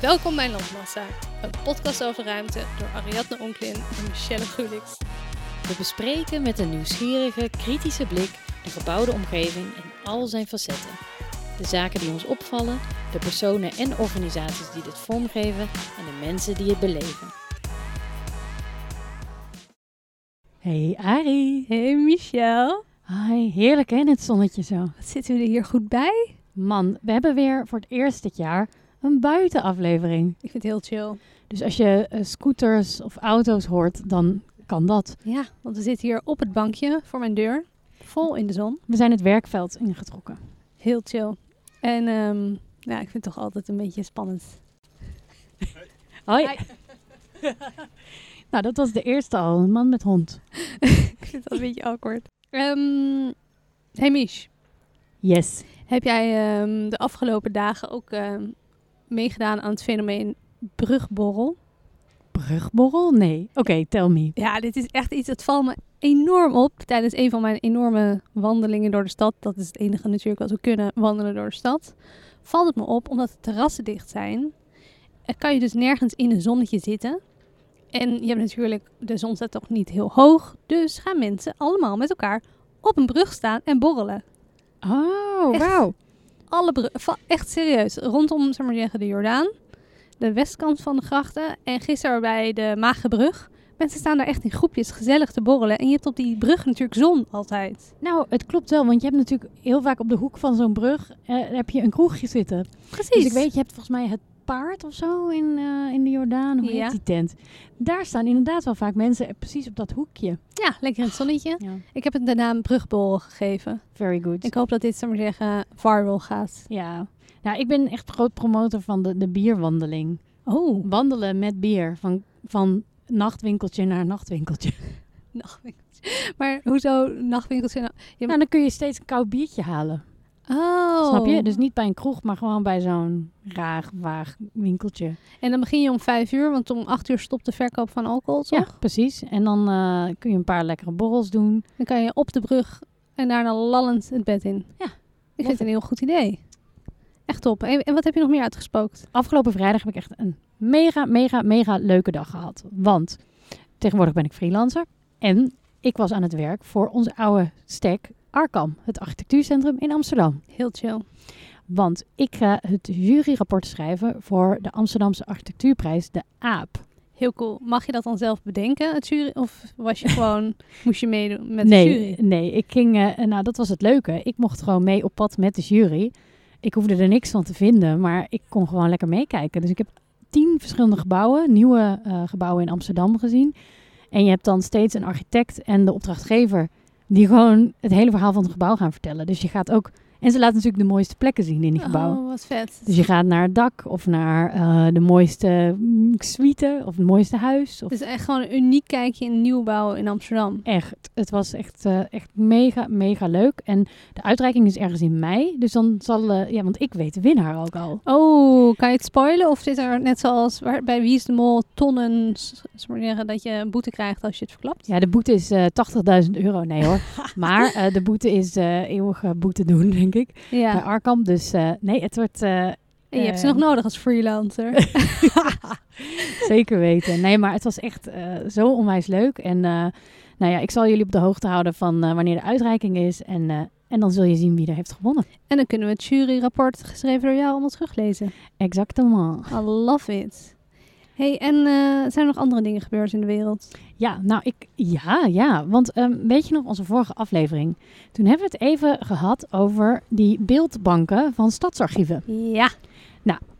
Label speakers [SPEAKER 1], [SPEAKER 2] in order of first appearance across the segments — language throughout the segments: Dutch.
[SPEAKER 1] Welkom bij Landmassa, een podcast over ruimte door Ariadne Onklin en Michelle Gulix.
[SPEAKER 2] We bespreken met een nieuwsgierige, kritische blik de gebouwde omgeving in al zijn facetten. De zaken die ons opvallen, de personen en organisaties die dit vormgeven en de mensen die het beleven. Hey Ari.
[SPEAKER 3] Hey Michel,
[SPEAKER 2] Hi, heerlijk hè, in het zonnetje zo.
[SPEAKER 3] wat zitten we er hier goed bij?
[SPEAKER 2] Man, we hebben weer voor het eerst dit jaar een buitenaflevering.
[SPEAKER 3] Ik vind het heel chill.
[SPEAKER 2] Dus als je eh, scooters of auto's hoort, dan kan dat.
[SPEAKER 3] Ja, want we zitten hier op het bankje voor mijn deur, vol in de zon.
[SPEAKER 2] We zijn het werkveld ingetrokken.
[SPEAKER 3] Heel chill. En ehm, ja, ik vind het toch altijd een beetje spannend.
[SPEAKER 2] Hoi.
[SPEAKER 3] Hi.
[SPEAKER 2] nou, dat was de eerste al. Een man met hond.
[SPEAKER 3] Ik vind dat een beetje awkward. Ehm, hey Mich,
[SPEAKER 2] Yes.
[SPEAKER 3] heb jij ehm, de afgelopen dagen ook ehm, meegedaan aan het fenomeen brugborrel?
[SPEAKER 2] Brugborrel? Nee. Oké, tell me.
[SPEAKER 3] Ja, dit is echt iets dat valt me enorm op tijdens een van mijn enorme wandelingen door de stad. Dat is het enige natuurlijk wat we kunnen wandelen door de stad. Valt het me op omdat de terrassen dicht zijn. En kan je dus nergens in een zonnetje zitten. En je hebt natuurlijk, de zon staat toch niet heel hoog. Dus gaan mensen allemaal met elkaar op een brug staan en borrelen.
[SPEAKER 2] Oh,
[SPEAKER 3] Echt?
[SPEAKER 2] wauw.
[SPEAKER 3] Alle bru- va- echt serieus. Rondom, zeg maar zeggen, de Jordaan. De westkant van de grachten. En gisteren bij de Magenbrug. Mensen staan daar echt in groepjes gezellig te borrelen. En je hebt op die brug natuurlijk zon altijd.
[SPEAKER 2] Nou, het klopt wel, want je hebt natuurlijk heel vaak op de hoek van zo'n brug eh, heb je een kroegje zitten.
[SPEAKER 3] Precies.
[SPEAKER 2] Dus ik weet, je hebt volgens mij het paard of zo in, eh, in de Jordaan. Hoe heet
[SPEAKER 3] Ja.
[SPEAKER 2] die tent? Daar staan inderdaad wel vaak mensen eh, precies op dat hoekje.
[SPEAKER 3] Ja, lekker in het zonnetje.
[SPEAKER 2] Ja.
[SPEAKER 3] Ik heb het de naam brugborrel gegeven.
[SPEAKER 2] Very good.
[SPEAKER 3] Ik hoop dat dit, zeg maar zeggen, viral gaat.
[SPEAKER 2] Ja. Nou, ik ben echt groot promotor van de, de bierwandeling.
[SPEAKER 3] Oh.
[SPEAKER 2] Wandelen met bier. Van, van nachtwinkeltje naar nachtwinkeltje.
[SPEAKER 3] Nachtwinkeltjes. Maar hoezo nachtwinkels? zijn nou-
[SPEAKER 2] Nou, dan kun je steeds een koud biertje halen.
[SPEAKER 3] Oh.
[SPEAKER 2] Snap je? Dus niet bij een kroeg, maar gewoon bij zo'n raar, waag winkeltje.
[SPEAKER 3] En dan begin je om vijf uur, want om acht uur stopt de verkoop van alcohol, toch?
[SPEAKER 2] Ja, precies. En dan eh, kun je een paar lekkere borrels doen.
[SPEAKER 3] Dan kan je op de brug en daarna lallend het bed in.
[SPEAKER 2] Ja.
[SPEAKER 3] Ik vind het een heel goed idee. Echt top. En, en wat heb je nog meer uitgespookt?
[SPEAKER 2] Afgelopen vrijdag heb ik echt een mega, mega, mega leuke dag gehad. Want tegenwoordig ben ik freelancer. En ik was aan het werk voor onze oude stek Arkham, het architectuurcentrum in Amsterdam.
[SPEAKER 3] Heel chill.
[SPEAKER 2] Want ik ga het juryrapport schrijven voor de Amsterdamse architectuurprijs, de AAP.
[SPEAKER 3] Heel cool. Mag je dat dan zelf bedenken, het jury? Of was je gewoon, moest je meedoen met
[SPEAKER 2] nee,
[SPEAKER 3] de jury?
[SPEAKER 2] Nee, ik ging, eh, nou dat was het leuke. Ik mocht gewoon mee op pad met de jury. Ik hoefde er niks van te vinden, maar ik kon gewoon lekker meekijken. Dus ik heb tien verschillende gebouwen, nieuwe eh, gebouwen in Amsterdam gezien. En je hebt dan steeds een architect en de opdrachtgever die gewoon het hele verhaal van het gebouw gaan vertellen. Dus je gaat ook, en ze laten natuurlijk de mooiste plekken zien in die gebouwen.
[SPEAKER 3] Oh, wat vet.
[SPEAKER 2] Dus je gaat naar het dak of naar eh, de mooiste mm, suite of het mooiste huis. Of
[SPEAKER 3] Het is echt gewoon een uniek kijkje in nieuwbouw in Amsterdam.
[SPEAKER 2] Echt, het was echt, eh, echt mega, mega leuk. En de uitreiking is ergens in mei. Dus dan zal, eh, ja, want ik weet de winnaar ook al.
[SPEAKER 3] Oh, kan je het spoilen? Of zit er net zoals waar, bij Wie is de Mol tonnen, s- zal ik maar zeggen, dat je een boete krijgt als je het verklapt?
[SPEAKER 2] Ja, de boete is eh 80.000 euro. Nee hoor. maar eh, de boete is eh eeuwige boete doen, denk ik.
[SPEAKER 3] Ja.
[SPEAKER 2] Bij Arkham. Dus eh, nee, het wordt eh,
[SPEAKER 3] En je hebt ze
[SPEAKER 2] Eh,
[SPEAKER 3] nog nodig als freelancer.
[SPEAKER 2] zeker weten. Nee, maar het was echt eh, zo onwijs leuk. En eh, nou ja, ik zal jullie op de hoogte houden van eh, wanneer de uitreiking is. En, eh, en dan zul je zien wie er heeft gewonnen.
[SPEAKER 3] en dan kunnen we het juryrapport geschreven door jou allemaal teruglezen.
[SPEAKER 2] Exactement.
[SPEAKER 3] I love it. hey, en eh, zijn er nog andere dingen gebeurd in de wereld?
[SPEAKER 2] Ja, nou ik. Ja, ja. Want ehm, weet je nog onze vorige aflevering? Toen hebben we het even gehad over die beeldbanken van stadsarchieven.
[SPEAKER 3] Ja.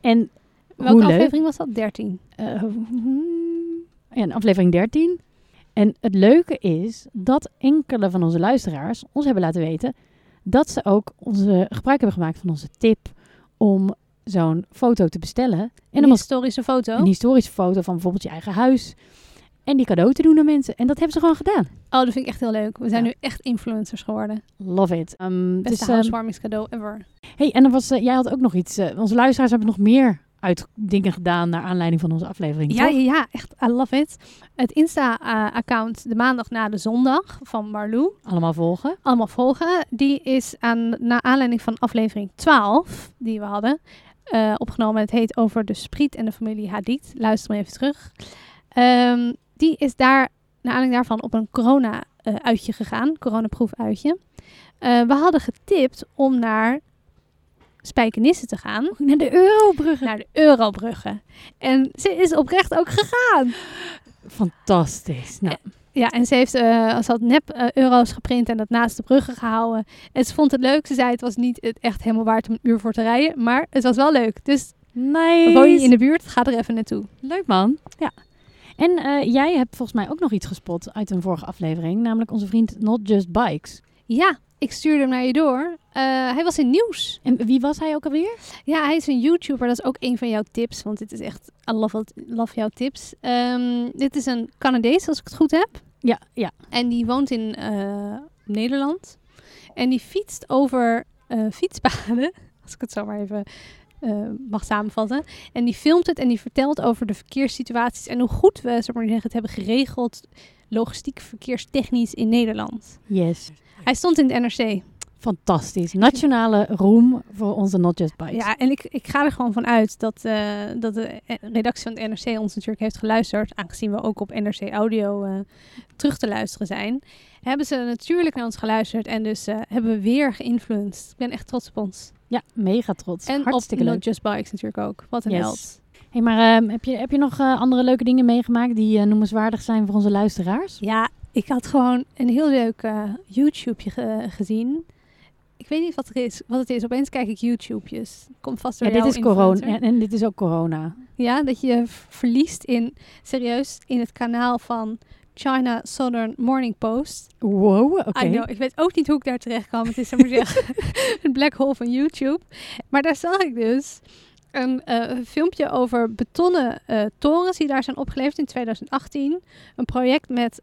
[SPEAKER 2] En
[SPEAKER 3] Welke
[SPEAKER 2] hoe leuk.
[SPEAKER 3] aflevering was dat? 13.
[SPEAKER 2] eh, hmm, en aflevering 13. En het leuke is dat enkele van onze luisteraars ons hebben laten weten dat ze ook onze, gebruik hebben gemaakt van onze tip om zo'n foto te bestellen. En
[SPEAKER 3] Een
[SPEAKER 2] om als
[SPEAKER 3] historische foto.
[SPEAKER 2] een historische foto van bijvoorbeeld je eigen huis. En die cadeau te doen aan mensen. En dat hebben ze gewoon gedaan.
[SPEAKER 3] Oh, dat vind ik echt heel leuk. We zijn
[SPEAKER 2] Ja.
[SPEAKER 3] nu echt influencers geworden.
[SPEAKER 2] Love it. Ehm,
[SPEAKER 3] Beste
[SPEAKER 2] dus, ehm,
[SPEAKER 3] housewarmingscadeau ever.
[SPEAKER 2] Hey, en er was, eh, jij had ook nog iets. eh, onze luisteraars hebben nog meer uit dingen gedaan naar aanleiding van onze aflevering.
[SPEAKER 3] Ja,
[SPEAKER 2] toch?
[SPEAKER 3] ja, ja, echt. I love it. Het Insta-account de maandag na de zondag van Marlou.
[SPEAKER 2] Allemaal volgen.
[SPEAKER 3] allemaal volgen. Die is aan, naar aanleiding van aflevering 12 die we hadden. eh, opgenomen. Het heet Over de Spriet en de familie Hadid. Luister maar even terug. Ehm, die is daar, naar aanleiding daarvan, op een corona-uitje gegaan. Coronaproefuitje. Eh we hadden getipt om naar Spijkenisse te gaan.
[SPEAKER 2] Naar de Eurobruggen.
[SPEAKER 3] Naar de Eurobruggen. En ze is oprecht ook gegaan.
[SPEAKER 2] Fantastisch. Nou,
[SPEAKER 3] Ja, en ze heeft, eh, ze had nep eh, euro's geprint en dat naast de bruggen gehouden. En ze vond het leuk. Ze zei het was niet het echt helemaal waard om een uur voor te rijden. Maar het was wel leuk. Dus
[SPEAKER 2] nice.
[SPEAKER 3] woon je in de buurt, ga er even naartoe.
[SPEAKER 2] Leuk man. Ja. En eh, jij hebt volgens mij ook nog iets gespot uit een vorige aflevering. Namelijk onze vriend Not Just Bikes.
[SPEAKER 3] Ja, ik stuurde hem naar je door. Eh, hij was in nieuws.
[SPEAKER 2] En wie was hij ook alweer?
[SPEAKER 3] Ja, hij is een YouTuber. Dat is ook een van jouw tips. Want dit is echt, I love, it- love jouw tips. Ehm, dit is een Canadees, als ik het goed heb.
[SPEAKER 2] Ja, ja.
[SPEAKER 3] En die woont in eh, Nederland. En die fietst over eh, fietspaden. Als ik het zo maar even eh, mag samenvatten. En die filmt het en die vertelt over de verkeerssituaties. En hoe goed we zeg maar, het hebben geregeld. Logistiek verkeerstechnisch in Nederland.
[SPEAKER 2] Yes.
[SPEAKER 3] Hij stond in het NRC.
[SPEAKER 2] Fantastisch. Nationale roem voor onze Not Just Bikes.
[SPEAKER 3] Ja, en ik, ik ga er gewoon van uit dat, eh, dat de eh, redactie van het NRC ons natuurlijk heeft geluisterd. Aangezien we ook op NRC Audio eh, terug te luisteren zijn. Hebben ze natuurlijk naar ons geluisterd en dus eh, hebben we weer geïnfluenced. Ik ben echt trots op ons.
[SPEAKER 2] Ja, mega trots.
[SPEAKER 3] En
[SPEAKER 2] Hartstikke
[SPEAKER 3] op
[SPEAKER 2] leuk.
[SPEAKER 3] Not Just Bikes natuurlijk ook. Wat een
[SPEAKER 2] Yes.
[SPEAKER 3] held.
[SPEAKER 2] Hey, maar ehm, heb, je, heb je nog eh, andere leuke dingen meegemaakt die eh, noemenswaardig zijn voor onze luisteraars?
[SPEAKER 3] Ja, ik had gewoon een heel leuk eh YouTubeje ge- gezien. Ik weet niet wat, er is, wat het is. Opeens kijk ik YouTubejes. Komt vast door
[SPEAKER 2] Ja, dit
[SPEAKER 3] jouw
[SPEAKER 2] is corona.
[SPEAKER 3] influencer.
[SPEAKER 2] En, en dit is ook corona.
[SPEAKER 3] Ja, dat je v- verliest in, serieus, in het kanaal van China Southern Morning Post.
[SPEAKER 2] Wow, oké.
[SPEAKER 3] I know, ik weet ook niet hoe ik daar terecht kwam. Het is zeg maar zeggen, een black hole van YouTube. Maar daar zag ik dus een eh, filmpje over betonnen eh, torens die daar zijn opgeleverd in 2018. Een project met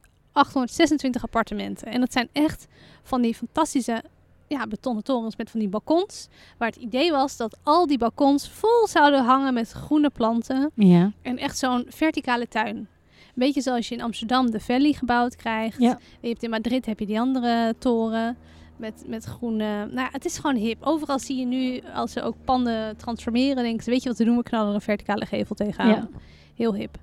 [SPEAKER 3] 826 appartementen. En dat zijn echt van die fantastische ja, betonnen torens met van die balkons. Waar het idee was dat al die balkons vol zouden hangen met groene planten.
[SPEAKER 2] Ja,
[SPEAKER 3] En echt zo'n verticale tuin. Een beetje zoals je in Amsterdam de Valley gebouwd krijgt.
[SPEAKER 2] Ja.
[SPEAKER 3] Je hebt in Madrid heb je die andere toren met, met groene... Nou, het is gewoon hip. Overal zie je nu, als ze ook panden transformeren, denken ze, weet je wat we doen? We knallen er een verticale gevel tegenaan.
[SPEAKER 2] Ja.
[SPEAKER 3] Heel hip.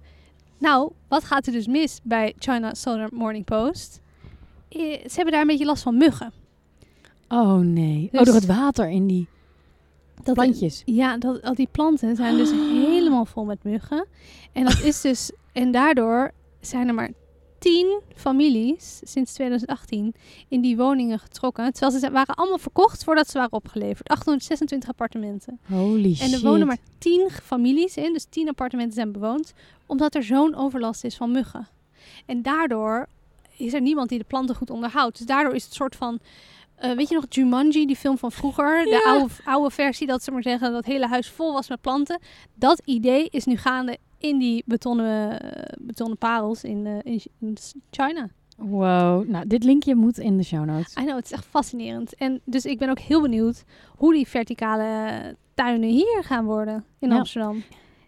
[SPEAKER 3] Nou, wat gaat er dus mis bij China Southern Morning Post? Eh, Ze hebben daar een beetje last van muggen.
[SPEAKER 2] Oh nee.
[SPEAKER 3] Dus-
[SPEAKER 2] oh, door het water in die plantjes.
[SPEAKER 3] Ja, dat, al die planten zijn dus helemaal vol met muggen. En dat is dus. En daardoor zijn er maar tien families sinds 2018 in die woningen getrokken. Terwijl ze zijn- waren allemaal verkocht voordat ze waren opgeleverd. 826 appartementen.
[SPEAKER 2] Holy shit.
[SPEAKER 3] En er wonen maar tien families in. Dus tien appartementen zijn bewoond. Omdat er zo'n overlast is van muggen. En daardoor is er niemand die de planten goed onderhoudt. Dus daardoor is het soort van. eh, weet je nog Jumanji, die film van vroeger? De
[SPEAKER 2] Ja.
[SPEAKER 3] oude, oude versie, dat ze maar zeggen dat het hele huis vol was met planten. Dat idee is nu gaande in die betonnen, eh, betonnen parels in, eh, in Ch- in China.
[SPEAKER 2] Wow. Nou, dit linkje moet in de show notes.
[SPEAKER 3] I know, het is echt fascinerend. En dus ik ben ook heel benieuwd hoe die verticale tuinen hier gaan worden in
[SPEAKER 2] Ja.
[SPEAKER 3] Amsterdam.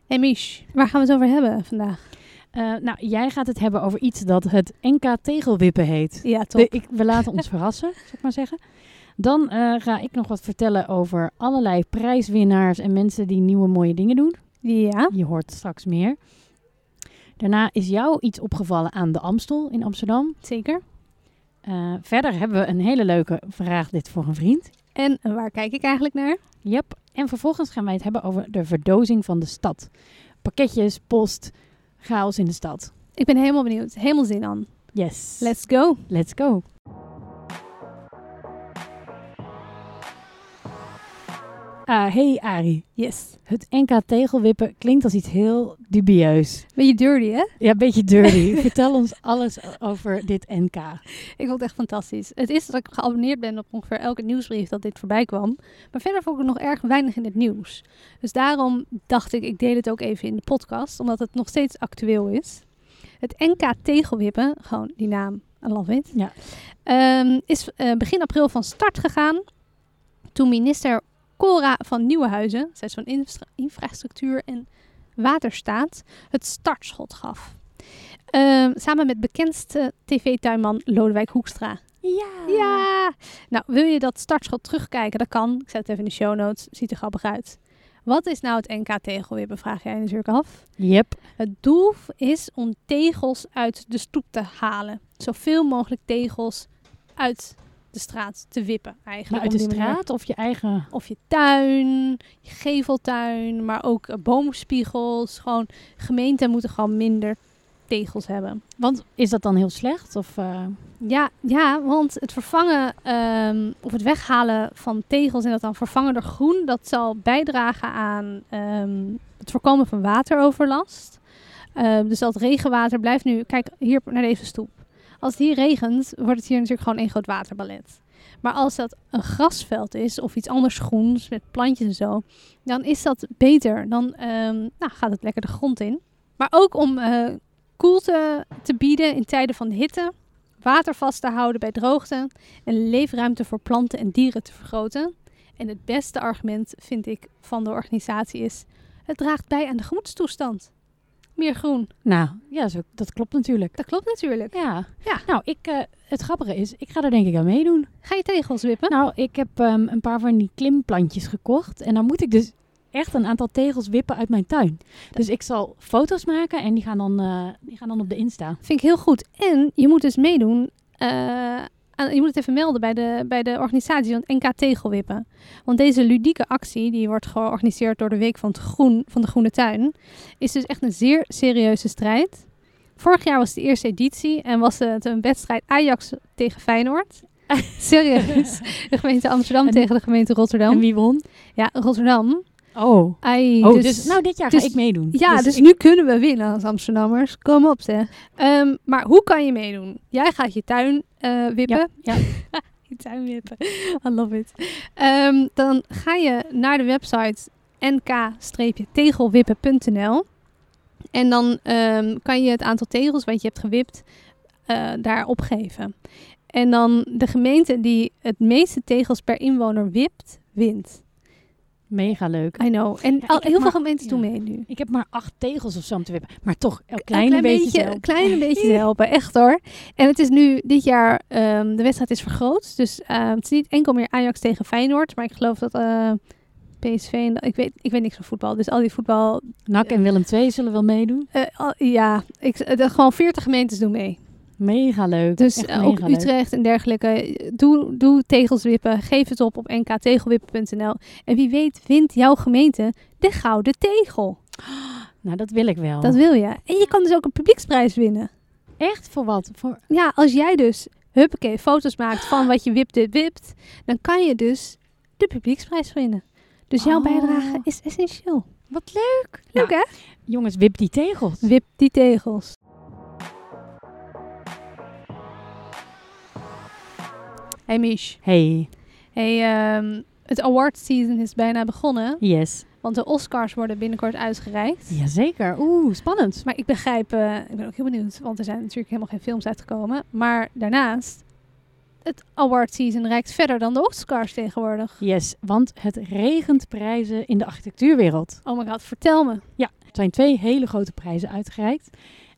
[SPEAKER 3] En Mich, waar gaan we het over hebben vandaag?
[SPEAKER 2] Eh, nou, jij gaat het hebben over iets dat het NK Tegelwippen heet.
[SPEAKER 3] Ja,
[SPEAKER 2] De- ik, we laten ons verrassen, zal ik maar zeggen. Dan eh, ga ik nog wat vertellen over allerlei prijswinnaars en mensen die nieuwe mooie dingen doen.
[SPEAKER 3] Ja.
[SPEAKER 2] Je hoort straks meer. Daarna is jou iets opgevallen aan de Amstel in Amsterdam.
[SPEAKER 3] Zeker.
[SPEAKER 2] Eh, verder hebben we een hele leuke vraag dit voor een vriend.
[SPEAKER 3] En waar kijk ik eigenlijk naar?
[SPEAKER 2] Yep. En vervolgens gaan wij het hebben over de verdozing van de stad. Pakketjes, post, chaos in de stad.
[SPEAKER 3] Ik ben helemaal benieuwd. Helemaal zin aan.
[SPEAKER 2] Yes.
[SPEAKER 3] Let's go.
[SPEAKER 2] Let's go. Ah, hey Ari.
[SPEAKER 3] Yes.
[SPEAKER 2] Het NK tegelwippen klinkt als iets heel dubieus.
[SPEAKER 3] Beetje dirty, hè?
[SPEAKER 2] Ja, een beetje dirty. Vertel ons alles over dit NK.
[SPEAKER 3] Ik vond het echt fantastisch. Het is dat ik geabonneerd ben op ongeveer elke nieuwsbrief dat dit voorbij kwam. Maar verder vond ik het nog erg weinig in het nieuws. Dus daarom dacht ik, ik deel het ook even in de podcast, omdat het nog steeds actueel is. Het NK Tegelwippen, gewoon die naam, I love it,
[SPEAKER 2] Ja.
[SPEAKER 3] ehm, is eh, begin april van start gegaan. Toen minister Cora van Nieuwenhuizen, zij is van infra- infrastructuur en waterstaat, het startschot gaf. Ehm, samen met bekendste tv-tuinman Lodewijk Hoekstra.
[SPEAKER 2] Ja.
[SPEAKER 3] Ja! Nou, wil je dat startschot terugkijken? Dat kan. Ik zet het even in de show notes. Ziet er grappig uit. Wat is nou het NK tegelwibben, vraag jij natuurlijk af.
[SPEAKER 2] Yep.
[SPEAKER 3] Het doel is om tegels uit de stoep te halen. Zoveel mogelijk tegels uit de straat te wippen eigenlijk.
[SPEAKER 2] Maar
[SPEAKER 3] op
[SPEAKER 2] uit de
[SPEAKER 3] die manier.
[SPEAKER 2] straat of je eigen...
[SPEAKER 3] Of je tuin, je geveltuin, maar ook eh, boomspiegels. Gewoon gemeenten moeten gewoon minder tegels hebben.
[SPEAKER 2] Want is dat dan heel slecht? Of, eh,
[SPEAKER 3] Ja, ja, want het vervangen ehm, of het weghalen van tegels en dat dan vervangen door groen, dat zal bijdragen aan ehm, het voorkomen van wateroverlast. Ehm, dus dat regenwater blijft nu, kijk hier naar deze stoep. Als het hier regent, wordt het hier natuurlijk gewoon één groot waterballet. Maar als dat een grasveld is of iets anders groens met plantjes en zo, dan is dat beter. Dan ehm, nou, gaat het lekker de grond in. Maar ook om eh, koelte te bieden in tijden van hitte water vast te houden bij droogte en leefruimte voor planten en dieren te vergroten. En het beste argument, vind ik, van de organisatie is: het draagt bij aan de gemoedstoestand. Meer groen.
[SPEAKER 2] nou, ja, zo, dat klopt natuurlijk.
[SPEAKER 3] Dat klopt natuurlijk.
[SPEAKER 2] Ja.
[SPEAKER 3] Ja.
[SPEAKER 2] Nou, ik, eh, het grappige is, ik ga er denk ik aan meedoen.
[SPEAKER 3] Ga je tegels wippen?
[SPEAKER 2] Nou, ik heb ehm, een paar van die klimplantjes gekocht. En dan moet ik dus echt een aantal tegels wippen uit mijn tuin. Dus ik zal foto's maken en die gaan dan, eh, die gaan dan op de Insta.
[SPEAKER 3] Vind ik heel goed. En je moet dus meedoen. eh, aan, je moet het even melden bij de, bij de organisatie van NK Tegelwippen. Want deze ludieke actie, die wordt georganiseerd door de Week van, het Groen, van de Groene Tuin, is dus echt een zeer serieuze strijd. Vorig jaar was de eerste editie en was het een wedstrijd Ajax tegen Feyenoord. Serieus. De gemeente Amsterdam
[SPEAKER 2] En-
[SPEAKER 3] tegen de gemeente Rotterdam.
[SPEAKER 2] En wie won?
[SPEAKER 3] Ja, Rotterdam.
[SPEAKER 2] Oh.
[SPEAKER 3] Ai,
[SPEAKER 2] Oh, dus, nou dit jaar
[SPEAKER 3] dus-
[SPEAKER 2] ga ik meedoen.
[SPEAKER 3] ja, dus,
[SPEAKER 2] ik-
[SPEAKER 3] nu kunnen we winnen als Amsterdammers. Kom op, zeg. Ehm, maar hoe kan je meedoen? Jij gaat je tuin eh, wippen.
[SPEAKER 2] Ja, ja.
[SPEAKER 3] je tuin wippen. I love it. Ehm, dan ga je naar de website nk-tegelwippen.nl. En dan ehm, kan je het aantal tegels wat je hebt gewipt eh, daar opgeven. En dan de gemeente die het meeste tegels per inwoner wipt, wint.
[SPEAKER 2] Mega leuk.
[SPEAKER 3] I know. En
[SPEAKER 2] ik
[SPEAKER 3] al,
[SPEAKER 2] heb
[SPEAKER 3] heel veel
[SPEAKER 2] maar-
[SPEAKER 3] gemeenten doen
[SPEAKER 2] ja.
[SPEAKER 3] mee nu.
[SPEAKER 2] Ik heb maar acht tegels of zo om te wippen. Maar toch, een
[SPEAKER 3] Een
[SPEAKER 2] klein, beetje. zelf.
[SPEAKER 3] een klein beetje te helpen, echt hoor. En het is nu dit jaar, ehm, de wedstrijd is vergroot. Dus ehm, het is niet enkel meer Ajax tegen Feyenoord. Maar ik geloof dat eh, PSV, en, ik, weet, ik weet niks van voetbal. Dus al die voetbal,
[SPEAKER 2] Nak en Willem II zullen wel meedoen.
[SPEAKER 3] eh, al- ja, ik, dat gewoon 40 gemeentes doen mee.
[SPEAKER 2] Mega leuk.
[SPEAKER 3] Dus
[SPEAKER 2] Echt
[SPEAKER 3] eh,
[SPEAKER 2] mega
[SPEAKER 3] ook
[SPEAKER 2] leuk.
[SPEAKER 3] Utrecht en dergelijke. Doe, doe tegels wippen, geef het op op nktegelwippen.nl. En wie weet wint jouw gemeente de gouden tegel.
[SPEAKER 2] Nou, dat wil ik wel.
[SPEAKER 3] Dat wil je. En je kan dus ook een publieksprijs winnen.
[SPEAKER 2] Echt voor wat? Voor...
[SPEAKER 3] Ja, als jij dus, huppakee, foto's maakt van wat je wipt, dit wipt, dan kan je dus de publieksprijs winnen. Dus jouw
[SPEAKER 2] Oh.
[SPEAKER 3] bijdrage is essentieel.
[SPEAKER 2] Wat leuk.
[SPEAKER 3] Leuk hè?
[SPEAKER 2] Jongens, wip die tegels.
[SPEAKER 3] Wip die tegels. Hey Mish.
[SPEAKER 2] Hey,
[SPEAKER 3] Hey, ehm, het award season is bijna begonnen.
[SPEAKER 2] yes.
[SPEAKER 3] Want de Oscars worden binnenkort uitgereikt.
[SPEAKER 2] Jazeker. Oeh, spannend.
[SPEAKER 3] Maar ik begrijp, eh, ik ben ook heel benieuwd, want er zijn natuurlijk helemaal geen films uitgekomen. Maar daarnaast, het award season reikt verder dan de Oscars tegenwoordig.
[SPEAKER 2] Yes, want het regent prijzen in de architectuurwereld.
[SPEAKER 3] Oh my god, vertel me.
[SPEAKER 2] Er zijn twee hele grote prijzen uitgereikt.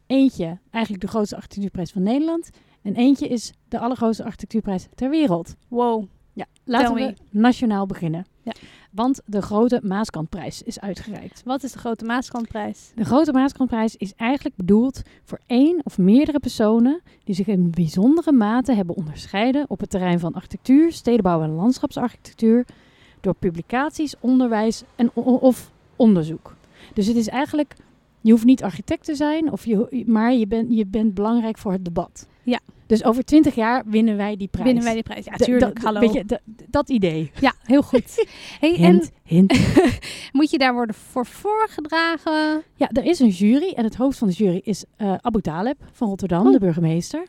[SPEAKER 2] Eentje, eigenlijk de grootste architectuurprijs van Nederland. En eentje is de allergrootste architectuurprijs ter wereld.
[SPEAKER 3] Wow.
[SPEAKER 2] Ja, laten
[SPEAKER 3] Tell
[SPEAKER 2] we nationaal beginnen.
[SPEAKER 3] Ja.
[SPEAKER 2] Want de grote Maaskantprijs is uitgereikt.
[SPEAKER 3] Wat is de grote Maaskantprijs?
[SPEAKER 2] De grote Maaskantprijs is eigenlijk bedoeld voor één of meerdere personen die zich in bijzondere mate hebben onderscheiden op het terrein van architectuur, stedenbouw en landschapsarchitectuur door publicaties, onderwijs en o- of onderzoek. Dus het is eigenlijk, je hoeft niet architect te zijn, of je, maar je, bent je bent belangrijk voor het debat.
[SPEAKER 3] Ja.
[SPEAKER 2] Dus over twintig jaar winnen wij die prijs.
[SPEAKER 3] Winnen wij die prijs? Ja,
[SPEAKER 2] Da-
[SPEAKER 3] tuurlijk.
[SPEAKER 2] da-
[SPEAKER 3] hallo.
[SPEAKER 2] Weet je, da- dat idee.
[SPEAKER 3] Ja, heel goed. Hey, en
[SPEAKER 2] Hint, hint,
[SPEAKER 3] moet je daar worden voor voorgedragen?
[SPEAKER 2] Ja, er is een jury en het hoofd van de jury is eh, Abu Taleb van Rotterdam,
[SPEAKER 3] Oh.
[SPEAKER 2] de burgemeester.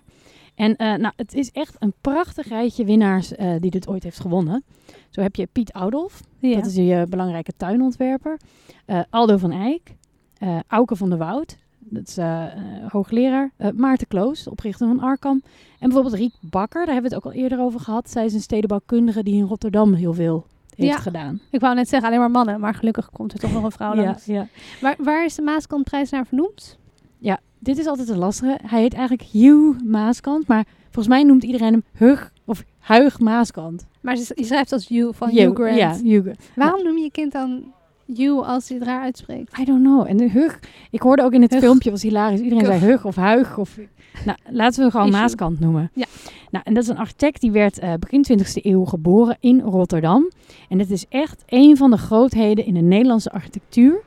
[SPEAKER 2] En eh, nou, het is echt een prachtig rijtje winnaars eh, die dit ooit heeft gewonnen. Zo heb je Piet Oudolf,
[SPEAKER 3] Ja.
[SPEAKER 2] dat is die eh, belangrijke tuinontwerper. Eh, Aldo van Eyck, eh, Auke van der Woud, dat is eh, eh, hoogleraar. Eh, Maarten Kloos, oprichter van Arkham. En bijvoorbeeld Riek Bakker, daar hebben we het ook al eerder over gehad. Zij is een stedenbouwkundige die in Rotterdam heel veel heeft
[SPEAKER 3] Ja.
[SPEAKER 2] gedaan.
[SPEAKER 3] Ik wou net zeggen alleen maar mannen, maar gelukkig komt er toch nog een vrouw
[SPEAKER 2] Ja,
[SPEAKER 3] langs.
[SPEAKER 2] ja.
[SPEAKER 3] Waar, waar is de Maaskantprijs naar vernoemd?
[SPEAKER 2] Dit is altijd een lastige. Hij heet eigenlijk Hugh Maaskant, maar volgens mij noemt iedereen hem Hug of Huig Maaskant.
[SPEAKER 3] Maar ze- je schrijft als You van
[SPEAKER 2] Hugh,
[SPEAKER 3] Hugh Grant.
[SPEAKER 2] Ja, Hugh. Grant.
[SPEAKER 3] Waarom noem je je kind dan You, als hij het raar uitspreekt.
[SPEAKER 2] I don't know. En de hug. Ik hoorde ook in het
[SPEAKER 3] Hug.
[SPEAKER 2] filmpje, was hilarisch. Iedereen
[SPEAKER 3] Hug.
[SPEAKER 2] zei hug of huig. Of, nou, laten we gewoon
[SPEAKER 3] Issue.
[SPEAKER 2] Maaskant noemen.
[SPEAKER 3] Ja.
[SPEAKER 2] Nou, en dat is een architect die werd eh, begin 20e eeuw geboren in Rotterdam. En het is echt een van de grootheden in de Nederlandse architectuur.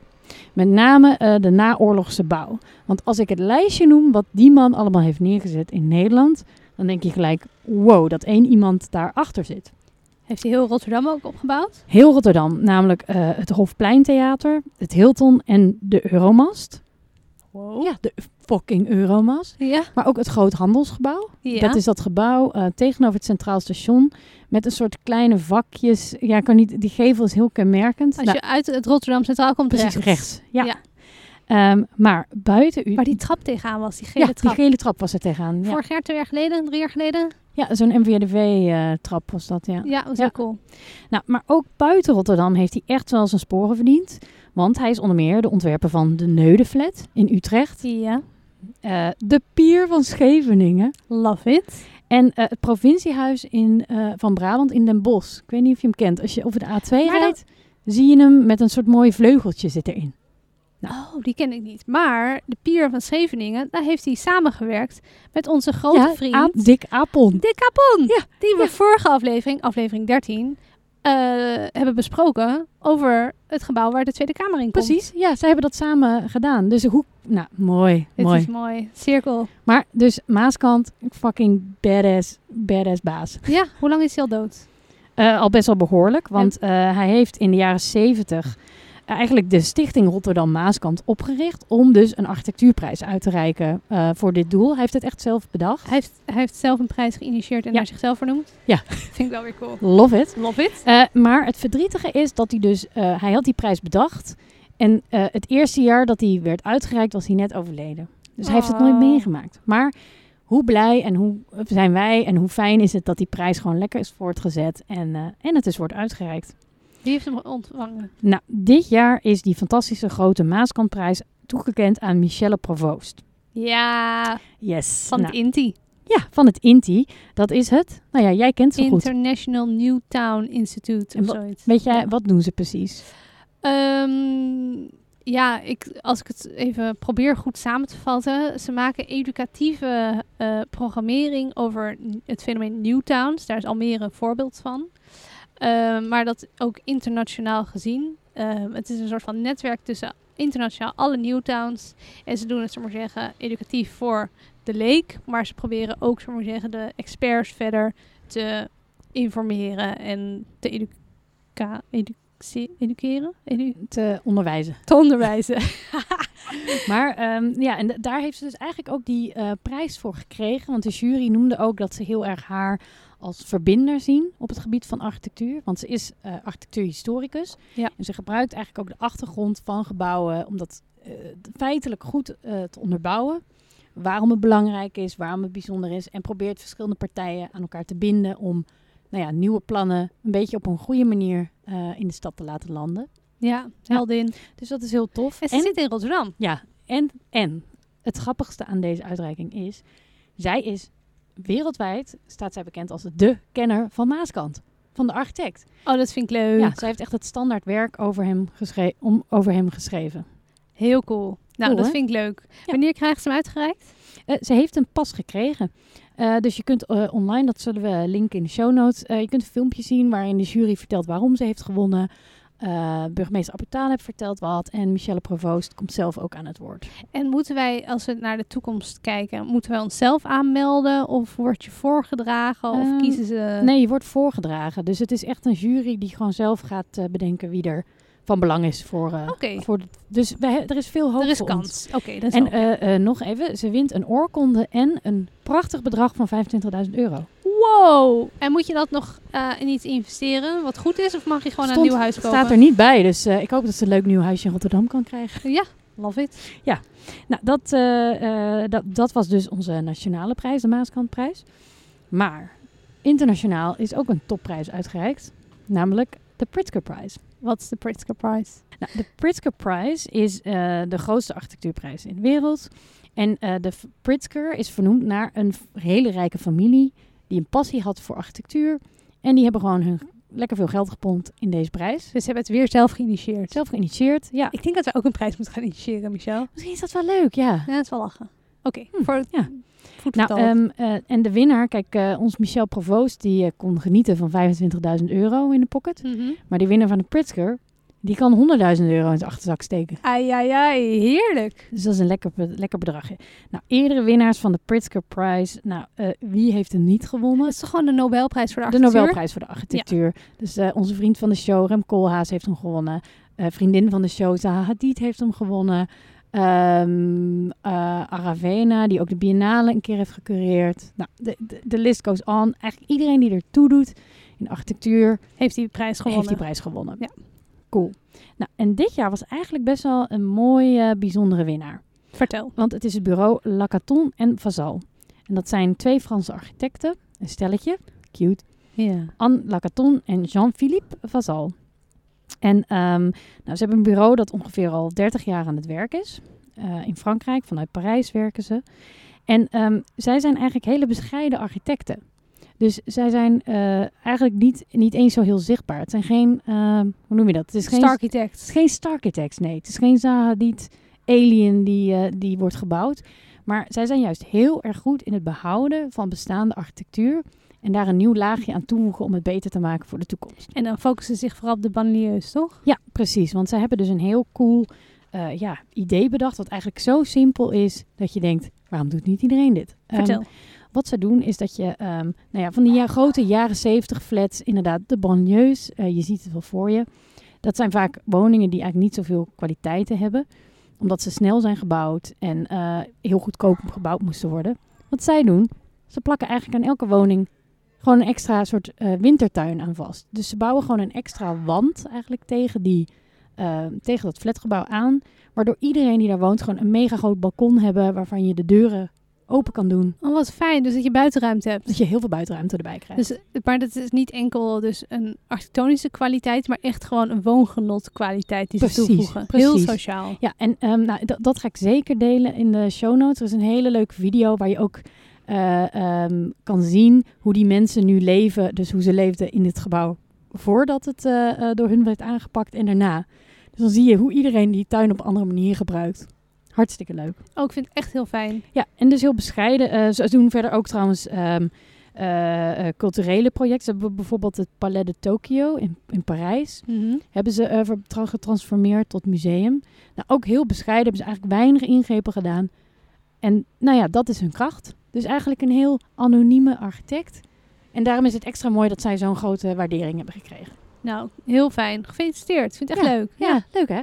[SPEAKER 2] Met name eh, de naoorlogse bouw. Want als ik het lijstje noem wat die man allemaal heeft neergezet in Nederland... dan denk je gelijk, wow, dat één iemand daarachter zit.
[SPEAKER 3] Heeft hij heel Rotterdam ook opgebouwd?
[SPEAKER 2] Heel Rotterdam, namelijk eh, het Hofpleintheater, het Hilton en de Euromast.
[SPEAKER 3] Wow.
[SPEAKER 2] Ja, de fucking Euromast.
[SPEAKER 3] Ja.
[SPEAKER 2] Maar ook het Groothandelsgebouw.
[SPEAKER 3] ja.
[SPEAKER 2] Dat is dat gebouw eh, tegenover het Centraal Station met een soort kleine vakjes. Ja, ik kan niet, die gevel is heel kenmerkend.
[SPEAKER 3] Als
[SPEAKER 2] Nou,
[SPEAKER 3] je uit het Rotterdam Centraal komt,
[SPEAKER 2] precies
[SPEAKER 3] rechts.
[SPEAKER 2] rechts. Ja.
[SPEAKER 3] Ja.
[SPEAKER 2] Ehm, maar buiten u...
[SPEAKER 3] Waar die trap tegenaan was, die gele
[SPEAKER 2] ja,
[SPEAKER 3] trap.
[SPEAKER 2] die gele trap was er tegenaan. Ja,
[SPEAKER 3] Vorig jaar, twee jaar geleden, drie jaar geleden.
[SPEAKER 2] ja zo'n NVDV-trap eh, was dat, ja.
[SPEAKER 3] Ja, was
[SPEAKER 2] Ja.
[SPEAKER 3] heel cool.
[SPEAKER 2] Nou, maar ook buiten Rotterdam heeft hij echt wel zijn sporen verdiend. Want hij is onder meer de ontwerper van de Neudeflat in Utrecht.
[SPEAKER 3] Ja.
[SPEAKER 2] eh, de Pier van Scheveningen.
[SPEAKER 3] Love it.
[SPEAKER 2] En eh, het provinciehuis in, eh, van Brabant in Den Bosch. Ik weet niet of je hem kent. Als je over de A2
[SPEAKER 3] Maar
[SPEAKER 2] rijdt, zie je hem met een soort mooi vleugeltje zit erin. Nou.
[SPEAKER 3] Oh, die ken ik niet. Maar de pier van Scheveningen, daar heeft hij samengewerkt met onze grote vriend.
[SPEAKER 2] Aap- Dick Apon.
[SPEAKER 3] Dick Capon.
[SPEAKER 2] Ja,
[SPEAKER 3] Die we
[SPEAKER 2] ja.
[SPEAKER 3] vorige aflevering, aflevering 13, eh, hebben besproken over het gebouw waar de Tweede Kamer in komt.
[SPEAKER 2] Precies, ja, zij hebben dat samen gedaan. Dus hoe... Nou, mooi,
[SPEAKER 3] Dit
[SPEAKER 2] mooi.
[SPEAKER 3] is mooi. Cirkel.
[SPEAKER 2] Maar dus Maaskant, fucking badass, badass baas.
[SPEAKER 3] Ja, hoe lang is hij al dood?
[SPEAKER 2] Eh, al best wel behoorlijk, want eh, hij heeft in de jaren 70 eigenlijk de Stichting Rotterdam Maaskant opgericht om dus een architectuurprijs uit te reiken eh, voor dit doel. Hij heeft het echt zelf bedacht.
[SPEAKER 3] Hij heeft, hij heeft zelf een prijs geïnitieerd en
[SPEAKER 2] Ja.
[SPEAKER 3] naar zichzelf vernoemd.
[SPEAKER 2] Ja.
[SPEAKER 3] Vind ik wel weer cool.
[SPEAKER 2] Love it.
[SPEAKER 3] Love it.
[SPEAKER 2] Eh, maar het verdrietige is dat hij dus, eh, hij had die prijs bedacht en eh, het eerste jaar dat hij werd uitgereikt was hij net overleden. Dus hij heeft het nooit
[SPEAKER 3] Oh.
[SPEAKER 2] meegemaakt. Maar hoe blij en hoe eh, zijn wij en hoe fijn is het dat die prijs gewoon lekker is voortgezet en, eh, en het dus wordt uitgereikt.
[SPEAKER 3] Wie heeft hem ontvangen?
[SPEAKER 2] Nou, dit jaar is die fantastische grote Maaskantprijs toegekend aan Michelle Provoost.
[SPEAKER 3] Ja,
[SPEAKER 2] Yes.
[SPEAKER 3] van
[SPEAKER 2] Nou,
[SPEAKER 3] het Inti.
[SPEAKER 2] ja, van het INTI. Dat is het. Nou ja, jij kent ze goed.
[SPEAKER 3] International Newtown Institute
[SPEAKER 2] En
[SPEAKER 3] of
[SPEAKER 2] wat-
[SPEAKER 3] zoiets.
[SPEAKER 2] Weet jij,
[SPEAKER 3] Ja.
[SPEAKER 2] wat doen ze precies?
[SPEAKER 3] Ehm, ja, ik, als ik het even probeer goed samen te vatten. Ze maken educatieve eh, programmering over n- het fenomeen Newtowns. Daar is Almere een voorbeeld van. Ehm, maar dat ook internationaal gezien. Ehm, het is een soort van netwerk tussen internationaal alle Newtowns. En ze doen het, zullen we maar zeggen, educatief voor de leek. Maar ze proberen ook, zullen we maar zeggen, de experts verder te informeren en te educa- edu- se- educeren. Edu
[SPEAKER 2] Te onderwijzen.
[SPEAKER 3] te onderwijzen.
[SPEAKER 2] Maar ehm, ja, en da- daar heeft ze dus eigenlijk ook die eh, prijs voor gekregen. Want de jury noemde ook dat ze heel erg haar als verbinder zien op het gebied van architectuur. Want ze is eh, architectuurhistoricus.
[SPEAKER 3] Ja.
[SPEAKER 2] En ze gebruikt eigenlijk ook de achtergrond van gebouwen om dat eh, feitelijk goed eh, te onderbouwen. Waarom het belangrijk is, waarom het bijzonder is. En probeert verschillende partijen aan elkaar te binden om nou ja, nieuwe plannen een beetje op een goede manier eh, in de stad te laten landen.
[SPEAKER 3] ja, heldin.
[SPEAKER 2] Dus dat is heel tof.
[SPEAKER 3] En ze zit in Rotterdam.
[SPEAKER 2] Ja, en, en het grappigste aan deze uitreiking is, zij is wereldwijd, staat zij bekend als de kenner van Maaskant, van de architect.
[SPEAKER 3] Oh, dat vind ik leuk.
[SPEAKER 2] Ja, zij heeft echt het standaardwerk over hem, geschre- om, over hem geschreven.
[SPEAKER 3] Heel cool. Nou,
[SPEAKER 2] Cool,
[SPEAKER 3] dat
[SPEAKER 2] hè?
[SPEAKER 3] vind ik leuk. Wanneer krijgt ze hem uitgereikt?
[SPEAKER 2] Eh, ze heeft een pas gekregen. Eh, dus je kunt eh, online, dat zullen we linken in de show notes. eh, je kunt een filmpje zien waarin de jury vertelt waarom ze heeft gewonnen. Eh, burgemeester Appertaal heeft verteld wat. En Michelle Provoost komt zelf ook aan het woord.
[SPEAKER 3] En moeten wij, als we naar de toekomst kijken, moeten wij onszelf aanmelden? Of word je voorgedragen? Of
[SPEAKER 2] Ehm,
[SPEAKER 3] kiezen ze...
[SPEAKER 2] Nee, je wordt voorgedragen. Dus het is echt een jury die gewoon zelf gaat eh, bedenken wie er van belang is voor. eh,
[SPEAKER 3] Oké,
[SPEAKER 2] voor de- dus wij, er is veel hoop
[SPEAKER 3] er is
[SPEAKER 2] voor ons.
[SPEAKER 3] kans. Oké, dat is
[SPEAKER 2] En
[SPEAKER 3] wel-
[SPEAKER 2] eh, eh, nog even, ze wint een oorkonde en een prachtig bedrag van 25.000 euro.
[SPEAKER 3] Wow! En moet je dat nog eh, in iets investeren wat goed is? Of mag je gewoon een nieuw huis kopen?
[SPEAKER 2] staat er niet bij, dus eh, ik hoop dat ze een leuk nieuw huisje in Rotterdam kan krijgen.
[SPEAKER 3] Ja, love it.
[SPEAKER 2] Nou, dat, eh, eh, dat, dat was dus onze nationale prijs, de Maaskantprijs. Maar internationaal is ook een topprijs uitgereikt, namelijk de Pritzker Prize.
[SPEAKER 3] Wat is de Pritzker Prize?
[SPEAKER 2] Nou, de Pritzker Prize is eh, de grootste architectuurprijs in de wereld. En eh, de v- Pritzker is vernoemd naar een v- hele rijke familie die een passie had voor architectuur. En die hebben gewoon hun lekker veel geld gepompt in deze prijs.
[SPEAKER 3] Dus ze hebben het weer zelf geïnitieerd.
[SPEAKER 2] Zelf geïnitieerd, ja.
[SPEAKER 3] Ik denk dat we ook een prijs moeten gaan initiëren, Michel.
[SPEAKER 2] Misschien is dat wel leuk, ja.
[SPEAKER 3] Ja, dat is wel lachen. Oké,
[SPEAKER 2] Hm,
[SPEAKER 3] voor het
[SPEAKER 2] ja.
[SPEAKER 3] goed
[SPEAKER 2] Nou,
[SPEAKER 3] betaald.
[SPEAKER 2] ehm, eh, en de winnaar, kijk, eh, ons Michel Provoost, die eh, kon genieten van 25.000 euro in de pocket.
[SPEAKER 3] Mhm.
[SPEAKER 2] Maar die winnaar van de Pritzker, die kan 100.000 euro in zijn achterzak steken.
[SPEAKER 3] Ai, ai, ai, heerlijk.
[SPEAKER 2] Dus dat is een lekker, be- lekker bedragje. Nou, eerdere winnaars van de Pritzker Prize. Nou, eh, wie heeft hem niet gewonnen?
[SPEAKER 3] Dat is toch gewoon de Nobelprijs voor de
[SPEAKER 2] De
[SPEAKER 3] architectuur?
[SPEAKER 2] Nobelprijs voor de architectuur. Dus eh, onze vriend van de show, Rem Koolhaas, heeft hem gewonnen. Eh, vriendin van de show, Zaha Hadid, heeft hem gewonnen. Ehm, eh, Aravena, die ook de Biennale een keer heeft gecureerd. Nou, de, de, de list goes on. Eigenlijk iedereen die ertoe doet in de architectuur,
[SPEAKER 3] Heeft die prijs gewonnen.
[SPEAKER 2] heeft die prijs gewonnen.
[SPEAKER 3] Ja.
[SPEAKER 2] Cool. Nou, en dit jaar was eigenlijk best wel een mooie, bijzondere winnaar.
[SPEAKER 3] Vertel.
[SPEAKER 2] Want het is het bureau Lacaton en Vazal. En dat zijn twee Franse architecten, een stelletje, cute.
[SPEAKER 3] Ja.
[SPEAKER 2] Anne Lacaton en Jean-Philippe Vazal. En ehm, nou, ze hebben een bureau dat ongeveer al 30 jaar aan het werk is. Eh, in Frankrijk, vanuit Parijs werken ze. En ehm, zij zijn eigenlijk hele bescheiden architecten. Dus zij zijn eh, eigenlijk niet, niet eens zo heel zichtbaar. Het zijn geen, ehm, hoe noem je dat? Het is geen
[SPEAKER 3] Starchitect.
[SPEAKER 2] het is geen Starkitects, nee. Het is geen Zahadit alien die, eh, die wordt gebouwd. Maar zij zijn juist heel erg goed in het behouden van bestaande architectuur. En daar een nieuw laagje aan toevoegen om het beter te maken voor de toekomst.
[SPEAKER 3] En dan focussen ze zich vooral op de banlieues, toch?
[SPEAKER 2] Ja, precies. Want zij hebben dus een heel cool eh, ja, idee bedacht. Wat eigenlijk zo simpel is dat je denkt, waarom doet niet iedereen dit? Ehm,
[SPEAKER 3] Vertel.
[SPEAKER 2] wat ze doen is dat je ehm, nou ja, van die ja- grote jaren 70 flats, inderdaad, de banlieues, eh, je ziet het wel voor je. Dat zijn vaak woningen die eigenlijk niet zoveel kwaliteiten hebben, omdat ze snel zijn gebouwd en eh, heel goedkoop gebouwd moesten worden. Wat zij doen, ze plakken eigenlijk aan elke woning gewoon een extra soort eh, wintertuin aan vast. Dus ze bouwen gewoon een extra wand eigenlijk tegen, die, eh, tegen dat flatgebouw aan, waardoor iedereen die daar woont gewoon een mega groot balkon hebben waarvan je de deuren open kan doen
[SPEAKER 3] Oh, wat fijn. Dus dat je buitenruimte hebt.
[SPEAKER 2] dat je heel veel buitenruimte erbij krijgt.
[SPEAKER 3] Dus, maar dat is niet enkel dus een architectonische kwaliteit, maar echt gewoon een woongenot kwaliteit die
[SPEAKER 2] Precies,
[SPEAKER 3] ze toevoegen. Heel
[SPEAKER 2] precies.
[SPEAKER 3] sociaal.
[SPEAKER 2] ja, en ehm, nou, dat, dat ga ik zeker delen in de show notes. Er is een hele leuke video waar je ook eh, ehm, kan zien hoe die mensen nu leven. Dus hoe ze leefden in dit gebouw voordat het eh, eh, door hun werd aangepakt en daarna. Dus dan zie je hoe iedereen die tuin op een andere manier gebruikt. Hartstikke leuk.
[SPEAKER 3] Oh, ik vind het echt heel fijn.
[SPEAKER 2] Ja, en dus heel bescheiden. Eh, ze doen verder ook trouwens ehm, eh, eh, culturele projecten. Ze hebben bijvoorbeeld het Palais de Tokio in, in Parijs.
[SPEAKER 3] Mhm.
[SPEAKER 2] hebben ze eh, ver- tra- getransformeerd tot museum. Nou, ook heel bescheiden hebben ze eigenlijk weinig ingrepen gedaan. En nou ja, dat is hun kracht. Dus eigenlijk een heel anonieme architect. En daarom is het extra mooi dat zij zo'n grote waardering hebben gekregen.
[SPEAKER 3] Nou, heel fijn. Gefeliciteerd. Ik vind het echt leuk.
[SPEAKER 2] Ja, leuk hè?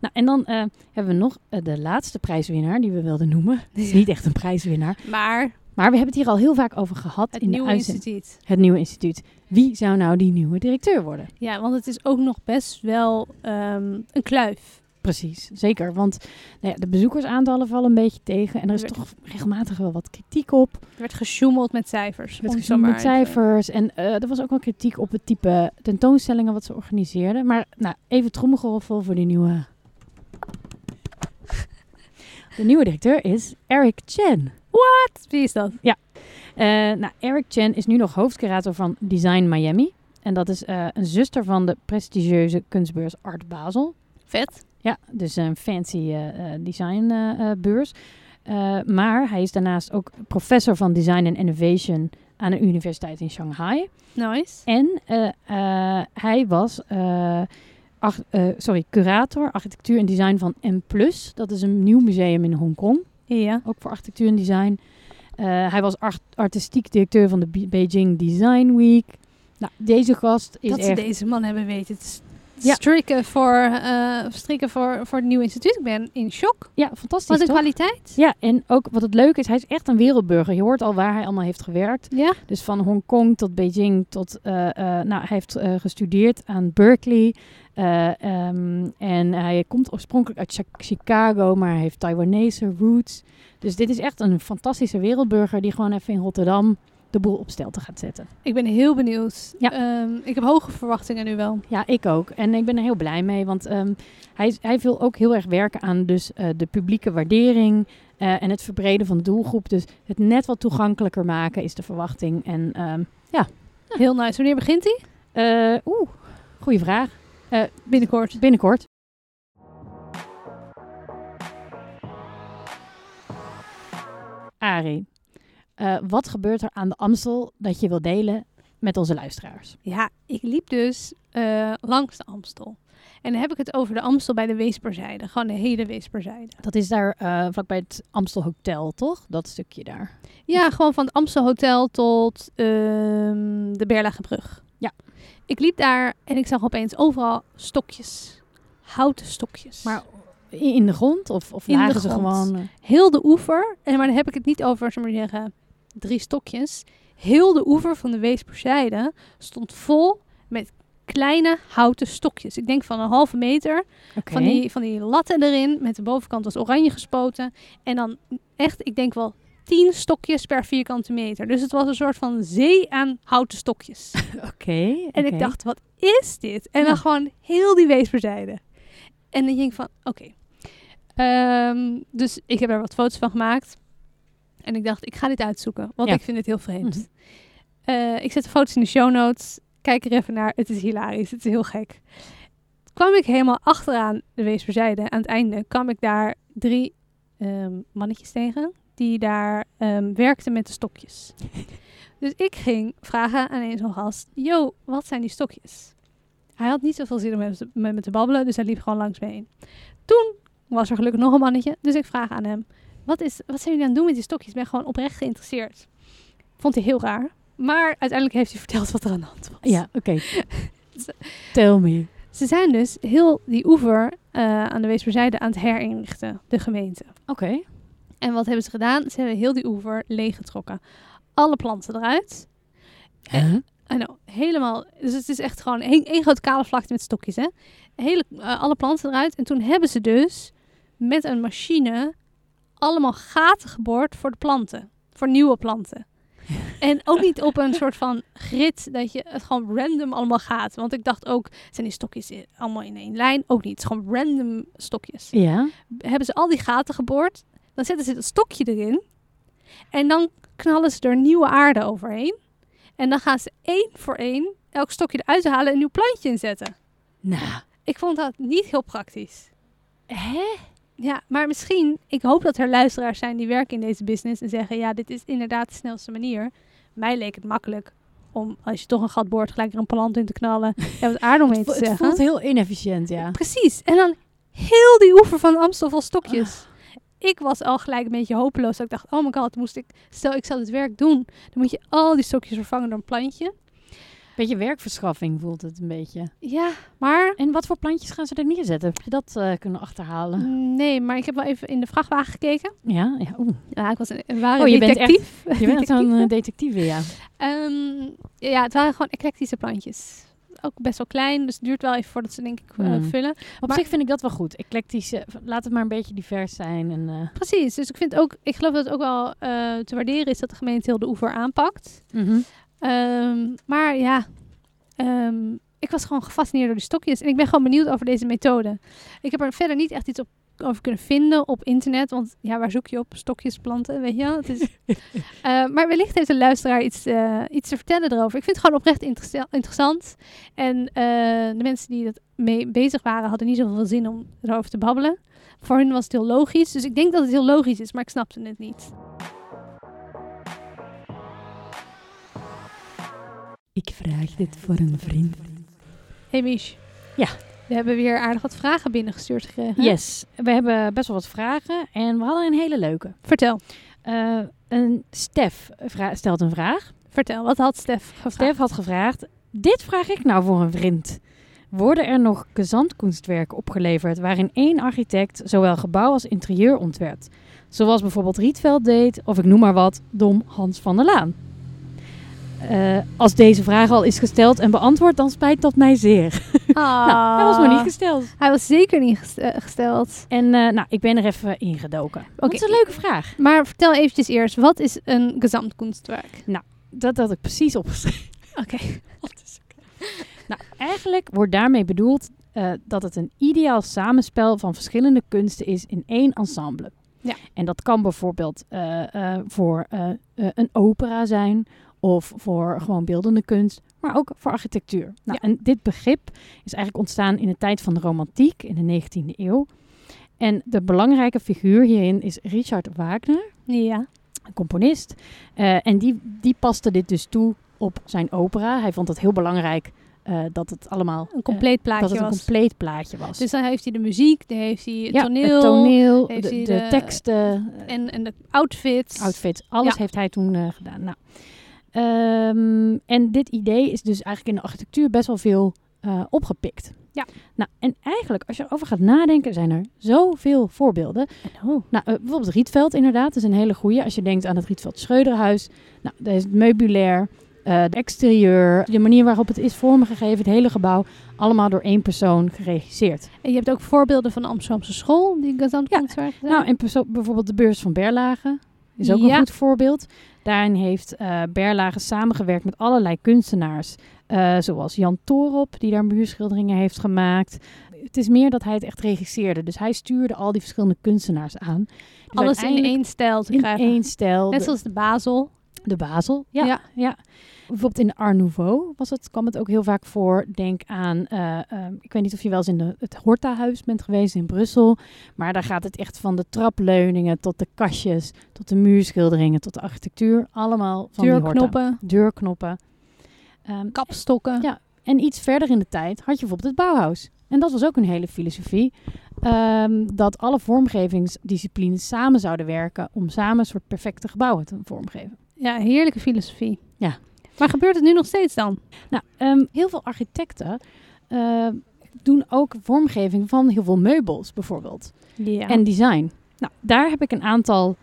[SPEAKER 2] Nou, en dan eh, hebben we nog eh, de laatste prijswinnaar die we wilden noemen. Het is niet echt een prijswinnaar.
[SPEAKER 3] Maar
[SPEAKER 2] Maar we hebben het hier al heel vaak over gehad
[SPEAKER 3] het
[SPEAKER 2] in
[SPEAKER 3] nieuwe
[SPEAKER 2] de uitzending.
[SPEAKER 3] instituut.
[SPEAKER 2] Het nieuwe instituut. Wie zou nou die nieuwe directeur worden?
[SPEAKER 3] Ja, want het is ook nog best wel ehm, een kluif.
[SPEAKER 2] Precies, zeker. Want nou ja, de bezoekersaantallen vallen een beetje tegen. En er is
[SPEAKER 3] Er-
[SPEAKER 2] toch regelmatig wel wat kritiek op.
[SPEAKER 3] Er werd gesjoemeld met cijfers. om
[SPEAKER 2] Met
[SPEAKER 3] het zo
[SPEAKER 2] gezien
[SPEAKER 3] maar
[SPEAKER 2] met
[SPEAKER 3] even-
[SPEAKER 2] cijfers. En eh, er was ook wel kritiek op het type tentoonstellingen wat ze organiseerden. Maar nou, even trommelgeroffel voor die nieuwe... De nieuwe directeur is Eric Chen.
[SPEAKER 3] Wie is dat?
[SPEAKER 2] Eh, nou, Eric Chen is nu nog hoofdcurator van Design Miami. En dat is eh, een zuster van de prestigieuze kunstbeurs Art Basel.
[SPEAKER 3] Vet.
[SPEAKER 2] Ja, dus een fancy eh, designbeurs. eh, maar hij is daarnaast ook professor van design en innovation aan een universiteit in Shanghai.
[SPEAKER 3] Nice.
[SPEAKER 2] En eh, eh, hij was eh, ach- eh, sorry, curator architectuur en design van M+. Dat is een nieuw museum in Hongkong,
[SPEAKER 3] Ja.
[SPEAKER 2] ook voor architectuur en design. Eh, hij was art- artistiek directeur van de Be- Beijing Design Week. Nou, deze gast is
[SPEAKER 3] dat ze
[SPEAKER 2] echt...
[SPEAKER 3] deze man hebben weten te s-
[SPEAKER 2] Ja.
[SPEAKER 3] strikken, voor, eh, strikken voor, voor het nieuwe instituut. Ik ben in shock.
[SPEAKER 2] Ja, fantastisch
[SPEAKER 3] Wat een
[SPEAKER 2] toch?
[SPEAKER 3] kwaliteit.
[SPEAKER 2] Ja, en ook wat het leuke is, hij is echt een wereldburger. Je hoort al waar hij allemaal heeft gewerkt.
[SPEAKER 3] Ja.
[SPEAKER 2] Dus van Hongkong tot Beijing tot... eh, eh, nou, hij heeft eh, gestudeerd aan Berkeley. Eh, ehm, en hij komt oorspronkelijk uit Chi- Chicago, maar hij heeft Taiwanese roots. Dus dit is echt een fantastische wereldburger die gewoon even in Rotterdam de boel op stelte gaat zetten.
[SPEAKER 3] Ik ben heel benieuwd.
[SPEAKER 2] Ja.
[SPEAKER 3] Ehm, ik heb hoge verwachtingen nu wel.
[SPEAKER 2] Ja, ik ook. En ik ben er heel blij mee, want ehm, hij, hij wil ook heel erg werken aan dus, eh, de publieke waardering eh, en het verbreden van de doelgroep. Dus het net wat toegankelijker maken is de verwachting. En ehm,
[SPEAKER 3] Heel nice. Wanneer begint hij?
[SPEAKER 2] Eh, Oeh, goede vraag. Eh,
[SPEAKER 3] Binnenkort.
[SPEAKER 2] Binnenkort. Arie, eh, wat gebeurt er aan de Amstel dat je wil delen met onze luisteraars?
[SPEAKER 3] Ja, ik liep dus eh, langs de Amstel. En dan heb ik het over de Amstel bij de Weesperzijde. Gewoon de hele Weesperzijde.
[SPEAKER 2] Dat is daar eh, vlakbij het Amstel Hotel, toch? Dat stukje daar.
[SPEAKER 3] Ja, gewoon van het Amstel Hotel tot ehm, de Berlagebrug.
[SPEAKER 2] Ja.
[SPEAKER 3] Ik liep daar en ik zag opeens overal stokjes. Houten stokjes.
[SPEAKER 2] Maar in in de grond? Of, of
[SPEAKER 3] In de
[SPEAKER 2] lagen ze
[SPEAKER 3] grond.
[SPEAKER 2] gewoon... eh,
[SPEAKER 3] heel de oever, en maar dan heb ik het niet over, zullen we maar zeggen, drie stokjes. Heel de oever van de Weesperzijde stond vol met kleine houten stokjes. Ik denk van een halve meter.
[SPEAKER 2] oké.
[SPEAKER 3] Van, die, van die latten erin. Met de bovenkant was oranje gespoten. En dan echt, ik denk wel tien stokjes per vierkante meter. Dus het was een soort van zee aan houten stokjes.
[SPEAKER 2] Oké.
[SPEAKER 3] En
[SPEAKER 2] oké.
[SPEAKER 3] ik dacht, wat is dit? En
[SPEAKER 2] Ja.
[SPEAKER 3] dan gewoon heel die weesperzijde. En dan denk ik van, oké. Ehm, dus ik heb er wat foto's van gemaakt. En ik dacht, ik ga dit uitzoeken. Want
[SPEAKER 2] Ja.
[SPEAKER 3] ik vind het heel vreemd.
[SPEAKER 2] Mhm.
[SPEAKER 3] Eh, ik zet de foto's in de show notes. Kijk er even naar. Het is hilarisch. Het is heel gek. Kwam ik helemaal achteraan de Weesperzijde. Aan het einde kwam ik daar drie ehm, mannetjes tegen. Die daar ehm, werkten met de stokjes. dus ik ging vragen aan een zo'n gast. Yo, wat zijn die stokjes? Hij had niet zoveel zin om met me met te babbelen. Dus hij liep gewoon langs me heen. Toen was er gelukkig nog een mannetje. Dus ik vraag aan hem. Wat, is, wat zijn jullie aan het doen met die stokjes? Ik ben gewoon oprecht geïnteresseerd. Vond hij heel raar. Maar uiteindelijk heeft hij verteld wat er aan de hand was.
[SPEAKER 2] Ja, oké. Tell me.
[SPEAKER 3] Ze zijn dus heel die oever eh, aan de Weesperzijde aan het herinrichten, de gemeente.
[SPEAKER 2] Oké.
[SPEAKER 3] En wat hebben ze gedaan? Ze hebben heel die oever leeggetrokken. Alle planten eruit.
[SPEAKER 2] Huh?
[SPEAKER 3] I know, helemaal. Dus het is echt gewoon één, één groot kale vlakte met stokjes, hè? Hele, eh, alle planten eruit. En toen hebben ze dus met een machine allemaal gaten geboord voor de planten. Voor nieuwe planten. en ook niet op een soort van grid dat je het gewoon random allemaal gaat. Want ik dacht ook, zijn die stokjes in- allemaal in één lijn? Ook niet. Het is gewoon random stokjes
[SPEAKER 2] Ja.
[SPEAKER 3] hebben ze al die gaten geboord. Dan zetten ze dat stokje erin. En dan knallen ze er nieuwe aarde overheen. En dan gaan ze één voor één elk stokje eruit halen en een nieuw plantje inzetten.
[SPEAKER 2] Nou.
[SPEAKER 3] Ik vond dat niet heel praktisch. Hè? Ja, maar misschien, ik hoop dat er luisteraars zijn die werken in deze business en zeggen: ja, dit is inderdaad de snelste manier. Mij leek het makkelijk om, als je toch een gat boort, gelijk er een plant in te knallen en wat aarde omheen te
[SPEAKER 2] Het, het
[SPEAKER 3] zeggen.
[SPEAKER 2] voelt heel inefficiënt, ja.
[SPEAKER 3] Precies. En dan heel die oever van Amstel vol stokjes. Ik was al gelijk een beetje hopeloos. dat Ik dacht, oh my god, moest ik, stel ik zou dit werk doen. Dan moet je al die stokjes vervangen door een plantje.
[SPEAKER 2] Beetje werkverschaffing voelt het een beetje.
[SPEAKER 3] Ja, maar...
[SPEAKER 2] En wat voor plantjes gaan ze er neerzetten? Heb je dat eh, kunnen achterhalen?
[SPEAKER 3] Nee, maar ik heb wel even in de vrachtwagen gekeken.
[SPEAKER 2] Ja, ja. Oeh.
[SPEAKER 3] Ja, ik was een, een ware
[SPEAKER 2] Oh, je bent echt-
[SPEAKER 3] detectief.
[SPEAKER 2] Je bent zo'n
[SPEAKER 3] Detectief,
[SPEAKER 2] eh,
[SPEAKER 3] hè?
[SPEAKER 2] detectieve, ja.
[SPEAKER 3] Ehm, ja, het waren gewoon eclectische plantjes. Ook best wel klein, dus het duurt wel even voordat ze denk ik eh,
[SPEAKER 2] Hmm.
[SPEAKER 3] vullen.
[SPEAKER 2] Op
[SPEAKER 3] Maar-
[SPEAKER 2] zich vind ik dat wel goed. Eclectisch, eh, laat het maar een beetje divers zijn. En, eh,
[SPEAKER 3] Precies, dus ik vind ook, ik geloof dat het ook wel eh, te waarderen is dat de gemeente heel de oever aanpakt.
[SPEAKER 2] Mhm.
[SPEAKER 3] Ehm, maar ja, ehm, ik was gewoon gefascineerd door die stokjes. En ik ben gewoon benieuwd over deze methode. Ik heb er verder niet echt iets op, over kunnen vinden op internet. Want ja, waar zoek je op? Stokjes, planten, weet je wel? Het is, Eh, maar wellicht heeft de luisteraar iets, eh, iets te vertellen erover. Ik vind het gewoon oprecht interesse- interessant. En eh, de mensen die dat mee bezig waren, hadden niet zoveel zin om erover te babbelen. Voor hun was het heel logisch. Dus ik denk dat het heel logisch is, maar ik snapte het niet.
[SPEAKER 2] Ik vraag dit voor een vriend.
[SPEAKER 3] Hey Mich.
[SPEAKER 2] Ja.
[SPEAKER 3] We hebben weer aardig wat vragen binnengestuurd gekregen.
[SPEAKER 2] Yes, we hebben best wel wat vragen en we hadden een hele leuke.
[SPEAKER 3] Vertel,
[SPEAKER 2] Eh, een Stef vra- stelt een vraag.
[SPEAKER 3] vertel. Wat had Stef gevraagd?
[SPEAKER 2] Stef had gevraagd, dit vraag ik nou voor een vriend. Worden er nog gezandkunstwerken opgeleverd waarin één architect zowel gebouw als interieur ontwerpt? Zoals bijvoorbeeld Rietveld deed, of ik noem maar wat, dom Hans van der Laan. Eh, als deze vraag al is gesteld en beantwoord, dan spijt dat mij zeer.
[SPEAKER 3] Ah.
[SPEAKER 2] Nou, hij was nog niet gesteld.
[SPEAKER 3] Hij was zeker niet gest- eh, gesteld.
[SPEAKER 2] En eh, nou, ik ben er even ingedoken. Dat is een leuke vraag.
[SPEAKER 3] Maar vertel eventjes eerst, wat is een gezamtkunstwerk?
[SPEAKER 2] Dat had ik precies opgeschreven.
[SPEAKER 3] Oké.
[SPEAKER 2] Nou, eigenlijk wordt daarmee bedoeld eh, dat het een ideaal samenspel van verschillende kunsten is in één ensemble.
[SPEAKER 3] Ja.
[SPEAKER 2] En dat kan bijvoorbeeld eh, eh, voor eh, eh, een opera zijn of voor gewoon beeldende kunst, maar ook voor architectuur. Nou, En dit begrip is eigenlijk ontstaan in de tijd van de romantiek in de 19e eeuw. En de belangrijke figuur hierin is Richard Wagner,
[SPEAKER 3] Ja.
[SPEAKER 2] een componist. Eh, en die, die paste dit dus toe op zijn opera. Hij vond het heel belangrijk eh, dat het allemaal
[SPEAKER 3] Een compleet
[SPEAKER 2] eh,
[SPEAKER 3] plaatje
[SPEAKER 2] dat het een
[SPEAKER 3] was.
[SPEAKER 2] compleet plaatje was.
[SPEAKER 3] Dus dan heeft hij de muziek, dan heeft hij het
[SPEAKER 2] ja,
[SPEAKER 3] toneel.
[SPEAKER 2] het toneel, de,
[SPEAKER 3] heeft hij
[SPEAKER 2] de,
[SPEAKER 3] de-
[SPEAKER 2] teksten, eh,
[SPEAKER 3] En, en de outfits.
[SPEAKER 2] outfit. Alles
[SPEAKER 3] Ja.
[SPEAKER 2] heeft hij toen eh, gedaan. Nou, ehm, en dit idee is dus eigenlijk in de architectuur best wel veel eh, opgepikt.
[SPEAKER 3] Ja.
[SPEAKER 2] Nou, en eigenlijk, als je erover gaat nadenken, zijn er zoveel voorbeelden.
[SPEAKER 3] Oh.
[SPEAKER 2] Nou, eh, bijvoorbeeld Rietveld inderdaad is een hele goeie. Als je denkt aan het Rietveld Schreuderhuis. Nou, daar is het meubilair, eh het exterieur, de manier waarop het is vormgegeven, het hele gebouw. Allemaal door één persoon geregisseerd.
[SPEAKER 3] En je hebt ook voorbeelden van de Amsterdamse school die Gazant
[SPEAKER 2] Ja.
[SPEAKER 3] ja. Kunstwerk gedaan.
[SPEAKER 2] Nou, en perso- bijvoorbeeld de beurs van Berlage is ook een
[SPEAKER 3] Ja.
[SPEAKER 2] goed voorbeeld. Daarin heeft eh, Berlage samengewerkt met allerlei kunstenaars. eh, zoals Jan Torop, die daar muurschilderingen heeft gemaakt. Het is meer dat hij het echt regisseerde. Dus hij stuurde al die verschillende kunstenaars aan. Dus
[SPEAKER 3] Alles in
[SPEAKER 2] uiteindelijk
[SPEAKER 3] één stijl te
[SPEAKER 2] in
[SPEAKER 3] krijgen.
[SPEAKER 2] één stijl.
[SPEAKER 3] Net
[SPEAKER 2] De-
[SPEAKER 3] zoals de Basel.
[SPEAKER 2] de Basel. Ja, ja.
[SPEAKER 3] Ja.
[SPEAKER 2] Bijvoorbeeld in de Art Nouveau was het, kwam het ook heel vaak voor. Denk aan, eh, ehm, ik weet niet of je wel eens in de, het Hortahuis bent geweest in Brussel. Maar daar gaat het echt van de trapleuningen tot de kastjes, tot de muurschilderingen, tot de architectuur. Allemaal van die Horta.
[SPEAKER 3] Deurknoppen,
[SPEAKER 2] Deurknoppen. Ehm,
[SPEAKER 3] kapstokken.
[SPEAKER 2] Ja. en iets verder in de tijd had je bijvoorbeeld het Bauhaus. En dat was ook een hele filosofie. ehm, dat alle vormgevingsdisciplines samen zouden werken om samen een soort perfecte gebouwen te vormgeven.
[SPEAKER 3] Ja, heerlijke filosofie.
[SPEAKER 2] Ja.
[SPEAKER 3] Maar gebeurt het nu nog steeds dan?
[SPEAKER 2] Nou, ehm, heel veel architecten ehm, doen ook vormgeving van heel veel meubels bijvoorbeeld.
[SPEAKER 3] Ja.
[SPEAKER 2] En design. Nou, daar heb ik een aantal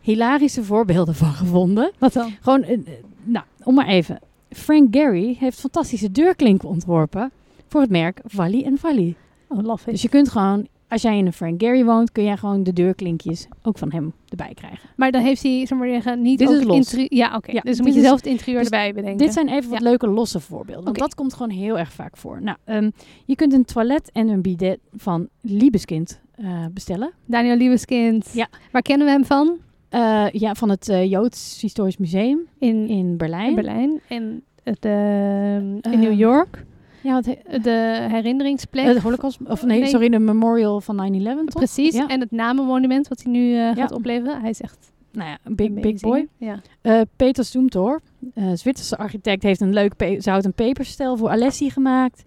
[SPEAKER 2] hilarische voorbeelden van gevonden.
[SPEAKER 3] wat dan?
[SPEAKER 2] Gewoon, eh, eh, nou, om maar even. Frank Gehry heeft fantastische deurklinken ontworpen voor het merk Valley Valley.
[SPEAKER 3] Oh, laf
[SPEAKER 2] Dus je kunt gewoon, als jij in een Frank Gehry woont, kun jij gewoon de deurklinkjes ook van hem erbij krijgen.
[SPEAKER 3] Maar dan heeft hij, zeg maar zeggen, niet
[SPEAKER 2] Dit
[SPEAKER 3] ook
[SPEAKER 2] is los.
[SPEAKER 3] interi- Ja, oké.
[SPEAKER 2] Ja,
[SPEAKER 3] dus
[SPEAKER 2] dit
[SPEAKER 3] dan moet je
[SPEAKER 2] is-
[SPEAKER 3] zelf het interieur
[SPEAKER 2] dus
[SPEAKER 3] erbij bedenken.
[SPEAKER 2] Dit zijn even wat leuke losse voorbeelden. Want
[SPEAKER 3] Oké.
[SPEAKER 2] dat komt gewoon heel erg vaak voor. Nou, ehm, je kunt een toilet en een bidet van Liebeskind eh, bestellen.
[SPEAKER 3] Daniel Liebeskind.
[SPEAKER 2] Ja.
[SPEAKER 3] Waar kennen we hem van?
[SPEAKER 2] Eh, ja, van het eh, Joods Historisch Museum
[SPEAKER 3] In, in
[SPEAKER 2] in Berlijn.
[SPEAKER 3] Berlijn. En het, eh, in
[SPEAKER 2] Eh,
[SPEAKER 3] New York.
[SPEAKER 2] Ja, het, he-
[SPEAKER 3] De herinneringsplek.
[SPEAKER 2] het Holocaust... Of nee,
[SPEAKER 3] Eh, Nee.
[SPEAKER 2] sorry, de Memorial van 9-11, toch?
[SPEAKER 3] Precies.
[SPEAKER 2] Ja.
[SPEAKER 3] En het namenmonument wat hij nu eh, gaat
[SPEAKER 2] Ja.
[SPEAKER 3] opleveren. Hij is echt
[SPEAKER 2] Nou ja, een big, big
[SPEAKER 3] amazing.
[SPEAKER 2] boy.
[SPEAKER 3] Ja.
[SPEAKER 2] Eh, Peter Stoemtor, eh Zwitserse architect, heeft een leuk pe- zout- en peperstel voor Alessi gemaakt.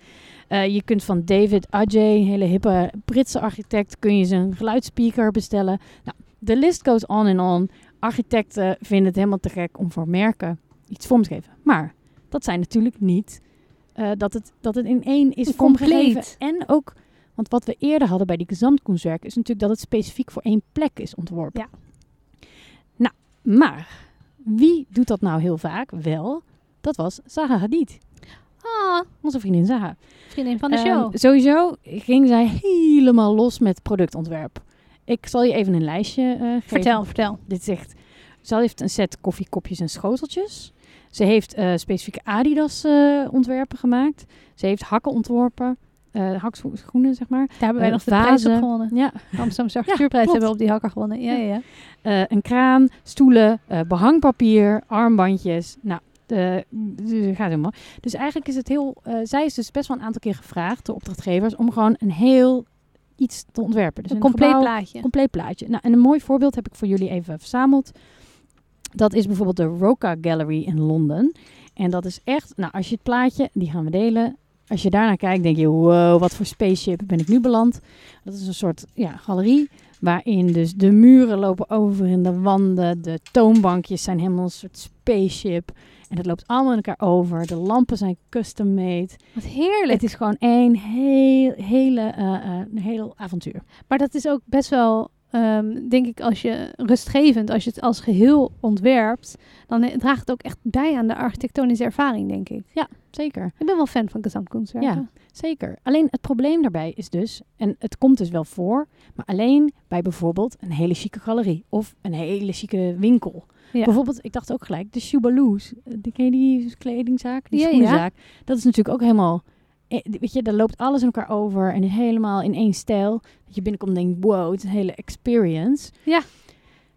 [SPEAKER 2] Eh, je kunt van David Ajay, een hele hippe Britse architect, kun je zijn geluidsspeaker bestellen. Nou, de list goes on and on. Architecten vinden het helemaal te gek om voor merken iets vorm te geven. Maar dat zijn natuurlijk niet eh, dat, het, dat het in één is
[SPEAKER 3] Compleet.
[SPEAKER 2] vormgegeven. En ook, want wat we eerder hadden bij die gezamtkunstwerken, is natuurlijk dat het specifiek voor één plek is ontworpen.
[SPEAKER 3] Ja.
[SPEAKER 2] Nou, maar wie doet dat nou heel vaak? Wel, dat was Zaha Hadid,
[SPEAKER 3] Ah,
[SPEAKER 2] onze vriendin Zaha.
[SPEAKER 3] vriendin van de
[SPEAKER 2] Ehm,
[SPEAKER 3] show.
[SPEAKER 2] sowieso ging zij helemaal los met productontwerp. Ik zal je even een lijstje eh, geven.
[SPEAKER 3] Vertel, vertel.
[SPEAKER 2] Dit zegt, ze heeft een set koffiekopjes en schoteltjes. Ze heeft eh, specifieke Adidas eh, ontwerpen gemaakt. Ze heeft hakken ontworpen. eh hakschoenen, zeg maar.
[SPEAKER 3] Daar hebben wij
[SPEAKER 2] eh,
[SPEAKER 3] nog de prijs op
[SPEAKER 2] vazen.
[SPEAKER 3] gewonnen.
[SPEAKER 2] Ja,
[SPEAKER 3] De Amsterdamse architectuurprijs
[SPEAKER 2] klopt.
[SPEAKER 3] hebben we op die hakker gewonnen. Ja, ja, ja.
[SPEAKER 2] eh, een kraan, stoelen, eh, behangpapier, armbandjes. Nou, de, de- gaat helemaal. Dus eigenlijk is het heel. eh, zij is dus best wel een aantal keer gevraagd door opdrachtgevers om gewoon een heel iets te ontwerpen. Dus
[SPEAKER 3] Een compleet
[SPEAKER 2] gebouw-
[SPEAKER 3] plaatje.
[SPEAKER 2] compleet plaatje. Nou, en een mooi voorbeeld heb ik voor jullie even verzameld. Dat is bijvoorbeeld de Roca Gallery in Londen. En dat is echt, nou, als je het plaatje, die gaan we delen. Als je daarnaar kijkt, denk je, wow, wat voor spaceship ben ik nu beland. Dat is een soort ja, galerie waarin dus de muren lopen over in de wanden. De toonbankjes zijn helemaal een soort spaceship. En dat loopt allemaal in elkaar over. De lampen zijn custom made.
[SPEAKER 3] Wat heerlijk.
[SPEAKER 2] Het is gewoon één heel, hele, eh, eh, een heel avontuur.
[SPEAKER 3] Maar dat is ook best wel, ehm, denk ik, als je rustgevend, als je het als geheel ontwerpt, dan eh, draagt het ook echt bij aan de architectonische ervaring, denk ik.
[SPEAKER 2] Zeker.
[SPEAKER 3] Ik ben wel fan van gezamtkunstwerken.
[SPEAKER 2] Zeker. Alleen het probleem daarbij is dus, en het komt dus wel voor, maar alleen bij bijvoorbeeld een hele chique galerie of een hele chique winkel.
[SPEAKER 3] Ja.
[SPEAKER 2] Bijvoorbeeld, ik dacht ook gelijk, de Shoebaloos, eh, die ken je die kledingzaak, die
[SPEAKER 3] Ja, ja.
[SPEAKER 2] schoenenzaak, dat is natuurlijk ook helemaal, eh, weet je, daar loopt alles in elkaar over en helemaal in één stijl. Dat je binnenkomt en denkt, wow, het is een hele experience.
[SPEAKER 3] Ja.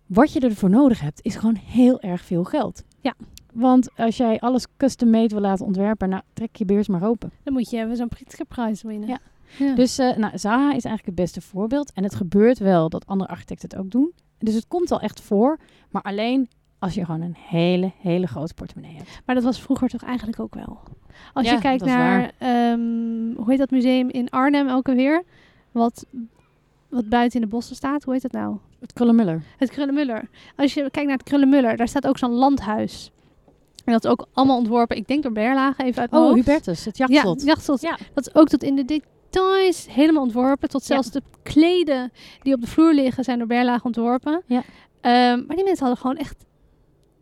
[SPEAKER 2] Wat je ervoor nodig hebt, is gewoon heel erg veel geld.
[SPEAKER 3] Ja.
[SPEAKER 2] Want als jij alles custom-made wil laten ontwerpen, nou, trek je beurs maar open.
[SPEAKER 3] Dan moet je even zo'n Pritzkerprijs winnen.
[SPEAKER 2] Ja.
[SPEAKER 3] Ja.
[SPEAKER 2] Dus eh, nou, Zaha is eigenlijk het beste voorbeeld. En het gebeurt wel dat andere architecten het ook doen. Dus het komt al echt voor. Maar alleen als je gewoon een hele, hele grote portemonnee hebt.
[SPEAKER 3] Maar dat was vroeger toch eigenlijk ook wel. Als
[SPEAKER 2] Ja,
[SPEAKER 3] je kijkt
[SPEAKER 2] dat is
[SPEAKER 3] naar,
[SPEAKER 2] waar.
[SPEAKER 3] ehm, hoe heet dat museum in Arnhem ook alweer? Wat, wat buiten in de bossen staat, hoe heet dat nou?
[SPEAKER 2] Het Krullenmuller.
[SPEAKER 3] Het Krullenmuller. Als je kijkt naar het Krullenmuller, daar staat ook zo'n landhuis. En dat is ook allemaal ontworpen, ik denk door Berlage, even uit mijn
[SPEAKER 2] Oh,
[SPEAKER 3] hoofd.
[SPEAKER 2] Hubertus, het jachtslot.
[SPEAKER 3] Ja, jachtslot.
[SPEAKER 2] Ja.
[SPEAKER 3] Dat is ook tot in de details helemaal ontworpen. Tot
[SPEAKER 2] Ja.
[SPEAKER 3] zelfs de kleden die op de vloer liggen zijn door Berlage ontworpen.
[SPEAKER 2] Ja.
[SPEAKER 3] Ehm, maar die mensen hadden gewoon echt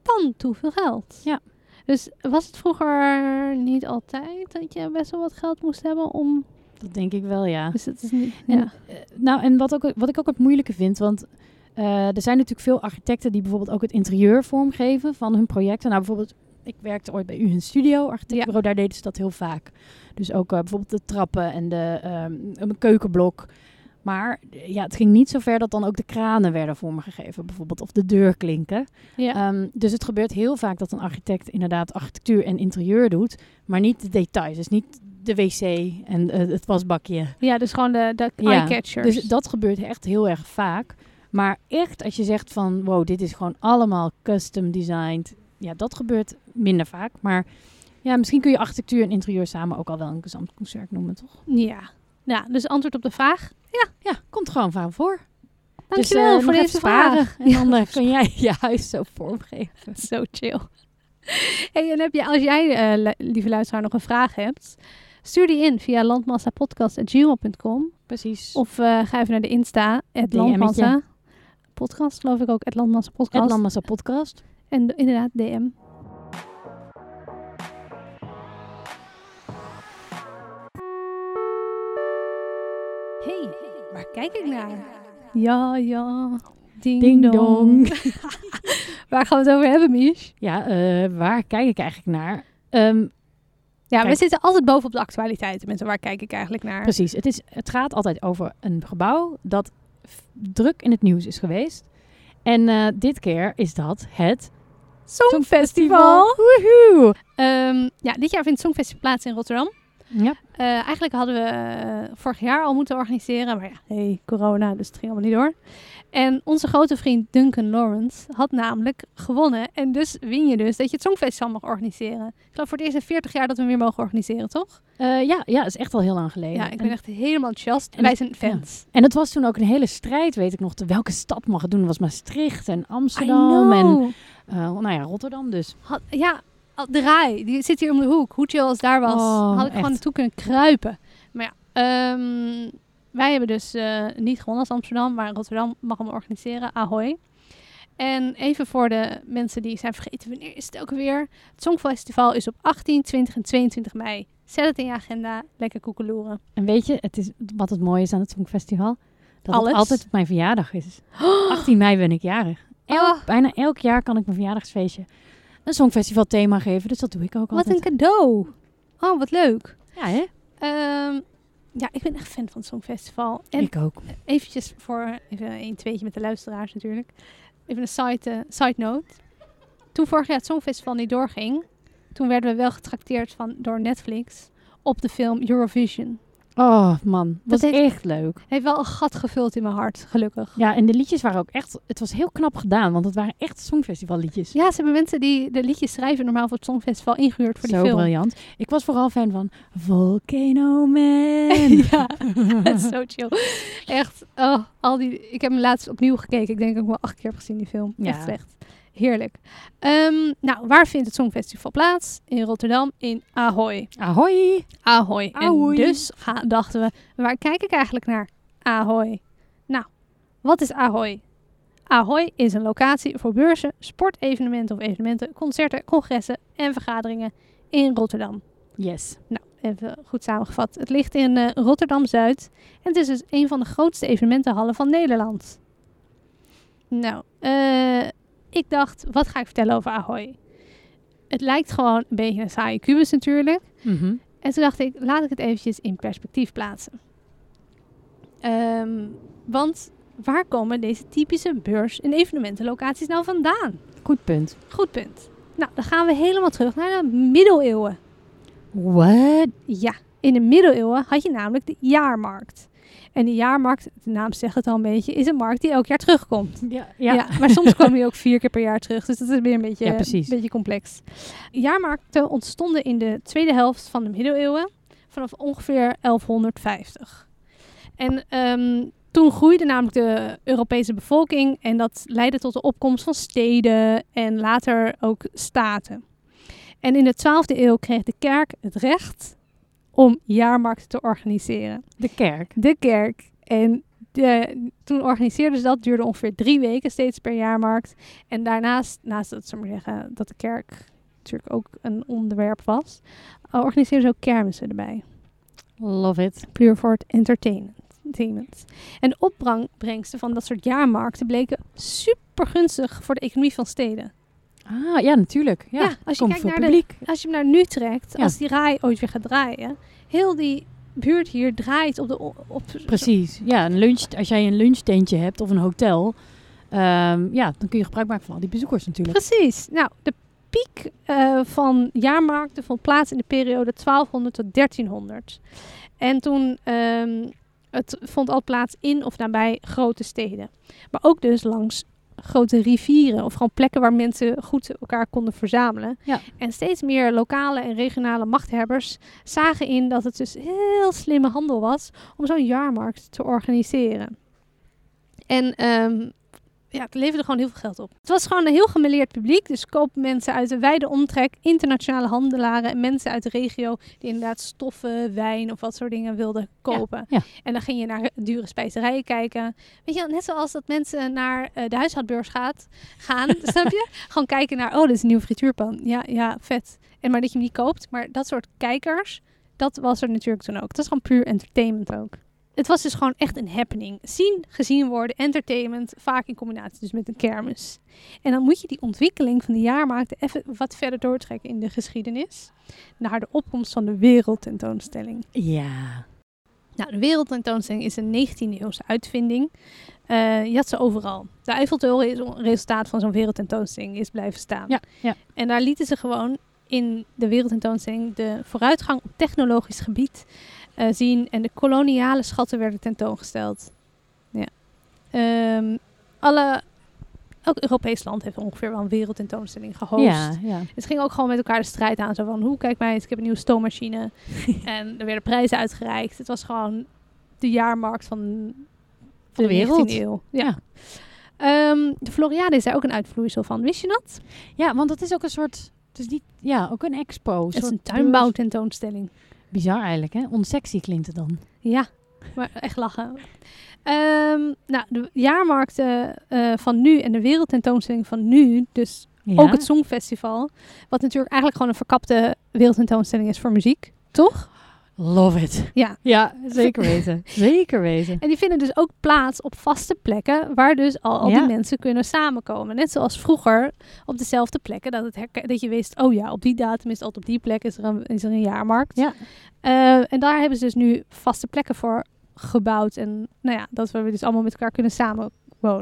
[SPEAKER 3] tan toe veel geld.
[SPEAKER 2] Ja.
[SPEAKER 3] Dus was het vroeger niet altijd dat je best wel wat geld moest hebben om...
[SPEAKER 2] Dat denk ik wel, ja.
[SPEAKER 3] Dus het is niet...
[SPEAKER 2] En,
[SPEAKER 3] Ja.
[SPEAKER 2] eh, nou, en wat, ook, wat ik ook het moeilijke vind, want eh, er zijn natuurlijk veel architecten die bijvoorbeeld ook het interieur vormgeven van hun projecten. Nou, bijvoorbeeld, ik werkte ooit bij u in studio, architectenbureau, daar deden ze dat heel vaak. Dus ook eh, bijvoorbeeld de trappen en de ehm, een keukenblok. Maar eh, ja, het ging niet zo ver dat dan ook de kranen werden vormgegeven, bijvoorbeeld, of de deurklinken.
[SPEAKER 3] Ja.
[SPEAKER 2] Ehm, dus het gebeurt heel vaak dat een architect inderdaad architectuur en interieur doet, maar niet de details. Dus niet de wc en eh, het wasbakje.
[SPEAKER 3] ja, dus gewoon de, de
[SPEAKER 2] Ja.
[SPEAKER 3] eyecatchers.
[SPEAKER 2] Dus dat gebeurt echt heel erg vaak. Maar echt, als je zegt van, wow, dit is gewoon allemaal custom designed. Ja, dat gebeurt minder vaak. Maar ja, misschien kun je architectuur en interieur samen ook al wel een gezamtconcert noemen, toch?
[SPEAKER 3] Ja. ja, dus antwoord op de vraag.
[SPEAKER 2] Ja, komt gewoon van voor.
[SPEAKER 3] Dankjewel voor
[SPEAKER 2] eh, nog
[SPEAKER 3] deze
[SPEAKER 2] even sparen.
[SPEAKER 3] vraag.
[SPEAKER 2] En dan eh, kun jij je huis zo vormgeven.
[SPEAKER 3] Zo chill. Hey, en heb je, als jij, eh, lu- lieve luisteraar, nog een vraag hebt, stuur die in via landmassapodcast.gmail.com
[SPEAKER 2] Precies.
[SPEAKER 3] of eh, ga even naar de Insta, het
[SPEAKER 2] DM'tje.
[SPEAKER 3] Landmassa. Podcast, geloof ik ook, het Landmassa
[SPEAKER 2] het
[SPEAKER 3] Podcast.
[SPEAKER 2] Landmassa podcast.
[SPEAKER 3] en de- inderdaad, DM. Hey, waar kijk ik naar? Ja, ja. Ding,
[SPEAKER 2] Ding
[SPEAKER 3] dong.
[SPEAKER 2] dong.
[SPEAKER 3] Waar gaan we het over hebben, Mich?
[SPEAKER 2] Ja, eh, waar kijk ik eigenlijk naar? Ehm,
[SPEAKER 3] Ja, we
[SPEAKER 2] Kijk.
[SPEAKER 3] zitten altijd bovenop de actualiteiten. Mensen, waar kijk ik eigenlijk naar?
[SPEAKER 2] Precies. Het, is, het gaat altijd over een gebouw dat f- druk in het nieuws is geweest. En eh, dit keer is dat het
[SPEAKER 3] Songfestival.
[SPEAKER 2] Woehoe!
[SPEAKER 3] Ehm, ja, dit jaar vindt het Songfestival plaats in Rotterdam.
[SPEAKER 2] Ja,
[SPEAKER 3] Eh, eigenlijk hadden we eh, vorig jaar al moeten organiseren. Maar ja, hey, corona, dus het ging allemaal niet door. En onze grote vriend Duncan Lawrence had namelijk gewonnen. En dus win je dus dat je het Songfestival mag organiseren. Ik geloof voor het eerst in 40 jaar dat we hem weer mogen organiseren, toch?
[SPEAKER 2] Eh, ja, ja, is echt al heel lang geleden.
[SPEAKER 3] Ja, ik ben
[SPEAKER 2] en,
[SPEAKER 3] echt helemaal enthousiast.
[SPEAKER 2] en
[SPEAKER 3] Wij
[SPEAKER 2] het-
[SPEAKER 3] zijn fans.
[SPEAKER 2] en het was toen ook een hele strijd, weet ik nog, te welke stad mag het doen. Het was Maastricht en
[SPEAKER 3] I
[SPEAKER 2] Amsterdam en
[SPEAKER 3] know.
[SPEAKER 2] eh, nou ja, Rotterdam dus.
[SPEAKER 3] Had- ja, al- de rij. Die zit hier om de hoek. Hoe chill als daar was.
[SPEAKER 2] Oh,
[SPEAKER 3] had ik
[SPEAKER 2] echt.
[SPEAKER 3] gewoon naartoe kunnen kruipen. Maar ja, ehm, wij hebben dus eh, niet gewonnen als Amsterdam. Maar Rotterdam mag hem organiseren. Ahoy. En even voor de mensen die zijn vergeten. Wanneer is het ook weer? Het Songfestival is op 18, 20 en 22 mei. Zet het in je agenda. Lekker koekeloeren.
[SPEAKER 2] En weet je, het is, wat het mooie is aan het Songfestival, dat
[SPEAKER 3] Alles.
[SPEAKER 2] het altijd op mijn verjaardag is. 18 mei ben ik jarig. Elk,
[SPEAKER 3] Oh.
[SPEAKER 2] Bijna elk jaar kan ik mijn verjaardagsfeestje een Songfestival thema geven, dus dat doe ik ook
[SPEAKER 3] Wat
[SPEAKER 2] altijd.
[SPEAKER 3] een cadeau. Oh, wat leuk.
[SPEAKER 2] Ja, hè?
[SPEAKER 3] Ehm, ja, ik ben echt fan van het Songfestival. En
[SPEAKER 2] ik ook.
[SPEAKER 3] eventjes voor even een tweetje met de luisteraars natuurlijk. Even een side, eh, side note. Toen vorig jaar het Songfestival niet doorging, toen werden we wel getrakteerd van, door Netflix op de film Eurovision.
[SPEAKER 2] Oh man, was
[SPEAKER 3] heeft-
[SPEAKER 2] echt leuk.
[SPEAKER 3] Heeft wel een gat gevuld in mijn hart, gelukkig.
[SPEAKER 2] Ja, en de liedjes waren ook echt... Het was heel knap gedaan, want het waren echt Songfestival liedjes.
[SPEAKER 3] Ja, ze hebben mensen die de liedjes schrijven normaal voor het Songfestival ingehuurd voor die
[SPEAKER 2] Zo
[SPEAKER 3] film.
[SPEAKER 2] briljant. Ik was vooral fan van Volcano Man.
[SPEAKER 3] ja, het is zo chill. Echt, oh, al die, ik heb hem laatst opnieuw gekeken. Ik denk dat ik hem wel acht keer heb gezien, die film.
[SPEAKER 2] Ja.
[SPEAKER 3] Echt slecht. Heerlijk. Ehm, nou, waar vindt het Songfestival plaats? In Rotterdam, in Ahoy.
[SPEAKER 2] Ahoy!
[SPEAKER 3] Ahoy.
[SPEAKER 2] Ahoy.
[SPEAKER 3] En dus ga- dachten we, waar kijk ik eigenlijk naar? Ahoy. Nou, wat is Ahoy? Ahoy is een locatie voor beurzen, sportevenementen of evenementen, concerten, congressen en vergaderingen in Rotterdam.
[SPEAKER 2] Yes.
[SPEAKER 3] Nou, even goed samengevat. Het ligt in eh, Rotterdam-Zuid en het is dus een van de grootste evenementenhallen van Nederland. Nou, eh, ik dacht, wat ga ik vertellen over Ahoy? Het lijkt gewoon een beetje een saaie kubus natuurlijk.
[SPEAKER 2] Mhm.
[SPEAKER 3] En toen dacht ik, laat ik het eventjes in perspectief plaatsen. Ehm, want waar komen deze typische beurs- en evenementenlocaties nou vandaan?
[SPEAKER 2] Goed punt.
[SPEAKER 3] Goed punt. Nou, dan gaan we helemaal terug naar de middeleeuwen.
[SPEAKER 2] What?
[SPEAKER 3] Ja, in de middeleeuwen had je namelijk de jaarmarkt. En de jaarmarkt, de naam zegt het al een beetje, is een markt die elk jaar terugkomt.
[SPEAKER 2] Ja,
[SPEAKER 3] Ja. maar soms kwam hij ook vier keer per jaar terug. Dus dat is weer een beetje,
[SPEAKER 2] Ja,
[SPEAKER 3] een
[SPEAKER 2] precies.
[SPEAKER 3] beetje complex. Jaarmarkten ontstonden in de tweede helft van de middeleeuwen. Vanaf ongeveer 1150. En ehm, toen groeide namelijk de Europese bevolking. En dat leidde tot de opkomst van steden en later ook staten. En in de 12e eeuw kreeg de kerk het recht om jaarmarkten te organiseren
[SPEAKER 2] De kerk.
[SPEAKER 3] de kerk. En de, toen organiseerden ze dat, duurde ongeveer drie weken steeds per jaarmarkt. En daarnaast, naast dat, zullen we maar zeggen, dat de kerk natuurlijk ook een onderwerp was, eh, organiseerden ze ook kermissen erbij.
[SPEAKER 2] Love it.
[SPEAKER 3] Puur voor het entertainment. entertainment. En de opbrengsten van dat soort jaarmarkten bleken super gunstig voor de economie van steden.
[SPEAKER 2] Ah, ja, natuurlijk. Ja,
[SPEAKER 3] Ja, als je
[SPEAKER 2] komt
[SPEAKER 3] kijkt
[SPEAKER 2] veel
[SPEAKER 3] naar de-
[SPEAKER 2] publiek.
[SPEAKER 3] Als je hem naar nu trekt,
[SPEAKER 2] Ja.
[SPEAKER 3] als die rij ooit weer gaat draaien, heel die buurt hier draait op de... o- Op,
[SPEAKER 2] Precies. Ja, een lunch, als jij een lunchtentje hebt of een hotel, ehm, ja, dan kun je gebruik maken van al die bezoekers natuurlijk.
[SPEAKER 3] Precies. Nou, de piek eh, van jaarmarkten vond plaats in de periode 1200 tot 1300. En toen ehm, het vond al plaats in of nabij grote steden. Maar ook dus langs grote rivieren of gewoon plekken waar mensen goed elkaar konden verzamelen.
[SPEAKER 2] Ja.
[SPEAKER 3] En steeds meer lokale en regionale machthebbers zagen in dat het dus heel slimme handel was om zo'n jaarmarkt te organiseren. En ehm, ja, het leverde gewoon heel veel geld op. Het was gewoon een heel gemêleerd publiek. Dus koopmensen uit de wijde omtrek, internationale handelaren en mensen uit de regio die inderdaad stoffen, wijn of wat soort dingen wilden kopen.
[SPEAKER 2] ja.
[SPEAKER 3] En dan ging je naar dure spijzerijen kijken. Weet je, wel, net zoals dat mensen naar eh, de huishoudbeurs gaat, gaan, snap je? Gewoon kijken naar, oh, dit is een nieuwe frituurpan. Ja, ja, vet. En maar dat je hem niet koopt. Maar dat soort kijkers, dat was er natuurlijk toen ook. Dat is gewoon puur entertainment ook. Het was dus gewoon echt een happening. Zien, gezien worden, entertainment, vaak in combinatie dus met een kermis. En dan moet je die ontwikkeling van de jaarmarkt even wat verder doortrekken in de geschiedenis. Naar de opkomst van de wereldtentoonstelling.
[SPEAKER 2] Ja.
[SPEAKER 3] Nou, de wereldtentoonstelling is een 19e-eeuwse uitvinding. Eh, je had ze overal. De Eiffeltoren is een resultaat van zo'n wereldtentoonstelling, is blijven staan.
[SPEAKER 2] Ja, ja.
[SPEAKER 3] En daar lieten ze gewoon in de wereldtentoonstelling de vooruitgang op technologisch gebied eh, zien. En de koloniale schatten werden tentoongesteld. Ja. Ehm, alle, elk Europees land heeft ongeveer wel een wereldtentoonstelling gehost.
[SPEAKER 2] Ja, ja.
[SPEAKER 3] Het ging ook gewoon met elkaar de strijd aan. Zo van, hoe kijk mij eens, ik heb een nieuwe stoommachine. en er werden prijzen uitgereikt. Het was gewoon de jaarmarkt van,
[SPEAKER 2] Van de wereld.
[SPEAKER 3] 19e Eeuw. Ja.
[SPEAKER 2] Ja.
[SPEAKER 3] Ehm, de Floriade is daar ook een uitvloeisel van. Wist je dat?
[SPEAKER 2] Ja, want het is ook een soort, het is niet, ja, ook een expo.
[SPEAKER 3] Het is
[SPEAKER 2] soort
[SPEAKER 3] een
[SPEAKER 2] beurs.
[SPEAKER 3] tuinbouwtentoonstelling.
[SPEAKER 2] Bizar eigenlijk, hè? Onsexy klinkt het dan.
[SPEAKER 3] Ja, maar echt lachen. Ehm, nou, de jaarmarkten eh, van nu en de wereldtentoonstelling van nu, dus
[SPEAKER 2] Ja.
[SPEAKER 3] Ook het Songfestival. Wat natuurlijk eigenlijk gewoon een verkapte wereldtentoonstelling is voor muziek. Toch?
[SPEAKER 2] Love it.
[SPEAKER 3] Ja.
[SPEAKER 2] Ja, zeker weten. zeker weten.
[SPEAKER 3] En die vinden dus ook plaats op vaste plekken. Waar dus al, al
[SPEAKER 2] Ja.
[SPEAKER 3] die mensen kunnen samenkomen. Net zoals vroeger op dezelfde plekken. Dat, het herken- dat je wist, oh ja, op die datum is het altijd op die plek is er een, is er een jaarmarkt.
[SPEAKER 2] Ja.
[SPEAKER 3] Eh, en daar hebben ze dus nu vaste plekken voor gebouwd. En nou ja, dat we dus allemaal met elkaar kunnen samenwonen.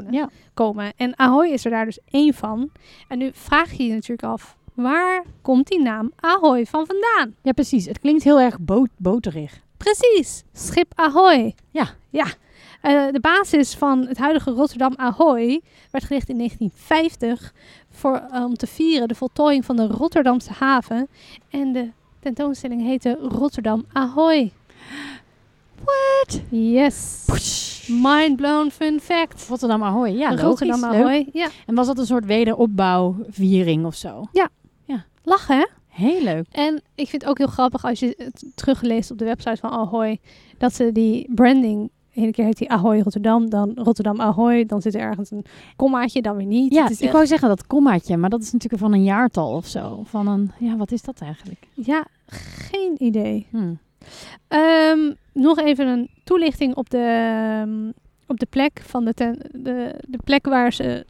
[SPEAKER 2] Ja.
[SPEAKER 3] komen. En Ahoy is er daar dus één van. En nu vraag je je natuurlijk af, waar komt die naam Ahoy van vandaan?
[SPEAKER 2] ja, precies. Het klinkt heel erg bo- boterig.
[SPEAKER 3] Precies, schip Ahoy.
[SPEAKER 2] Ja.
[SPEAKER 3] Ja. Eh, de basis van het huidige Rotterdam Ahoy werd gericht in 1950 voor, eh, om te vieren de voltooiing van de Rotterdamse haven. En de tentoonstelling heette Rotterdam Ahoy. What? Yes. Mind blown fun fact.
[SPEAKER 2] Rotterdam Ahoy. Ja, logisch.
[SPEAKER 3] Rotterdam
[SPEAKER 2] Leuk.
[SPEAKER 3] Ahoy. Ja.
[SPEAKER 2] En was dat een soort wederopbouwviering of zo?
[SPEAKER 3] Lachen hè?
[SPEAKER 2] Heel leuk.
[SPEAKER 3] En ik vind het ook heel grappig als je het terugleest op de website van Ahoy. Dat ze die branding. De ene keer heet die Ahoy Rotterdam, dan Rotterdam Ahoy. Dan zit er ergens een kommaatje, dan weer niet.
[SPEAKER 2] Ja,
[SPEAKER 3] Het is
[SPEAKER 2] ik
[SPEAKER 3] echt-
[SPEAKER 2] wou zeggen dat kommaatje, maar dat is natuurlijk van een jaartal of zo. Van een, ja, wat is dat eigenlijk?
[SPEAKER 3] ja geen idee.
[SPEAKER 2] Hm.
[SPEAKER 3] Ehm, nog even een toelichting op de, ehm, op de plek van de, ten- de, de plek waar ze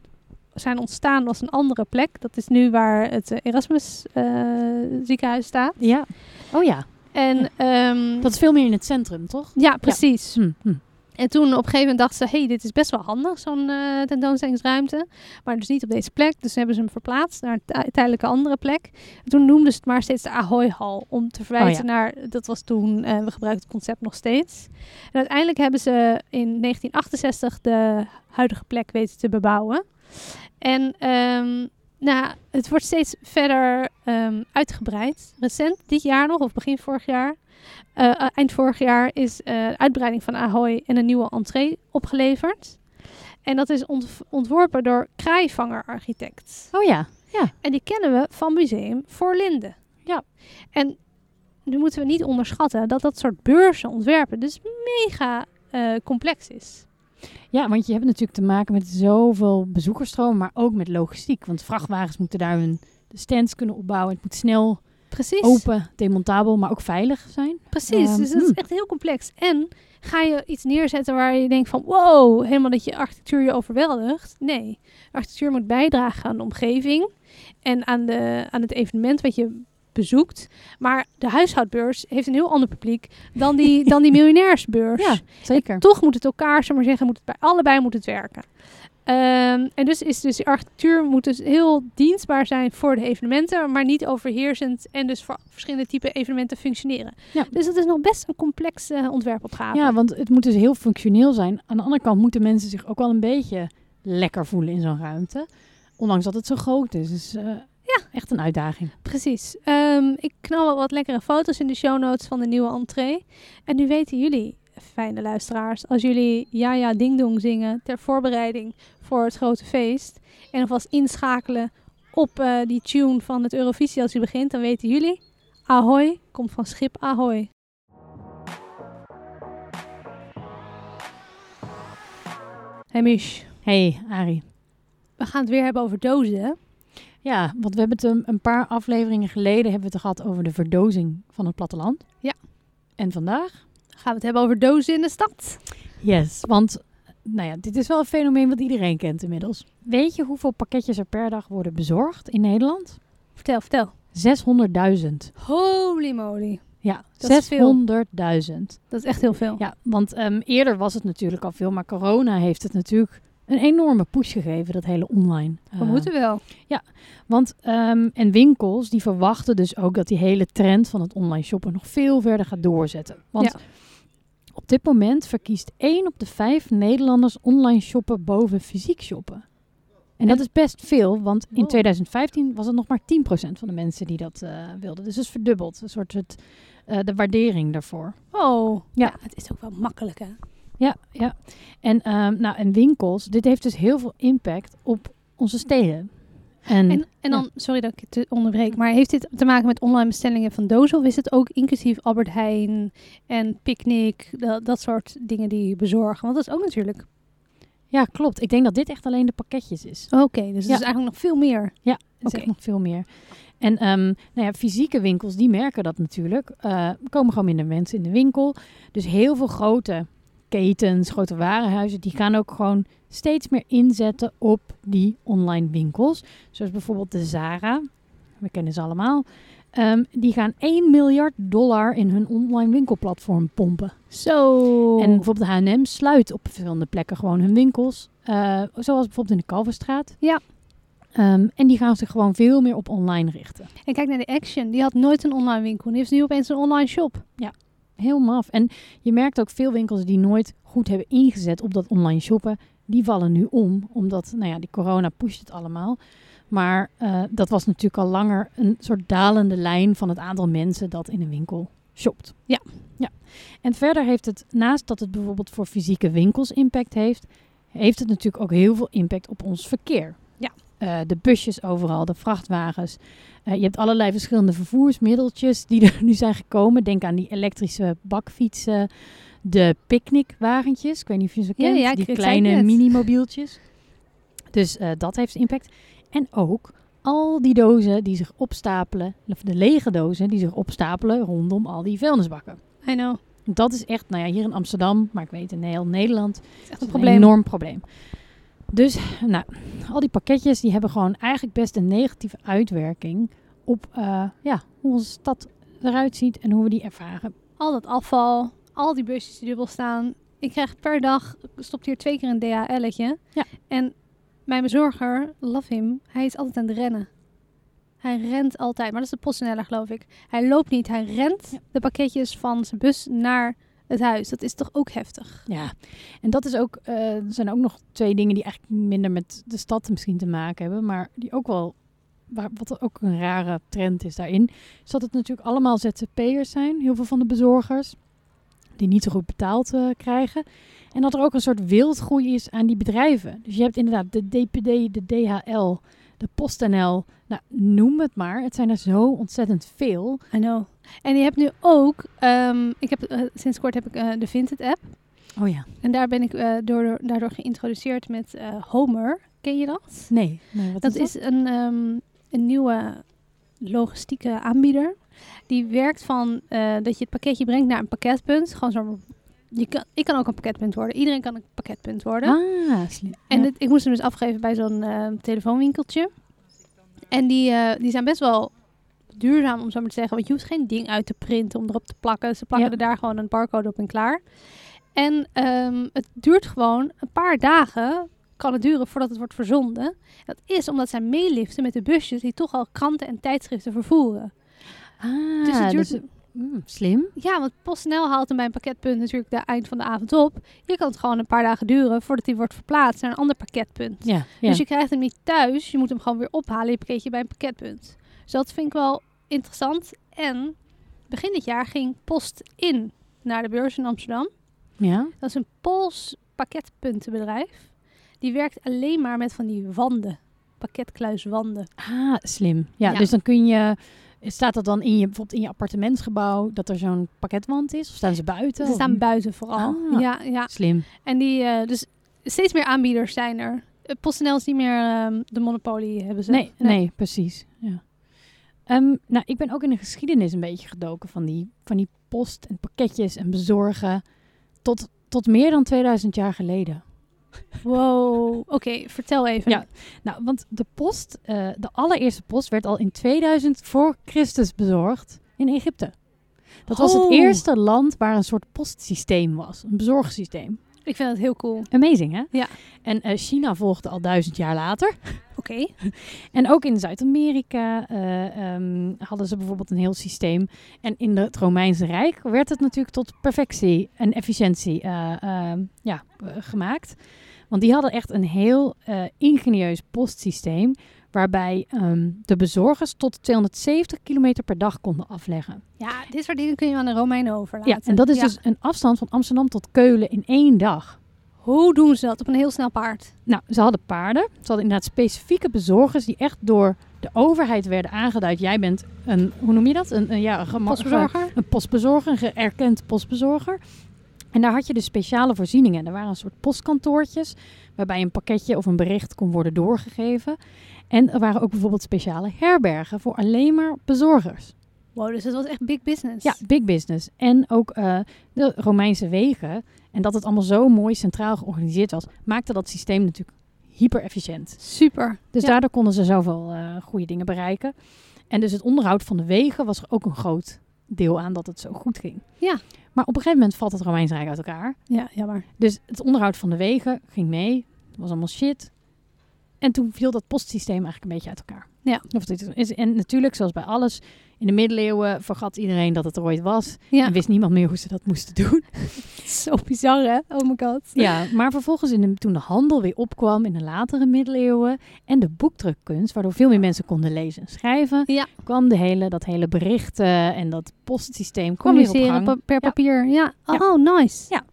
[SPEAKER 3] zijn ontstaan was een andere plek. Dat is nu waar het eh, Erasmus eh, ziekenhuis staat.
[SPEAKER 2] Ja. Oh ja,
[SPEAKER 3] En ehm,
[SPEAKER 2] dat is veel meer in het centrum, toch?
[SPEAKER 3] ja, precies.
[SPEAKER 2] Hm, hm.
[SPEAKER 3] En toen op een gegeven moment dacht ze, hey, dit is best wel handig, zo'n eh, tentoonstellingsruimte. Maar dus niet op deze plek, dus hebben ze hem verplaatst naar een tij- tijdelijke andere plek. En toen noemden ze het maar steeds de Ahoy Hall, om te verwijzen naar, dat was toen, eh, we gebruiken het concept nog steeds. En uiteindelijk hebben ze in 1968 de huidige plek weten te bebouwen. En ehm, nou, het wordt steeds verder ehm, uitgebreid. Recent, dit jaar nog, of begin vorig jaar, eh, eh, eind vorig jaar is eh uitbreiding van Ahoy en een nieuwe entree opgeleverd. En dat is ont- ontworpen door Kraaivanger Architect.
[SPEAKER 2] Oh ja.
[SPEAKER 3] En die kennen we van Museum Voorlinden.
[SPEAKER 2] Ja.
[SPEAKER 3] En nu moeten we niet onderschatten dat dat soort beurzen ontwerpen dus mega eh, complex is.
[SPEAKER 2] Ja, want je hebt natuurlijk te maken met zoveel bezoekersstroom, maar ook met logistiek. Want vrachtwagens moeten daar hun stands kunnen opbouwen. Het moet snel,
[SPEAKER 3] Precies.
[SPEAKER 2] open, demontabel, maar ook veilig zijn.
[SPEAKER 3] Precies,
[SPEAKER 2] Ehm,
[SPEAKER 3] dus dat is
[SPEAKER 2] hmm.
[SPEAKER 3] echt heel complex. En ga je iets neerzetten waar je denkt van wow, helemaal dat je architectuur je overweldigt? Nee, architectuur moet bijdragen aan de omgeving en aan, de, aan het evenement wat je bezoekt. Maar de huishoudbeurs heeft een heel ander publiek dan die, dan die miljonairsbeurs.
[SPEAKER 2] Ja, zeker.
[SPEAKER 3] Toch moet het elkaar, zullen we maar zeggen, moet het bij allebei moet het werken. Ehm, en dus is dus die architectuur moet dus heel dienstbaar zijn voor de evenementen, maar niet overheersend en dus voor verschillende type evenementen functioneren.
[SPEAKER 2] Ja.
[SPEAKER 3] Dus dat is nog best een complexe ontwerpopgave.
[SPEAKER 2] Ja, want het moet dus heel functioneel zijn. Aan de andere kant moeten mensen zich ook wel een beetje lekker voelen in zo'n ruimte. Ondanks dat het zo groot is. Dus eh, echt een uitdaging.
[SPEAKER 3] Precies. Ehm, ik knal wel wat lekkere foto's in de show notes van de nieuwe entree. En nu weten jullie, fijne luisteraars, als jullie Ja Ja Ding Dong zingen ter voorbereiding voor het grote feest. En alvast inschakelen op eh, die tune van het Eurovisie als die begint. Dan weten jullie, Ahoy komt van schip Ahoy. Hey Mish,
[SPEAKER 2] Hey, Arie.
[SPEAKER 3] we gaan het weer hebben over dozen. hè?
[SPEAKER 2] Ja, want we hebben het een, een paar afleveringen geleden hebben we het gehad over de verdozing van het platteland.
[SPEAKER 3] Ja.
[SPEAKER 2] En vandaag?
[SPEAKER 3] Dan gaan we het hebben over dozen in de stad.
[SPEAKER 2] Yes. Want, nou ja, dit is wel een fenomeen wat iedereen kent inmiddels. Weet je hoeveel pakketjes er per dag worden bezorgd in Nederland?
[SPEAKER 3] Vertel, vertel.
[SPEAKER 2] 600.000.
[SPEAKER 3] Holy moly.
[SPEAKER 2] Ja,
[SPEAKER 3] Dat is veel.
[SPEAKER 2] 600.000.
[SPEAKER 3] Dat is echt heel veel.
[SPEAKER 2] Ja, want ehm, eerder was het natuurlijk al veel, maar corona heeft het natuurlijk een enorme push gegeven, dat hele online.
[SPEAKER 3] We
[SPEAKER 2] eh,
[SPEAKER 3] moeten wel.
[SPEAKER 2] Want ehm, en winkels die verwachten dus ook dat die hele trend van het online shoppen nog veel verder gaat doorzetten. Want
[SPEAKER 3] Ja.
[SPEAKER 2] op dit moment verkiest 1 op de 5 Nederlanders online shoppen boven fysiek shoppen. En dat is best veel, want in
[SPEAKER 3] Wow.
[SPEAKER 2] 2015 was het nog maar 10% van de mensen die dat eh, wilden. Dus het is verdubbeld, een soort het, eh, de waardering daarvoor.
[SPEAKER 3] Oh.
[SPEAKER 2] Ja.
[SPEAKER 3] het is ook wel makkelijk, hè?
[SPEAKER 2] Ja, ja. En, ehm, nou, en winkels, dit heeft dus heel veel impact op onze steden. En,
[SPEAKER 3] En, en dan, sorry dat ik je te onderbreek, maar heeft dit te maken met online bestellingen van dozen? Of is het ook inclusief Albert Heijn en Picnic, dat, dat soort dingen die je bezorgen? Want dat is ook natuurlijk...
[SPEAKER 2] ja, klopt. Ik denk dat dit echt alleen de pakketjes is.
[SPEAKER 3] Oké, dus
[SPEAKER 2] Ja.
[SPEAKER 3] het is eigenlijk nog veel meer.
[SPEAKER 2] Het is
[SPEAKER 3] Oké.
[SPEAKER 2] echt nog veel meer. En ehm, nou ja, fysieke winkels, die merken dat natuurlijk. Eh, Er komen gewoon minder mensen in de winkel. Dus heel veel grote ketens, grote warenhuizen, die gaan ook gewoon steeds meer inzetten op die online winkels. Zoals bijvoorbeeld de Zara, we kennen ze allemaal. Ehm, die gaan 1 miljard dollar in hun online winkelplatform pompen.
[SPEAKER 3] Zo.
[SPEAKER 2] En bijvoorbeeld de H&M sluit op verschillende plekken gewoon hun winkels. eh, zoals bijvoorbeeld in de Kalverstraat.
[SPEAKER 3] Ja.
[SPEAKER 2] Ehm, en die gaan zich gewoon veel meer op online richten.
[SPEAKER 3] en kijk naar de Action, die had nooit een online winkel. Die heeft nu opeens een online shop.
[SPEAKER 2] Heel maf. En je merkt ook veel winkels die nooit goed hebben ingezet op dat online shoppen. Die vallen nu om, omdat nou ja, die corona pusht het allemaal. Maar eh, dat was natuurlijk al langer een soort dalende lijn van het aantal mensen dat in een winkel shopt.
[SPEAKER 3] Ja.
[SPEAKER 2] ja. En verder heeft het, naast dat het bijvoorbeeld voor fysieke winkels impact heeft, heeft het natuurlijk ook heel veel impact op ons verkeer.
[SPEAKER 3] Ja.
[SPEAKER 2] Eh, de busjes overal, de vrachtwagens. Eh, je hebt allerlei verschillende vervoersmiddeltjes die er nu zijn gekomen. Denk aan die elektrische bakfietsen, de picknickwagentjes. Ik weet niet of je ze
[SPEAKER 3] Ja,
[SPEAKER 2] kent,
[SPEAKER 3] ja, ik- ik
[SPEAKER 2] die
[SPEAKER 3] zei
[SPEAKER 2] kleine
[SPEAKER 3] het net.
[SPEAKER 2] minimobieltjes. Dus eh, dat heeft impact. En ook al die dozen die zich opstapelen, of de lege dozen die zich opstapelen rondom al die vuilnisbakken.
[SPEAKER 3] I know.
[SPEAKER 2] Dat is echt, nou ja, hier in Amsterdam, maar ik weet in heel Nederland
[SPEAKER 3] Het is echt
[SPEAKER 2] dat
[SPEAKER 3] een
[SPEAKER 2] is
[SPEAKER 3] probleem.
[SPEAKER 2] Een enorm probleem. Dus, nou, al die pakketjes die hebben gewoon eigenlijk best een negatieve uitwerking op eh, ja, hoe onze stad eruit ziet en hoe we die ervaren.
[SPEAKER 3] Al dat afval, al die busjes die dubbel staan, Ik krijg per dag, stopt hier twee keer een DHL'tje.
[SPEAKER 2] Ja.
[SPEAKER 3] En mijn bezorger, love him, hij is altijd aan het rennen. Hij rent altijd, maar dat is de PostNL geloof ik. Hij loopt niet, hij rent
[SPEAKER 2] Ja.
[SPEAKER 3] de pakketjes van zijn bus naar het huis. Dat is toch ook heftig?
[SPEAKER 2] Ja, en dat is ook, eh, er zijn ook nog twee dingen die eigenlijk minder met de stad misschien te maken hebben, maar die ook wel, waar, wat ook een rare trend is daarin, is dat het natuurlijk allemaal ZZP'ers zijn, heel veel van de bezorgers, die niet zo goed betaald eh, krijgen. En dat er ook een soort wildgroei is aan die bedrijven. Dus je hebt inderdaad de DPD, de DHL, de PostNL, nou noem het maar, het zijn er zo ontzettend veel.
[SPEAKER 3] I know. En je hebt nu ook, ehm, ik heb, eh, sinds kort heb ik eh, de Vinted app.
[SPEAKER 2] Oh ja.
[SPEAKER 3] En daar ben ik eh, door, daardoor geïntroduceerd met eh, Homer. Ken je dat?
[SPEAKER 2] Nee, nee wat
[SPEAKER 3] Dat
[SPEAKER 2] is dat?
[SPEAKER 3] is een, ehm, een nieuwe logistieke aanbieder. Die werkt van eh, dat je het pakketje brengt naar een pakketpunt. Gewoon zo, je kan, ik kan ook een pakketpunt worden. Iedereen kan een pakketpunt worden.
[SPEAKER 2] Ah, slim.
[SPEAKER 3] En
[SPEAKER 2] Ja.
[SPEAKER 3] dit- ik moest hem dus afgeven bij zo'n eh, telefoonwinkeltje. En die, eh, die zijn best wel duurzaam, om zo maar te zeggen. Want je hoeft geen ding uit te printen om erop te plakken. Ze plakken
[SPEAKER 2] Ja.
[SPEAKER 3] er daar gewoon een barcode op en klaar. En ehm, het duurt gewoon een paar dagen, kan het duren voordat het wordt verzonden. Dat is omdat zij meeliften met de busjes die toch al kranten en tijdschriften vervoeren.
[SPEAKER 2] Ah,
[SPEAKER 3] dus het duurt...
[SPEAKER 2] Mm, slim.
[SPEAKER 3] Ja, want PostNL haalt hem bij een pakketpunt natuurlijk de eind van de avond op. Je kan het gewoon een paar dagen duren voordat hij wordt verplaatst naar een ander pakketpunt.
[SPEAKER 2] Ja,
[SPEAKER 3] Dus je krijgt hem niet thuis. Je moet hem gewoon weer ophalen. Je pakketje bij een pakketpunt. Dus dat vind ik wel interessant. En begin dit jaar ging Post in naar de beurs in Amsterdam.
[SPEAKER 2] ja.
[SPEAKER 3] Dat is een Pools pakketpuntenbedrijf. Die werkt alleen maar met van die wanden. Dus Pakketkluiswanden.
[SPEAKER 2] Ah, slim. Ja,
[SPEAKER 3] Ja.
[SPEAKER 2] dus dan kun je... Staat dat dan in je, bijvoorbeeld in je appartementsgebouw dat er zo'n pakketwand is? Of staan ze buiten?
[SPEAKER 3] Ze
[SPEAKER 2] Of-
[SPEAKER 3] staan buiten vooral.
[SPEAKER 2] Ah.
[SPEAKER 3] Ja, ja.
[SPEAKER 2] Slim.
[SPEAKER 3] En die, eh, dus steeds meer aanbieders zijn er. Eh, PostNL is niet meer ehm, de monopolie hebben ze.
[SPEAKER 2] Nee, nee. precies. Ja. Ehm, nou, ik ben ook in de geschiedenis een beetje gedoken van die, van die post en pakketjes en bezorgen. Tot, tot meer dan 2000 jaar geleden.
[SPEAKER 3] Wow. Oké, vertel even.
[SPEAKER 2] Ja. Nou, want de post, eh, de allereerste post werd al in 2000 voor Christus bezorgd in Egypte. Dat was het
[SPEAKER 3] Oh.
[SPEAKER 2] eerste land waar een soort postsysteem was, een bezorgsysteem.
[SPEAKER 3] Ik vind dat heel cool.
[SPEAKER 2] Amazing, hè?
[SPEAKER 3] Ja.
[SPEAKER 2] En eh, China volgde al duizend jaar later.
[SPEAKER 3] Oké.
[SPEAKER 2] En ook in Zuid-Amerika eh, ehm, hadden ze bijvoorbeeld een heel systeem. En in het Romeinse Rijk werd het natuurlijk tot perfectie en efficiëntie eh, ehm, ja, eh, gemaakt. Want die hadden echt een heel eh, ingenieus postsysteem. Waarbij ehm, de bezorgers tot 270 kilometer per dag konden afleggen.
[SPEAKER 3] Ja, dit soort dingen kun je aan de Romeinen overlaten.
[SPEAKER 2] Ja, en dat is
[SPEAKER 3] Ja.
[SPEAKER 2] dus een afstand van Amsterdam tot Keulen in één dag.
[SPEAKER 3] Hoe doen ze dat op een heel snel paard?
[SPEAKER 2] Nou, ze hadden paarden. Ze hadden inderdaad specifieke bezorgers die echt door de overheid werden aangeduid. Jij bent een, hoe noem je dat? Een, een, ja, een gema-
[SPEAKER 3] Postbezorger?
[SPEAKER 2] Een postbezorger, een geërkend postbezorger. En daar had je dus speciale voorzieningen. Er waren een soort postkantoortjes waarbij een pakketje of een bericht kon worden doorgegeven. En er waren ook bijvoorbeeld speciale herbergen voor alleen maar bezorgers.
[SPEAKER 3] Wow, dus dat was echt big business.
[SPEAKER 2] Ja, big business. En ook eh, de Romeinse wegen. En dat het allemaal zo mooi centraal georganiseerd was, maakte dat systeem natuurlijk hyper efficiënt.
[SPEAKER 3] Super.
[SPEAKER 2] Dus
[SPEAKER 3] Ja.
[SPEAKER 2] daardoor konden ze zoveel eh, goede dingen bereiken. En dus het onderhoud van de wegen was er ook een groot deel aan dat het zo goed ging.
[SPEAKER 3] Ja.
[SPEAKER 2] Maar op een gegeven moment valt het Romeins Rijk uit elkaar.
[SPEAKER 3] Ja, jammer.
[SPEAKER 2] Dus het onderhoud van de wegen ging mee. Het was allemaal shit. En toen viel dat postsysteem eigenlijk een beetje uit elkaar.
[SPEAKER 3] Ja.
[SPEAKER 2] Of dit is, en natuurlijk, zoals bij alles, in de middeleeuwen vergat iedereen dat het er ooit was.
[SPEAKER 3] Ja,
[SPEAKER 2] En wist niemand meer hoe ze dat moesten doen.
[SPEAKER 3] zo bizar hè? Oh my god.
[SPEAKER 2] Ja, maar vervolgens in de- toen de handel weer opkwam in de latere middeleeuwen en de boekdrukkunst, waardoor veel meer mensen konden lezen en schrijven,
[SPEAKER 3] Ja.
[SPEAKER 2] kwam de hele, dat hele berichten en dat postsysteem kwam weer op
[SPEAKER 3] Communiceren
[SPEAKER 2] gang.
[SPEAKER 3] pa- per
[SPEAKER 2] Ja.
[SPEAKER 3] papier. Ja. Oh, nice.
[SPEAKER 2] Ja.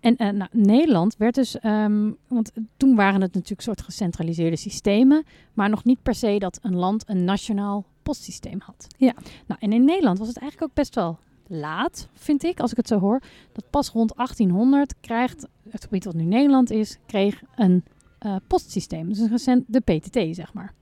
[SPEAKER 2] En eh, nou, Nederland werd dus, ehm, want toen waren het natuurlijk soort gecentraliseerde systemen, maar nog niet per se dat een land een nationaal postsysteem had.
[SPEAKER 3] Ja.
[SPEAKER 2] Nou, en in Nederland was het eigenlijk ook best wel laat, vind ik, als ik het zo hoor, dat pas rond 1800 krijgt het gebied wat nu Nederland is, kreeg een eh, postsysteem, dus een recent, de PTT zeg maar.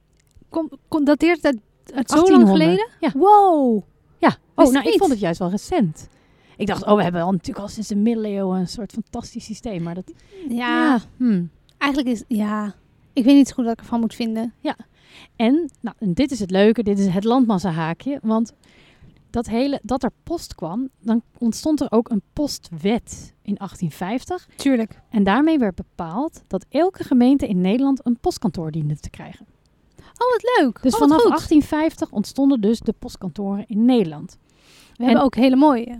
[SPEAKER 3] Kom, kom, dateert het uit zo lang
[SPEAKER 2] 1800.
[SPEAKER 3] geleden?
[SPEAKER 2] Ja.
[SPEAKER 3] Wow.
[SPEAKER 2] Ja,
[SPEAKER 3] Wist
[SPEAKER 2] oh,
[SPEAKER 3] ik
[SPEAKER 2] nou, ik
[SPEAKER 3] niet.
[SPEAKER 2] vond het juist wel recent. Ik dacht, oh, we hebben al natuurlijk al sinds de middeleeuwen een soort fantastisch systeem, maar dat...
[SPEAKER 3] Ja.
[SPEAKER 2] hmm.
[SPEAKER 3] Eigenlijk is... Ja. Ik weet niet zo goed wat ik ervan moet vinden.
[SPEAKER 2] En, nou, en dit is het leuke, dit is het landmassahaakje. Want dat, hele, dat er post kwam, dan ontstond er ook een postwet in 1850.
[SPEAKER 3] Tuurlijk.
[SPEAKER 2] En daarmee werd bepaald dat elke gemeente in Nederland een postkantoor diende te krijgen.
[SPEAKER 3] Oh, wat leuk.
[SPEAKER 2] Dus
[SPEAKER 3] Oh, wat
[SPEAKER 2] vanaf
[SPEAKER 3] goed.
[SPEAKER 2] 1850 ontstonden dus de postkantoren in Nederland.
[SPEAKER 3] We hebben ook hele mooie.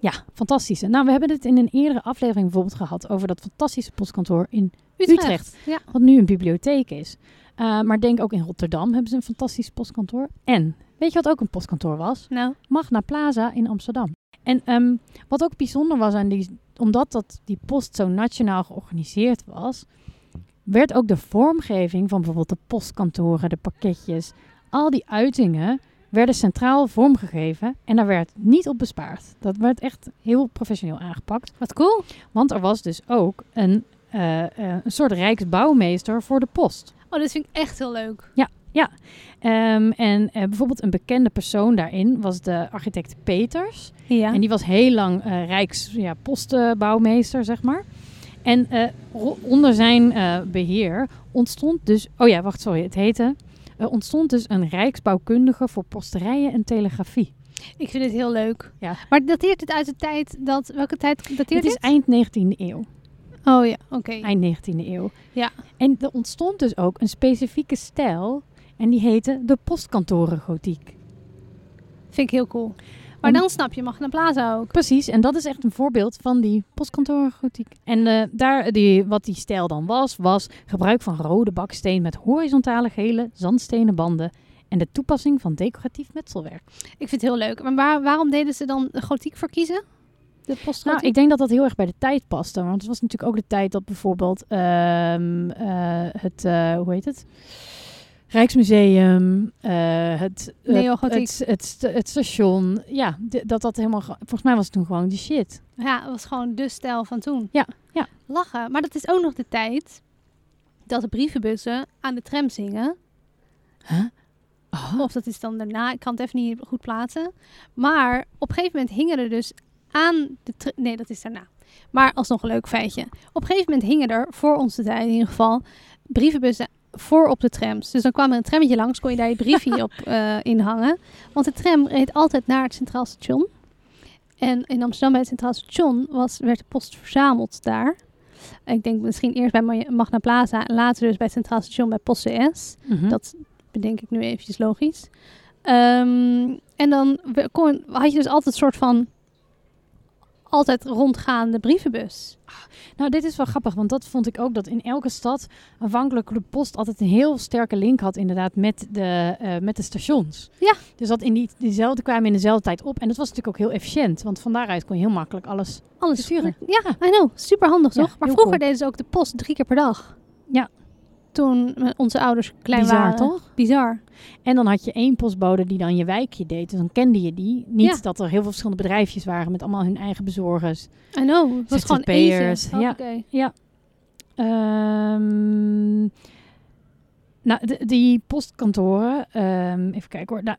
[SPEAKER 2] Ja, fantastisch. Nou, we hebben het in een eerdere aflevering bijvoorbeeld gehad over dat fantastische postkantoor in
[SPEAKER 3] Utrecht.
[SPEAKER 2] Utrecht.
[SPEAKER 3] Ja.
[SPEAKER 2] wat nu een bibliotheek is. Uh, maar denk ook in Rotterdam hebben ze een fantastisch postkantoor. En weet je wat ook een postkantoor was?
[SPEAKER 3] Nou,
[SPEAKER 2] Magna Plaza in Amsterdam. En ehm, wat ook bijzonder was aan die, omdat dat die post zo nationaal georganiseerd was, werd ook de vormgeving van bijvoorbeeld de postkantoren, de pakketjes, al die uitingen werden centraal vormgegeven en daar werd niet op bespaard. Dat werd echt heel professioneel aangepakt.
[SPEAKER 3] wat cool.
[SPEAKER 2] Want er was dus ook een, eh, eh, een soort rijksbouwmeester voor de post.
[SPEAKER 3] Oh, dat vind ik echt heel leuk.
[SPEAKER 2] Ehm, en eh, bijvoorbeeld een bekende persoon daarin was de architect Peters.
[SPEAKER 3] Ja.
[SPEAKER 2] En die was heel lang eh rijks ja, postbouwmeester, zeg maar. En eh, ro- onder zijn eh, beheer ontstond dus... Oh ja, wacht, sorry, het heette... eh, ontstond dus een rijksbouwkundige voor posterijen en telegrafie.
[SPEAKER 3] Ik vind het heel leuk.
[SPEAKER 2] Ja.
[SPEAKER 3] Maar dateert het uit de tijd dat... Welke tijd dateert
[SPEAKER 2] Dit is eind 19e eeuw.
[SPEAKER 3] Oh ja, oké.
[SPEAKER 2] Eind 19e eeuw.
[SPEAKER 3] Ja.
[SPEAKER 2] En er ontstond dus ook een specifieke stijl... en die heette de postkantorengotiek.
[SPEAKER 3] Vind ik heel cool. Maar
[SPEAKER 2] Om-
[SPEAKER 3] dan snap je Magna Plaza ook.
[SPEAKER 2] Precies, en dat is echt een voorbeeld van die postkantorengotiek. En eh, daar, die, wat die stijl dan was, was gebruik van rode baksteen met horizontale gele zandstenen banden en de toepassing van decoratief metselwerk.
[SPEAKER 3] Ik vind het heel leuk. Maar waar- waarom deden ze dan de gotiek voor kiezen? De
[SPEAKER 2] Nou,
[SPEAKER 3] postgotiek?
[SPEAKER 2] ik denk dat dat heel erg bij de tijd paste, want het was natuurlijk ook de tijd dat bijvoorbeeld ehm, eh, het, eh, hoe heet het? Rijksmuseum, eh, het, eh,
[SPEAKER 3] Neogotiek.
[SPEAKER 2] het, het, sta- het station, ja, d- dat dat helemaal, ge- volgens mij was het toen gewoon die shit.
[SPEAKER 3] Ja, dat was gewoon de stijl van toen.
[SPEAKER 2] Ja, ja.
[SPEAKER 3] Lachen. Maar dat is ook nog de tijd dat de brievenbussen aan de trams hingen.
[SPEAKER 2] Huh? Oh.
[SPEAKER 3] Of dat is dan daarna, ik kan het even niet goed plaatsen. Maar op een gegeven moment hingen er dus aan de... tr- Nee, dat is daarna. Maar alsnog een leuk feitje. Op een gegeven moment hingen er, voor onze tijd in ieder geval, brievenbussen voor op de trams. Dus dan kwam er een trammetje langs, kon je daar je briefje op eh, inhangen. Want de tram reed altijd naar het Centraal Station. En in Amsterdam bij het Centraal Station was, werd de post verzameld daar. Ik denk misschien eerst bij Ma- Magna Plaza en later dus bij het Centraal Station bij Post CS.
[SPEAKER 2] Mhm.
[SPEAKER 3] Dat bedenk ik nu eventjes logisch. Ehm, en dan we- kon, had je dus altijd een soort van altijd rondgaande brievenbus.
[SPEAKER 2] Nou, dit is wel grappig, want dat vond ik ook dat in elke stad aanvankelijk de post altijd een heel sterke link had inderdaad met de, eh, met de stations.
[SPEAKER 3] Ja.
[SPEAKER 2] Dus dat in die, diezelfde kwamen in dezelfde tijd op en dat was natuurlijk ook heel efficiënt, want van daaruit kon je heel makkelijk alles.
[SPEAKER 3] Alles
[SPEAKER 2] Besturen.
[SPEAKER 3] Ja, I know. Super handig,
[SPEAKER 2] Ja,
[SPEAKER 3] toch? Maar
[SPEAKER 2] heel
[SPEAKER 3] vroeger
[SPEAKER 2] cool.
[SPEAKER 3] deden ze ook de post drie keer per dag.
[SPEAKER 2] Ja.
[SPEAKER 3] Toen eh, onze ouders klein
[SPEAKER 2] Bizar,
[SPEAKER 3] waren.
[SPEAKER 2] toch?
[SPEAKER 3] Bizar.
[SPEAKER 2] En dan had je één postbode die dan je wijkje deed, dus dan kende je die. Niet
[SPEAKER 3] Ja.
[SPEAKER 2] dat er heel veel verschillende bedrijfjes waren met allemaal hun eigen bezorgers.
[SPEAKER 3] I know. Het was gewoon
[SPEAKER 2] ZZP'ers,
[SPEAKER 3] eten.
[SPEAKER 2] ja.
[SPEAKER 3] Hoppakee.
[SPEAKER 2] Ehm, nou, de- die postkantoren, ehm, even kijken hoor. Nou,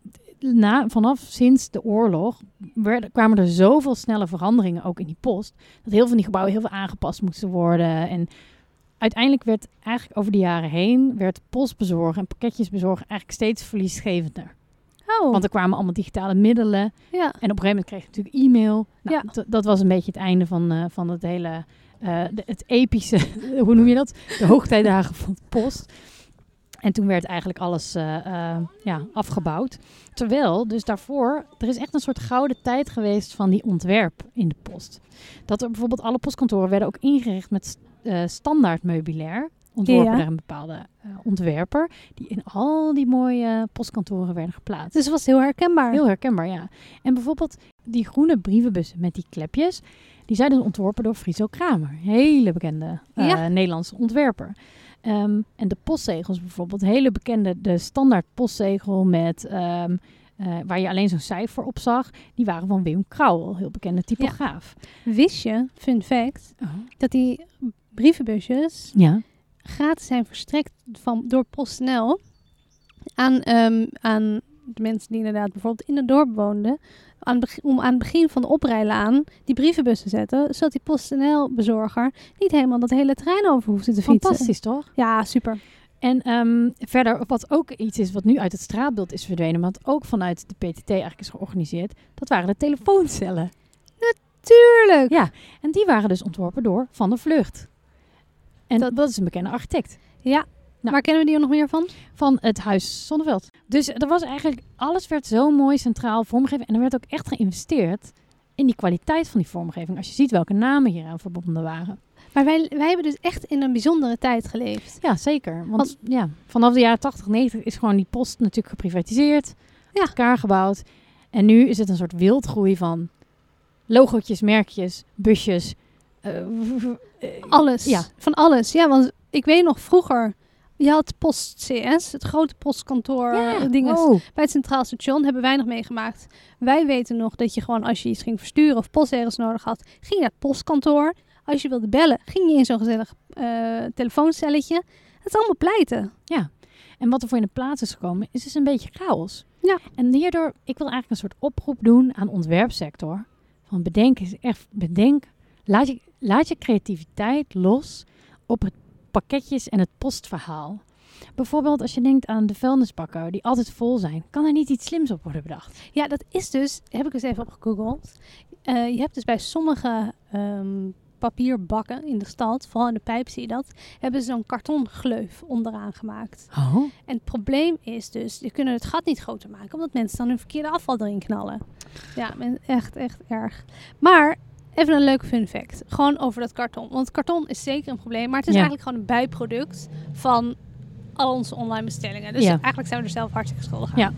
[SPEAKER 2] na, vanaf sinds de oorlog werden, kwamen er zoveel snelle veranderingen ook in die post. Dat heel veel van die gebouwen heel veel aangepast moesten worden. En uiteindelijk werd eigenlijk over de jaren heen werd postbezorgen en pakketjesbezorgen eigenlijk steeds verliesgevender.
[SPEAKER 3] Oh,
[SPEAKER 2] Want er kwamen allemaal digitale middelen.
[SPEAKER 3] ja.
[SPEAKER 2] En op een gegeven moment kreeg je natuurlijk e-mail. Nou,
[SPEAKER 3] Ja.
[SPEAKER 2] d- Dat was een beetje het einde van, eh, van het hele, eh, de- het epische, hoe noem je dat? De hoogtijdagen van de post. En toen werd eigenlijk alles eh, eh, ja, afgebouwd. Terwijl, dus daarvoor, er is echt een soort gouden tijd geweest van die ontwerp in de post. Dat er bijvoorbeeld alle postkantoren werden ook ingericht met s- eh, standaard meubilair. Ontworpen
[SPEAKER 3] Ja.
[SPEAKER 2] door een bepaalde eh, ontwerper. Die in al die mooie postkantoren werden geplaatst.
[SPEAKER 3] Dus het was heel herkenbaar.
[SPEAKER 2] Heel herkenbaar, ja. En bijvoorbeeld die groene brievenbussen met die klepjes, die zijn dus ontworpen door Friso Kramer. Hele bekende eh,
[SPEAKER 3] Ja.
[SPEAKER 2] Nederlandse ontwerper. Ehm, en de postzegels bijvoorbeeld, hele bekende, de standaard postzegel met, ehm, eh, waar je alleen zo'n cijfer op zag, die waren van Wim Krauwel, heel bekende typograaf.
[SPEAKER 3] Wist je, fun fact,
[SPEAKER 2] Ja. Oh.
[SPEAKER 3] dat die brievenbusjes
[SPEAKER 2] ja.
[SPEAKER 3] gratis zijn verstrekt van, door PostNL aan, ehm, aan de mensen die inderdaad bijvoorbeeld in het dorp woonden. Aan het beg- om aan het begin van de oprijlaan die brievenbus te zetten. Zodat die PostNL-bezorger niet helemaal dat hele terrein over hoefde te fietsen.
[SPEAKER 2] Fantastisch toch?
[SPEAKER 3] Ja, super.
[SPEAKER 2] En ehm, verder, wat ook iets is wat nu uit het straatbeeld is verdwenen, maar wat ook vanuit de PTT eigenlijk is georganiseerd, dat waren de telefooncellen.
[SPEAKER 3] Tuurlijk.
[SPEAKER 2] Ja, en die waren dus ontworpen door Van der Vlucht. En dat,
[SPEAKER 3] Dat-
[SPEAKER 2] is een bekende architect
[SPEAKER 3] Ja.
[SPEAKER 2] Nou.
[SPEAKER 3] Waar kennen we die nog meer van?
[SPEAKER 2] van het Huis Zonneveld. Dus er was eigenlijk, alles werd zo mooi centraal vormgegeven en er werd ook echt geïnvesteerd in die kwaliteit van die vormgeving. Als je ziet welke namen hieraan verbonden waren.
[SPEAKER 3] Maar wij, wij hebben dus echt in een bijzondere tijd geleefd.
[SPEAKER 2] Ja, zeker. Want,
[SPEAKER 3] Want-
[SPEAKER 2] ja, vanaf de jaren 80, 90 is gewoon die post natuurlijk geprivatiseerd.
[SPEAKER 3] Ja.
[SPEAKER 2] uit elkaar gebouwd. En nu is het een soort wildgroei van logotjes, merkjes, busjes. eh, eh,
[SPEAKER 3] Alles.
[SPEAKER 2] Ja.
[SPEAKER 3] Van alles. Ja, want ik weet nog vroeger. Je had Post CS, het grote postkantoor eh, dinges.
[SPEAKER 2] wow.
[SPEAKER 3] Bij het Centraal Station hebben wij nog meegemaakt. Wij weten nog dat je gewoon als je iets ging versturen of postzegels nodig had, ging je naar het postkantoor. Als je wilde bellen, ging je in zo'n gezellig eh, telefooncelletje. Het is allemaal pleiten.
[SPEAKER 2] En wat er voor in de plaats is gekomen, is dus een beetje chaos.
[SPEAKER 3] Ja.
[SPEAKER 2] En hierdoor, ik wil eigenlijk een soort oproep doen aan de ontwerpsector. Van bedenk is echt, bedenk, laat je, laat je creativiteit los op het pakketjes en het postverhaal. Bijvoorbeeld als je denkt aan de vuilnisbakken die altijd vol zijn, kan er niet iets slims op worden bedacht?
[SPEAKER 3] Ja, dat is dus, heb ik eens even opgegoogeld. Eh, je hebt dus bij sommige ehm, papierbakken in de stad, vooral in de pijp zie je dat, hebben ze zo'n kartongleuf onderaan gemaakt.
[SPEAKER 2] Oh.
[SPEAKER 3] En het probleem is dus, je kunnen het gat niet groter maken, omdat mensen dan hun verkeerde afval erin knallen. Ja, men- echt, echt erg. Maar even een leuk fun fact, gewoon over dat karton. Want karton is zeker een probleem, maar het is
[SPEAKER 2] Ja.
[SPEAKER 3] eigenlijk gewoon een bijproduct van al onze online bestellingen. Dus
[SPEAKER 2] Ja.
[SPEAKER 3] eigenlijk zijn we er zelf hartstikke schuldig aan.
[SPEAKER 2] Ja.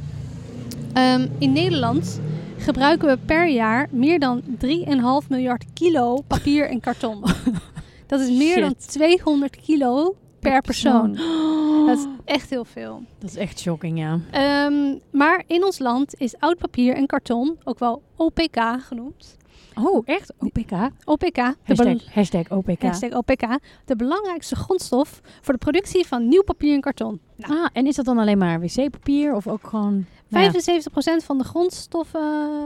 [SPEAKER 3] Ehm, in Nederland gebruiken we per jaar meer dan 3,5 miljard kilo papier en karton. Dat is meer dan 200 kilo per persoon. Dat is echt heel veel.
[SPEAKER 2] Dat is echt shocking, ja.
[SPEAKER 3] Ehm, maar in ons land is oud papier en karton, ook wel OPK genoemd.
[SPEAKER 2] Oh, echt? OPK?
[SPEAKER 3] OPK, de bel-
[SPEAKER 2] Hashtag, hashtag OPK.
[SPEAKER 3] hashtag OPK, de belangrijkste grondstof voor de productie van nieuw papier en karton. Nou,
[SPEAKER 2] Ah, en is dat dan alleen maar wc-papier of ook gewoon... nou ja.
[SPEAKER 3] 75% van de grondstoffen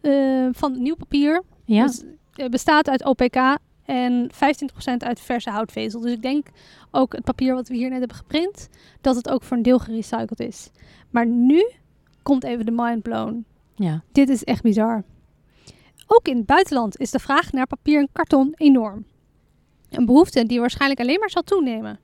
[SPEAKER 3] eh, van nieuw papier
[SPEAKER 2] Ja?
[SPEAKER 3] dus, eh, bestaat uit OPK en 15% uit verse houtvezel. Dus ik denk ook het papier wat we hier net hebben geprint, dat het ook voor een deel gerecycled is. Maar nu komt even de mind blown.
[SPEAKER 2] ja.
[SPEAKER 3] Dit is echt bizar. Ook in het buitenland is de vraag naar papier en karton enorm. Een behoefte die waarschijnlijk alleen maar zal toenemen.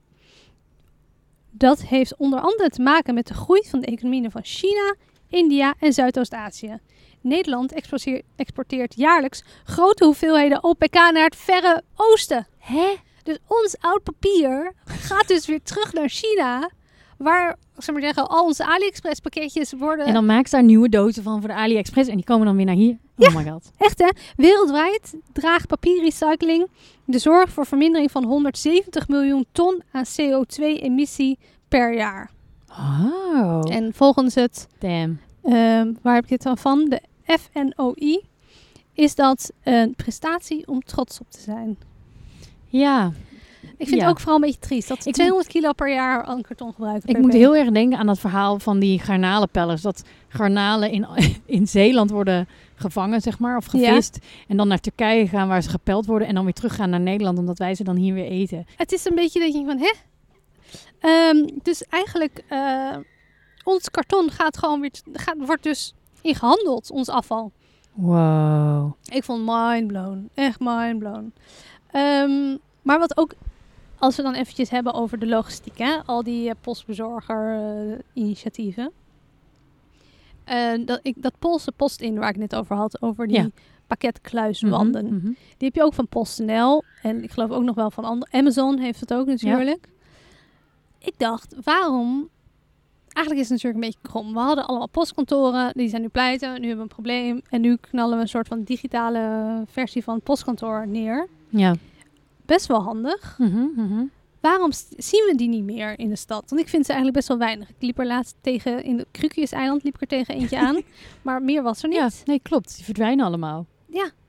[SPEAKER 3] Dat heeft onder andere te maken met de groei van de economieën van China, India en Zuidoost-Asië. Nederland exporteer- exporteert jaarlijks grote hoeveelheden OPK naar het Verre Oosten.
[SPEAKER 2] Hè?
[SPEAKER 3] Dus ons oud papier gaat dus weer terug naar China, waar zeg maar zeggen, al onze AliExpress pakketjes worden
[SPEAKER 2] En dan maken ze daar nieuwe dozen van voor de AliExpress. En die komen dan weer naar hier. Oh my god.
[SPEAKER 3] Echt hè? Wereldwijd draagt papierrecycling de zorg voor vermindering van 170 miljoen ton aan CO2-emissie per jaar.
[SPEAKER 2] Oh.
[SPEAKER 3] En volgens het,
[SPEAKER 2] Damn.
[SPEAKER 3] ehm, waar heb ik dit dan van? De FNOI, is dat een prestatie om trots op te zijn.
[SPEAKER 2] Ja,
[SPEAKER 3] Ik vind
[SPEAKER 2] Ja.
[SPEAKER 3] het ook vooral een beetje triest dat ze
[SPEAKER 2] Ik
[SPEAKER 3] 200 kilo per jaar aan karton gebruiken.
[SPEAKER 2] ik
[SPEAKER 3] per
[SPEAKER 2] moet
[SPEAKER 3] week.
[SPEAKER 2] heel erg denken aan dat verhaal van die garnalenpellers. Dat garnalen in, in Zeeland worden gevangen, zeg maar, of
[SPEAKER 3] Ja.
[SPEAKER 2] gevist. En dan naar Turkije gaan waar ze gepeld worden. En dan weer teruggaan naar Nederland, omdat wij ze dan hier weer eten.
[SPEAKER 3] Het is een beetje dat je denkt van, hè? Ehm, dus eigenlijk, eh, ons karton gaat gewoon weer, gaat, wordt dus ingehandeld, ons afval.
[SPEAKER 2] Wow.
[SPEAKER 3] Ik vond mindblown. Echt mindblown. Ehm maar wat ook, als we dan eventjes hebben over de logistiek, hè? al die eh, postbezorger-initiatieven. Eh, dat, ik, dat Poolse post in waar ik net over had, over die
[SPEAKER 2] Ja.
[SPEAKER 3] pakketkluiswanden.
[SPEAKER 2] Mhm, mhm.
[SPEAKER 3] Die heb je ook van PostNL en ik geloof ook nog wel van andere. Amazon heeft het ook natuurlijk. Ik dacht, waarom? Eigenlijk is het natuurlijk een beetje krom. We hadden allemaal postkantoren, die zijn nu pleiten, nu hebben we een probleem. En nu knallen we een soort van digitale versie van het postkantoor neer.
[SPEAKER 2] Ja.
[SPEAKER 3] Best wel handig.
[SPEAKER 2] Mhm, mhm.
[SPEAKER 3] Waarom s- zien we die niet meer in de stad? Want ik vind ze eigenlijk best wel weinig. Ik liep er laatst tegen, in de Krukjes-eiland liep ik er tegen eentje aan. maar meer was er niet.
[SPEAKER 2] Ja, nee, klopt. Die verdwijnen allemaal.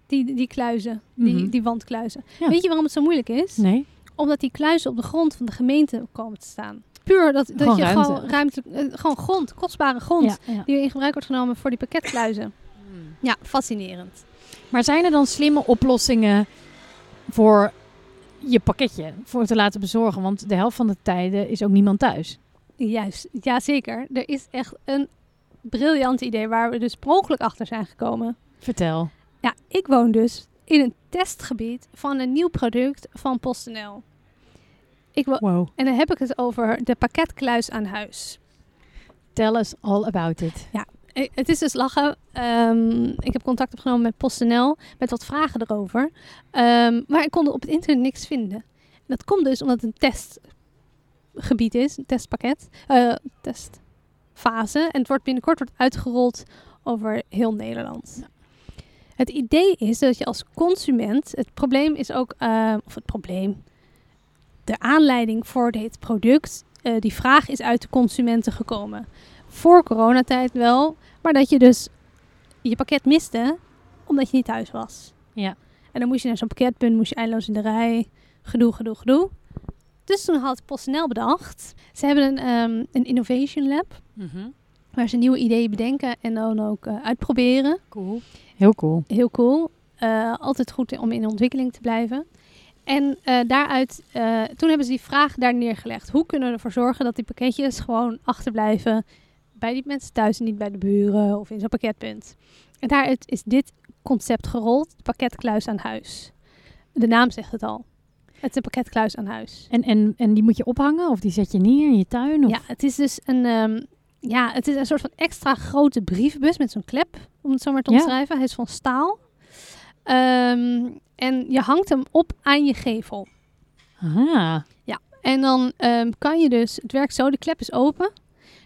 [SPEAKER 3] Die, die kluizen,
[SPEAKER 2] Mhm.
[SPEAKER 3] die, die wandkluizen.
[SPEAKER 2] Ja.
[SPEAKER 3] Weet je waarom het zo moeilijk is?
[SPEAKER 2] Nee.
[SPEAKER 3] omdat die kluizen op de grond van de gemeente komen te staan. Puur dat, dat
[SPEAKER 2] Gewoon
[SPEAKER 3] je
[SPEAKER 2] ruimte.
[SPEAKER 3] gewoon ruimte, eh, gewoon grond, kostbare grond,
[SPEAKER 2] Ja, ja.
[SPEAKER 3] die in gebruik wordt genomen voor die pakketkluizen. Ja, fascinerend.
[SPEAKER 2] Maar zijn er dan slimme oplossingen voor je pakketje voor te laten bezorgen. Want de helft van de tijden is ook niemand thuis.
[SPEAKER 3] Juist, ja zeker. Er is echt een briljant idee waar we dus per ongeluk achter zijn gekomen.
[SPEAKER 2] Vertel.
[SPEAKER 3] Ja, ik woon dus in een testgebied van een nieuw product van PostNL. Ik wo-
[SPEAKER 2] Wow.
[SPEAKER 3] en dan heb ik het over de pakketkluis aan huis.
[SPEAKER 2] Tell us all about it.
[SPEAKER 3] Eh, Het is dus lachen. Ehm, ik heb contact opgenomen met PostNL met wat vragen erover. Ehm, maar ik kon op het internet niks vinden. En dat komt dus omdat het een testgebied is, een testpakket, eh, testfase. En het wordt binnenkort wordt uitgerold over heel Nederland. Het idee is dat je als consument, het probleem is ook, eh, of het probleem, de aanleiding voor dit product, eh, die vraag is uit de consumenten gekomen voor coronatijd wel, maar dat je dus je pakket miste omdat je niet thuis was.
[SPEAKER 2] Ja.
[SPEAKER 3] En dan moest je naar zo'n pakketpunt, moest je eindeloos in de rij, gedoe, gedoe, gedoe. Dus toen had PostNL bedacht, ze hebben een, ehm, een innovation lab waar ze nieuwe ideeën bedenken en dan ook eh, uitproberen.
[SPEAKER 2] Cool. Heel cool.
[SPEAKER 3] Heel cool. Eh, altijd goed om in ontwikkeling te blijven. En eh, daaruit, eh, toen hebben ze die vraag daar neergelegd. Hoe kunnen we ervoor zorgen dat die pakketjes gewoon achterblijven bij die mensen thuis en niet bij de buren of in zo'n pakketpunt? En daaruit is dit concept gerold, de pakketkluis aan huis. De naam zegt het al. Het is een pakketkluis aan huis.
[SPEAKER 2] En, en, en die moet je ophangen of die zet je neer in je tuin? Of...
[SPEAKER 3] Ja, het is dus een, ehm, ja, het is een soort van extra grote brievenbus met zo'n klep, om het zo maar te
[SPEAKER 2] Ja.
[SPEAKER 3] omschrijven. Hij is van staal. Ehm, en je hangt hem op aan je gevel.
[SPEAKER 2] Aha.
[SPEAKER 3] En dan ehm, kan je dus, het werkt zo, de klep is open.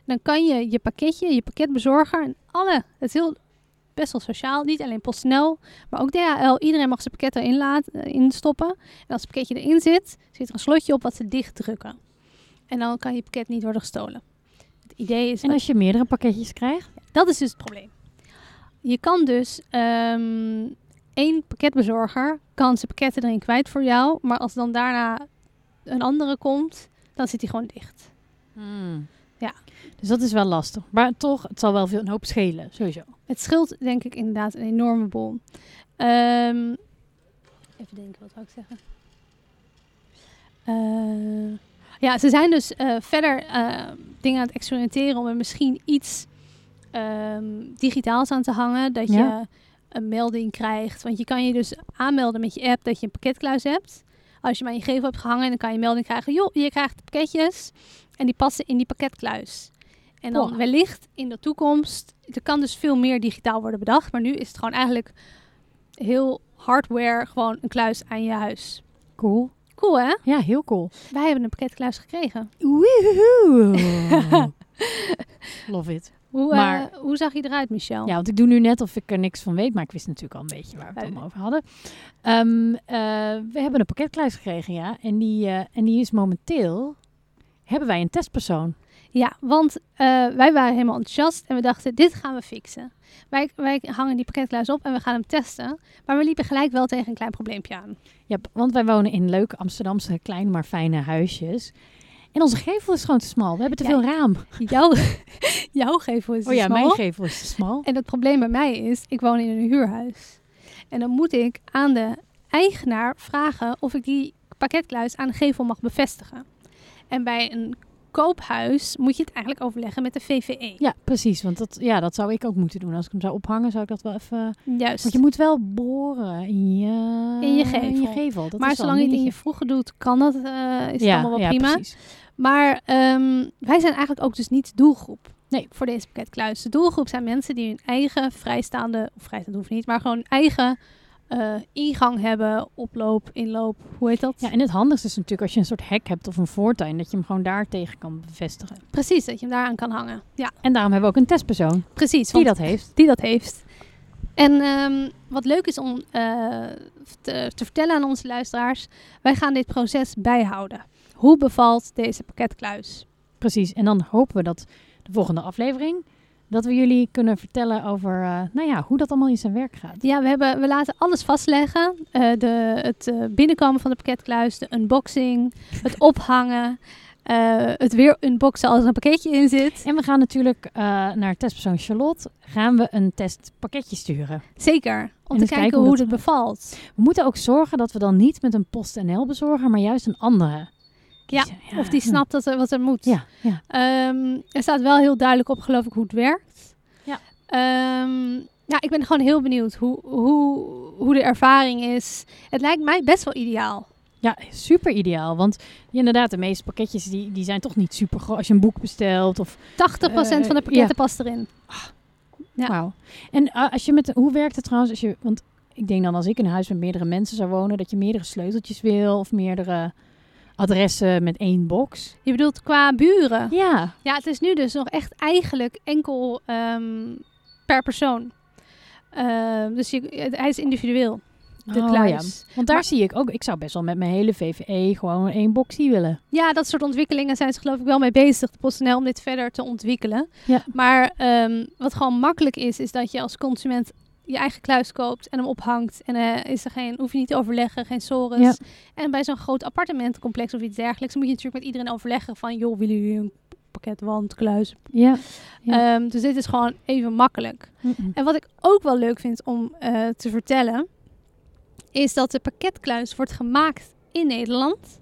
[SPEAKER 3] Dan kan je je pakketje, je pakketbezorger en alle, het is heel best wel sociaal. Niet alleen PostNL, maar ook DHL. Iedereen mag zijn pakket erin laten, eh, instoppen. En als het pakketje erin zit, zit er een slotje op wat ze dichtdrukken. En dan kan je pakket niet worden gestolen. Het idee is...
[SPEAKER 2] En als je meerdere pakketjes krijgt?
[SPEAKER 3] Dat is dus het probleem. Je kan dus ehm één pakketbezorger kan zijn pakketten erin kwijt voor jou, maar als dan daarna een andere komt, dan zit hij gewoon dicht. Ja.
[SPEAKER 2] Dus dat is wel lastig. Maar toch, het zal wel veel een hoop schelen, sowieso.
[SPEAKER 3] Het scheelt denk ik inderdaad een enorme bol. Ehm, even denken, wat wou ik zeggen? Eh, ja, ze zijn dus eh, verder eh, dingen aan het experimenteren om er misschien iets ehm, digitaals aan te hangen. Dat
[SPEAKER 2] Ja.
[SPEAKER 3] je een melding krijgt. Want je kan je dus aanmelden met je app dat je een pakketkluis hebt. Als je maar je gevel hebt gehangen, dan kan je een melding krijgen. Joh, je krijgt pakketjes en die passen in die pakketkluis. En dan
[SPEAKER 2] Wow.
[SPEAKER 3] wellicht in de toekomst, er kan dus veel meer digitaal worden bedacht. Maar nu is het gewoon eigenlijk heel hardware, gewoon een kluis aan je huis.
[SPEAKER 2] Cool.
[SPEAKER 3] Cool hè?
[SPEAKER 2] Ja, heel cool.
[SPEAKER 3] Wij hebben een pakketkluis gekregen.
[SPEAKER 2] Woehoe. Love it.
[SPEAKER 3] Hoe, eh,
[SPEAKER 2] Maar-
[SPEAKER 3] hoe zag je eruit, Michel?
[SPEAKER 2] Ja, want ik doe nu net of ik er niks van weet, maar ik wist natuurlijk al een beetje waar we het
[SPEAKER 3] Ja.
[SPEAKER 2] allemaal over hadden. Ehm, eh, we hebben een pakketlijst gekregen, ja. En die, eh, en die is momenteel, hebben wij een testpersoon.
[SPEAKER 3] Ja, want eh, wij waren helemaal enthousiast en we dachten, dit gaan we fixen. Wij, wij hangen die pakketluis op en we gaan hem testen. Maar we liepen gelijk wel tegen een klein probleempje aan.
[SPEAKER 2] Ja, p- want wij wonen in leuke Amsterdamse, kleine maar fijne huisjes. En onze gevel is gewoon te smal. We hebben te
[SPEAKER 3] Ja.
[SPEAKER 2] veel raam.
[SPEAKER 3] Jouw, jouw gevel is
[SPEAKER 2] Oh ja,
[SPEAKER 3] smal.
[SPEAKER 2] mijn gevel is te smal.
[SPEAKER 3] En het probleem bij mij is, ik woon in een huurhuis. En dan moet ik aan de eigenaar vragen of ik die pakketkluis aan de gevel mag bevestigen. En bij een koophuis moet je het eigenlijk overleggen met de E. VVE.
[SPEAKER 2] Ja, precies. Want dat, ja, dat zou ik ook moeten doen. Als ik hem zou ophangen, zou ik dat wel even...
[SPEAKER 3] Juist.
[SPEAKER 2] Want je moet wel boren in je,
[SPEAKER 3] In je gevel.
[SPEAKER 2] Dat
[SPEAKER 3] maar
[SPEAKER 2] is wel
[SPEAKER 3] zolang je
[SPEAKER 2] een
[SPEAKER 3] het in je
[SPEAKER 2] dingetje.
[SPEAKER 3] vroege doet, kan dat, eh, is het allemaal wel
[SPEAKER 2] ja,
[SPEAKER 3] prima.
[SPEAKER 2] precies.
[SPEAKER 3] Maar ehm, wij zijn eigenlijk ook dus niet doelgroep.
[SPEAKER 2] Nee.
[SPEAKER 3] Voor deze pakketkluis. De doelgroep zijn mensen die hun eigen vrijstaande, of vrijstaand hoeft niet, maar gewoon hun eigen eh, ingang hebben, oploop, inloop, hoe heet dat?
[SPEAKER 2] Ja, en het handigste is natuurlijk als je een soort hek hebt of een voortuin, dat je hem gewoon daar tegen kan bevestigen.
[SPEAKER 3] Precies, dat je hem daaraan kan hangen. Ja,
[SPEAKER 2] En daarom hebben we ook een testpersoon
[SPEAKER 3] precies.
[SPEAKER 2] die
[SPEAKER 3] want-
[SPEAKER 2] dat heeft.
[SPEAKER 3] die dat heeft. En ehm, wat leuk is om eh, te, te vertellen aan onze luisteraars, wij gaan dit proces bijhouden. Hoe bevalt deze pakketkluis?
[SPEAKER 2] Precies. En dan hopen we dat de volgende aflevering, dat we jullie kunnen vertellen over, eh, nou ja, hoe dat allemaal in zijn werk gaat.
[SPEAKER 3] Ja, we, hebben, we laten alles vastleggen. Eh, de, het eh, binnenkomen van de pakketkluis, de unboxing, het ophangen, eh, het weer unboxen als er een pakketje in zit.
[SPEAKER 2] En we gaan natuurlijk eh, naar testpersoon Charlotte. Gaan we een testpakketje sturen.
[SPEAKER 3] Zeker. Om te
[SPEAKER 2] eens
[SPEAKER 3] kijken hoe
[SPEAKER 2] dat-
[SPEAKER 3] het bevalt.
[SPEAKER 2] We moeten ook zorgen dat we dan niet met een PostNL bezorger, maar juist een andere.
[SPEAKER 3] Ja, Of die snapt dat er, wat er moet.
[SPEAKER 2] Ja, ja.
[SPEAKER 3] Ehm, er staat wel heel duidelijk op, geloof ik, hoe het werkt.
[SPEAKER 2] Ja.
[SPEAKER 3] Ehm, ja, ik ben gewoon heel benieuwd hoe, hoe, hoe de ervaring is. Het lijkt mij best wel ideaal.
[SPEAKER 2] ja, super ideaal. Want ja, inderdaad, de meeste pakketjes die, die zijn toch niet super groot. Als je een boek bestelt of
[SPEAKER 3] 80% van de
[SPEAKER 2] Eh,
[SPEAKER 3] pakketten
[SPEAKER 2] ja.
[SPEAKER 3] past erin. Ja.
[SPEAKER 2] Wauw. En eh, als je met, hoe werkt het trouwens? Als je, want ik denk dan als ik in een huis met meerdere mensen zou wonen, dat je meerdere sleuteltjes wil of meerdere adressen met één box.
[SPEAKER 3] Je bedoelt qua buren?
[SPEAKER 2] Ja.
[SPEAKER 3] Ja, het is nu dus nog echt eigenlijk enkel ehm, per persoon. Ehm, dus je, het- hij is individueel, de
[SPEAKER 2] Oh,
[SPEAKER 3] kluis. Ja.
[SPEAKER 2] Want daar
[SPEAKER 3] Maar-
[SPEAKER 2] zie ik ook, ik zou best wel met mijn hele VVE gewoon één boxie willen.
[SPEAKER 3] dat soort ontwikkelingen zijn ze geloof ik wel mee bezig, de PostNL, om dit verder te ontwikkelen.
[SPEAKER 2] Ja.
[SPEAKER 3] Maar ehm, wat gewoon makkelijk is, is dat je als consument je eigen kluis koopt en hem ophangt. En eh, is er geen, hoef je niet te overleggen, geen sores.
[SPEAKER 2] Ja.
[SPEAKER 3] En bij zo'n groot appartementencomplex of iets dergelijks, moet je natuurlijk met iedereen overleggen van, joh, willen jullie een pakket wand, kluis?
[SPEAKER 2] Ja.
[SPEAKER 3] Ehm, dus dit is gewoon even makkelijk. En wat ik ook wel leuk vind om eh, te vertellen, is dat de pakketkluis wordt gemaakt in Nederland.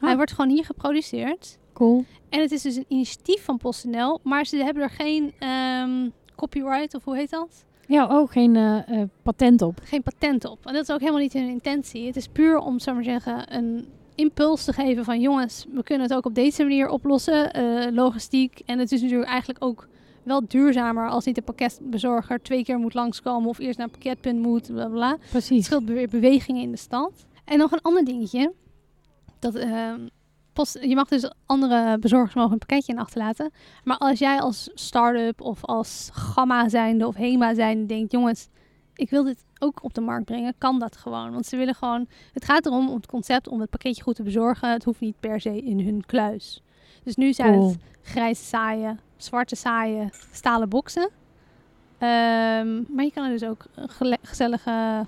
[SPEAKER 3] Hij
[SPEAKER 2] Ah.
[SPEAKER 3] wordt gewoon hier geproduceerd.
[SPEAKER 2] Cool.
[SPEAKER 3] En het is dus een initiatief van PostNL, maar ze hebben er geen ehm, copyright of hoe heet dat?
[SPEAKER 2] Ja, ook geen eh, eh, patent op.
[SPEAKER 3] Geen patent op. En dat is ook helemaal niet hun intentie. Het is puur om, zou ik maar zeggen, een impuls te geven van jongens, we kunnen het ook op deze manier oplossen. eh, logistiek. En het is natuurlijk eigenlijk ook wel duurzamer als niet de pakketbezorger twee keer moet langskomen of eerst naar het pakketpunt moet, bla bla, bla. Het
[SPEAKER 2] Precies.
[SPEAKER 3] scheelt weer bewegingen in de stad. En nog een ander dingetje. Dat, ehm, post, je mag dus andere bezorgers mogen een pakketje in achterlaten. Maar als jij als start-up of als gamma zijnde of HEMA zijnde denkt... jongens, ik wil dit ook op de markt brengen, kan dat gewoon. Want ze willen gewoon... Het gaat erom om het concept om het pakketje goed te bezorgen. Het hoeft niet per se in hun kluis. Dus nu zijn
[SPEAKER 2] Cool.
[SPEAKER 3] het grijze saaien, zwarte saaien, stalen boksen. Ehm, maar je kan er dus ook een gele- gezellige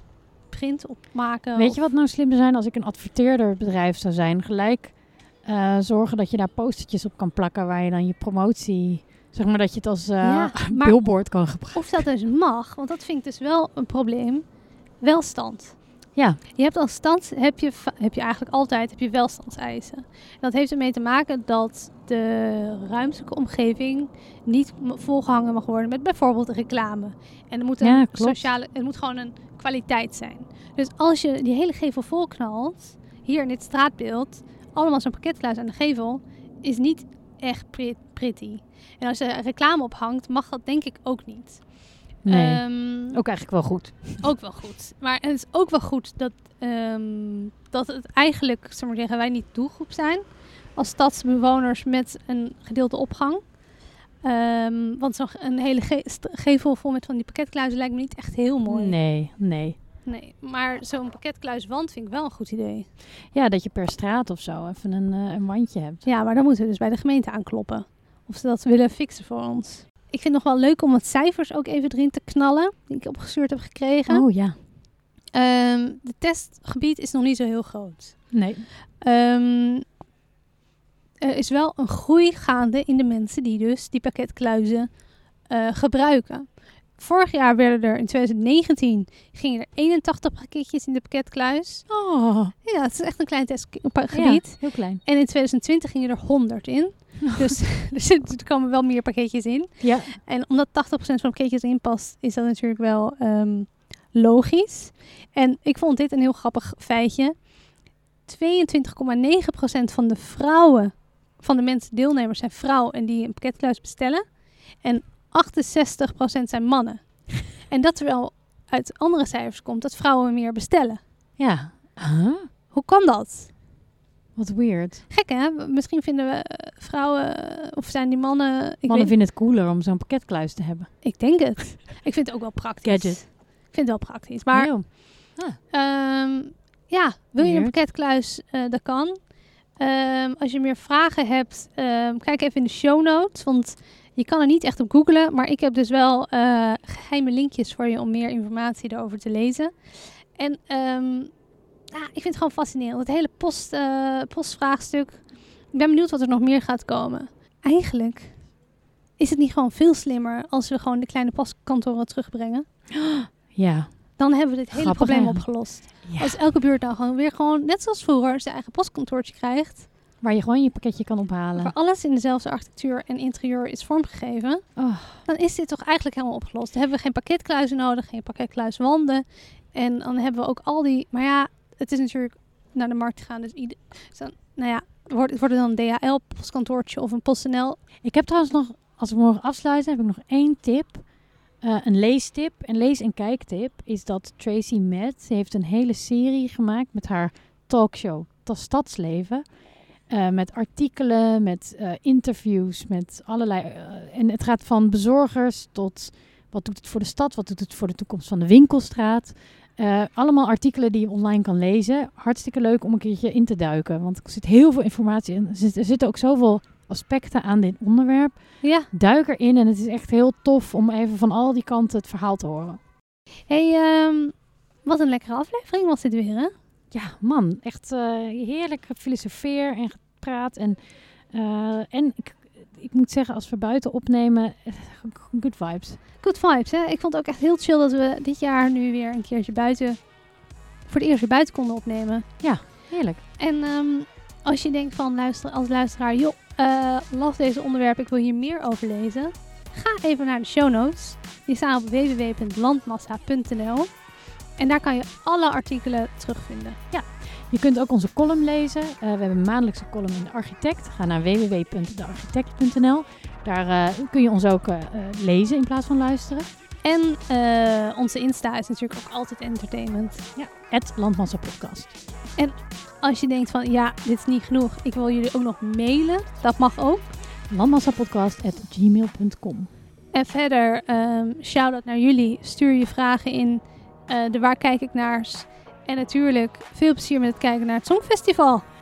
[SPEAKER 3] print op maken.
[SPEAKER 2] Weet
[SPEAKER 3] of-
[SPEAKER 2] je wat nou slim zou zijn als ik een adverteerderbedrijf zou zijn? Gelijk eh, zorgen dat je daar postertjes op kan plakken waar je dan je promotie, zeg maar dat je het als eh,
[SPEAKER 3] Ja, maar-
[SPEAKER 2] billboard kan gebruiken.
[SPEAKER 3] Of dat dus mag, want dat vind ik dus wel een probleem. Welstand.
[SPEAKER 2] Ja.
[SPEAKER 3] Je hebt als stand, heb je, va- heb je eigenlijk altijd, heb je welstandseisen. En dat heeft ermee te maken dat de ruimtelijke omgeving niet m- volgehangen mag worden met bijvoorbeeld reclame. En er moet een
[SPEAKER 2] Ja, klopt.
[SPEAKER 3] sociale, het moet gewoon een kwaliteit zijn. Dus als je die hele gevel vol knalt, hier in dit straatbeeld, allemaal zo'n pakketkluis aan de gevel, is niet echt pret- pretty. En als je er reclame ophangt, mag dat denk ik ook niet.
[SPEAKER 2] Nee,
[SPEAKER 3] Ehm,
[SPEAKER 2] ook eigenlijk wel goed.
[SPEAKER 3] ook wel goed. Maar het is ook wel goed dat, ehm, dat het eigenlijk, zullen we maar zeggen, wij niet doelgroep zijn. Als stadsbewoners met een gedeelde opgang. Ehm, want zo'n ge- een hele ge- st- gevel vol met van die pakketkluizen lijkt me niet echt heel mooi.
[SPEAKER 2] Nee, nee.
[SPEAKER 3] Nee, maar zo'n pakketkluiswand vind ik wel een goed idee.
[SPEAKER 2] Ja, dat je per straat of zo even een, eh, een wandje hebt.
[SPEAKER 3] Ja, maar dan moeten we dus bij de gemeente aankloppen. Of ze dat willen fixen voor ons. Ik vind het nog wel leuk om wat cijfers ook even erin te knallen. Die ik opgestuurd heb gekregen.
[SPEAKER 2] Oh ja.
[SPEAKER 3] Ehm, de testgebied is nog niet zo heel groot.
[SPEAKER 2] Nee.
[SPEAKER 3] Ehm, er is wel een groei gaande in de mensen die dus die pakketkluizen eh, gebruiken. Vorig jaar werden er in 2019 gingen er 81 pakketjes in de pakketkluis.
[SPEAKER 2] Oh,
[SPEAKER 3] Ja, het is echt een klein testgebied.
[SPEAKER 2] heel klein.
[SPEAKER 3] En in 2020 gingen er 100 in. Dus er, zit, er komen wel meer pakketjes in.
[SPEAKER 2] Ja.
[SPEAKER 3] En omdat 80% van de pakketjes erin past, is dat natuurlijk wel ehm, logisch. En ik vond dit een heel grappig feitje. 22,9% van de vrouwen, van de mensen deelnemers, zijn vrouw en die een pakketkluis bestellen. En 68% zijn mannen. En dat terwijl uit andere cijfers komt dat vrouwen meer bestellen.
[SPEAKER 2] Ja. Huh?
[SPEAKER 3] Hoe kan dat?
[SPEAKER 2] Wat weird.
[SPEAKER 3] Gek hè? Misschien vinden we eh, vrouwen eh, of zijn die mannen. Ik,
[SPEAKER 2] Mannen
[SPEAKER 3] weet-
[SPEAKER 2] vinden het cooler om zo'n pakketkluis te hebben.
[SPEAKER 3] ik denk het. ik vind het ook wel praktisch.
[SPEAKER 2] Gadget.
[SPEAKER 3] Ik vind het wel praktisch. Maar
[SPEAKER 2] Heel.
[SPEAKER 3] ehm, ja, wil je een
[SPEAKER 2] Weird.
[SPEAKER 3] pakketkluis? eh, dat kan. Ehm, als je meer vragen hebt, ehm, kijk even in de show notes. Want je kan er niet echt op googlen. Maar ik heb dus wel eh, geheime linkjes voor je om meer informatie erover te lezen. En ehm, ja, ik vind het gewoon fascinerend. Het hele post, eh, postvraagstuk. Ik ben benieuwd wat er nog meer gaat komen. Eigenlijk is het niet gewoon veel slimmer als we gewoon de kleine paskantoren terugbrengen.
[SPEAKER 2] Ja.
[SPEAKER 3] Dan hebben we dit hele
[SPEAKER 2] Grappig,
[SPEAKER 3] probleem
[SPEAKER 2] hè?
[SPEAKER 3] opgelost.
[SPEAKER 2] Ja.
[SPEAKER 3] Als elke buurt dan gewoon weer gewoon, net zoals vroeger, zijn eigen postkantoortje krijgt.
[SPEAKER 2] Waar je gewoon je pakketje kan ophalen.
[SPEAKER 3] Waar alles in dezelfde architectuur en interieur is vormgegeven.
[SPEAKER 2] Oh,
[SPEAKER 3] Dan is dit toch eigenlijk helemaal opgelost. Dan hebben we geen pakketkluizen nodig, geen pakketkluiswanden. En dan hebben we ook al die... Maar ja, het is natuurlijk naar de markt gaan. Dus, ieder, dus dan, nou ja, wordt, wordt het dan een DHL-postkantoortje of een PostNL
[SPEAKER 2] Ik heb trouwens nog, als we morgen afsluiten, heb ik nog één tip. Eh, een leestip, een lees- en kijktip, is dat Tracy Matt, ze heeft een hele serie gemaakt met haar talkshow Tas Stadsleven. Eh, met artikelen, met eh, interviews, met allerlei... eh, en het gaat van bezorgers tot wat doet het voor de stad, wat doet het voor de toekomst van de winkelstraat. Eh, allemaal artikelen die je online kan lezen. Hartstikke leuk om een keertje in te duiken, want er zit heel veel informatie in. Er zit- er zitten ook zoveel aspecten aan dit onderwerp.
[SPEAKER 3] Ja.
[SPEAKER 2] Duik erin en het is echt heel tof om even van al die kanten het verhaal te horen.
[SPEAKER 3] Hey, ehm, wat een lekkere aflevering was dit weer, hè?
[SPEAKER 2] Ja, man, echt eh, heerlijk gefilosofeer en gepraat. En, eh, en ik, ik moet zeggen, als we buiten opnemen, eh, good vibes.
[SPEAKER 3] Good vibes, hè? Ik vond het ook echt heel chill dat we dit jaar nu weer een keertje buiten... voor het eerst weer buiten konden opnemen.
[SPEAKER 2] Heerlijk.
[SPEAKER 3] En ehm, als je denkt van luister, als luisteraar... joh, eh, las deze onderwerpen, ik wil hier meer over lezen. Ga even naar de show notes. Die staan op www.landmassa.nl En daar kan je alle artikelen terugvinden.
[SPEAKER 2] Je kunt ook onze column lezen. Eh, we hebben een maandelijkse column in De Architect. Ga naar www.dearchitect.nl. Daar eh, kun je ons ook eh, eh, lezen in plaats van luisteren.
[SPEAKER 3] En eh, onze Insta is natuurlijk ook altijd entertainment.
[SPEAKER 2] Het Landmassa Podcast.
[SPEAKER 3] Als je denkt van ja, dit is niet genoeg, ik wil jullie ook nog mailen, dat mag ook.
[SPEAKER 2] Landmassapodcast.gmail.com
[SPEAKER 3] En verder, ehm shout-out naar jullie. Stuur je vragen in eh, de Waar Kijk ik Naars. En natuurlijk, veel plezier met het kijken naar het Songfestival.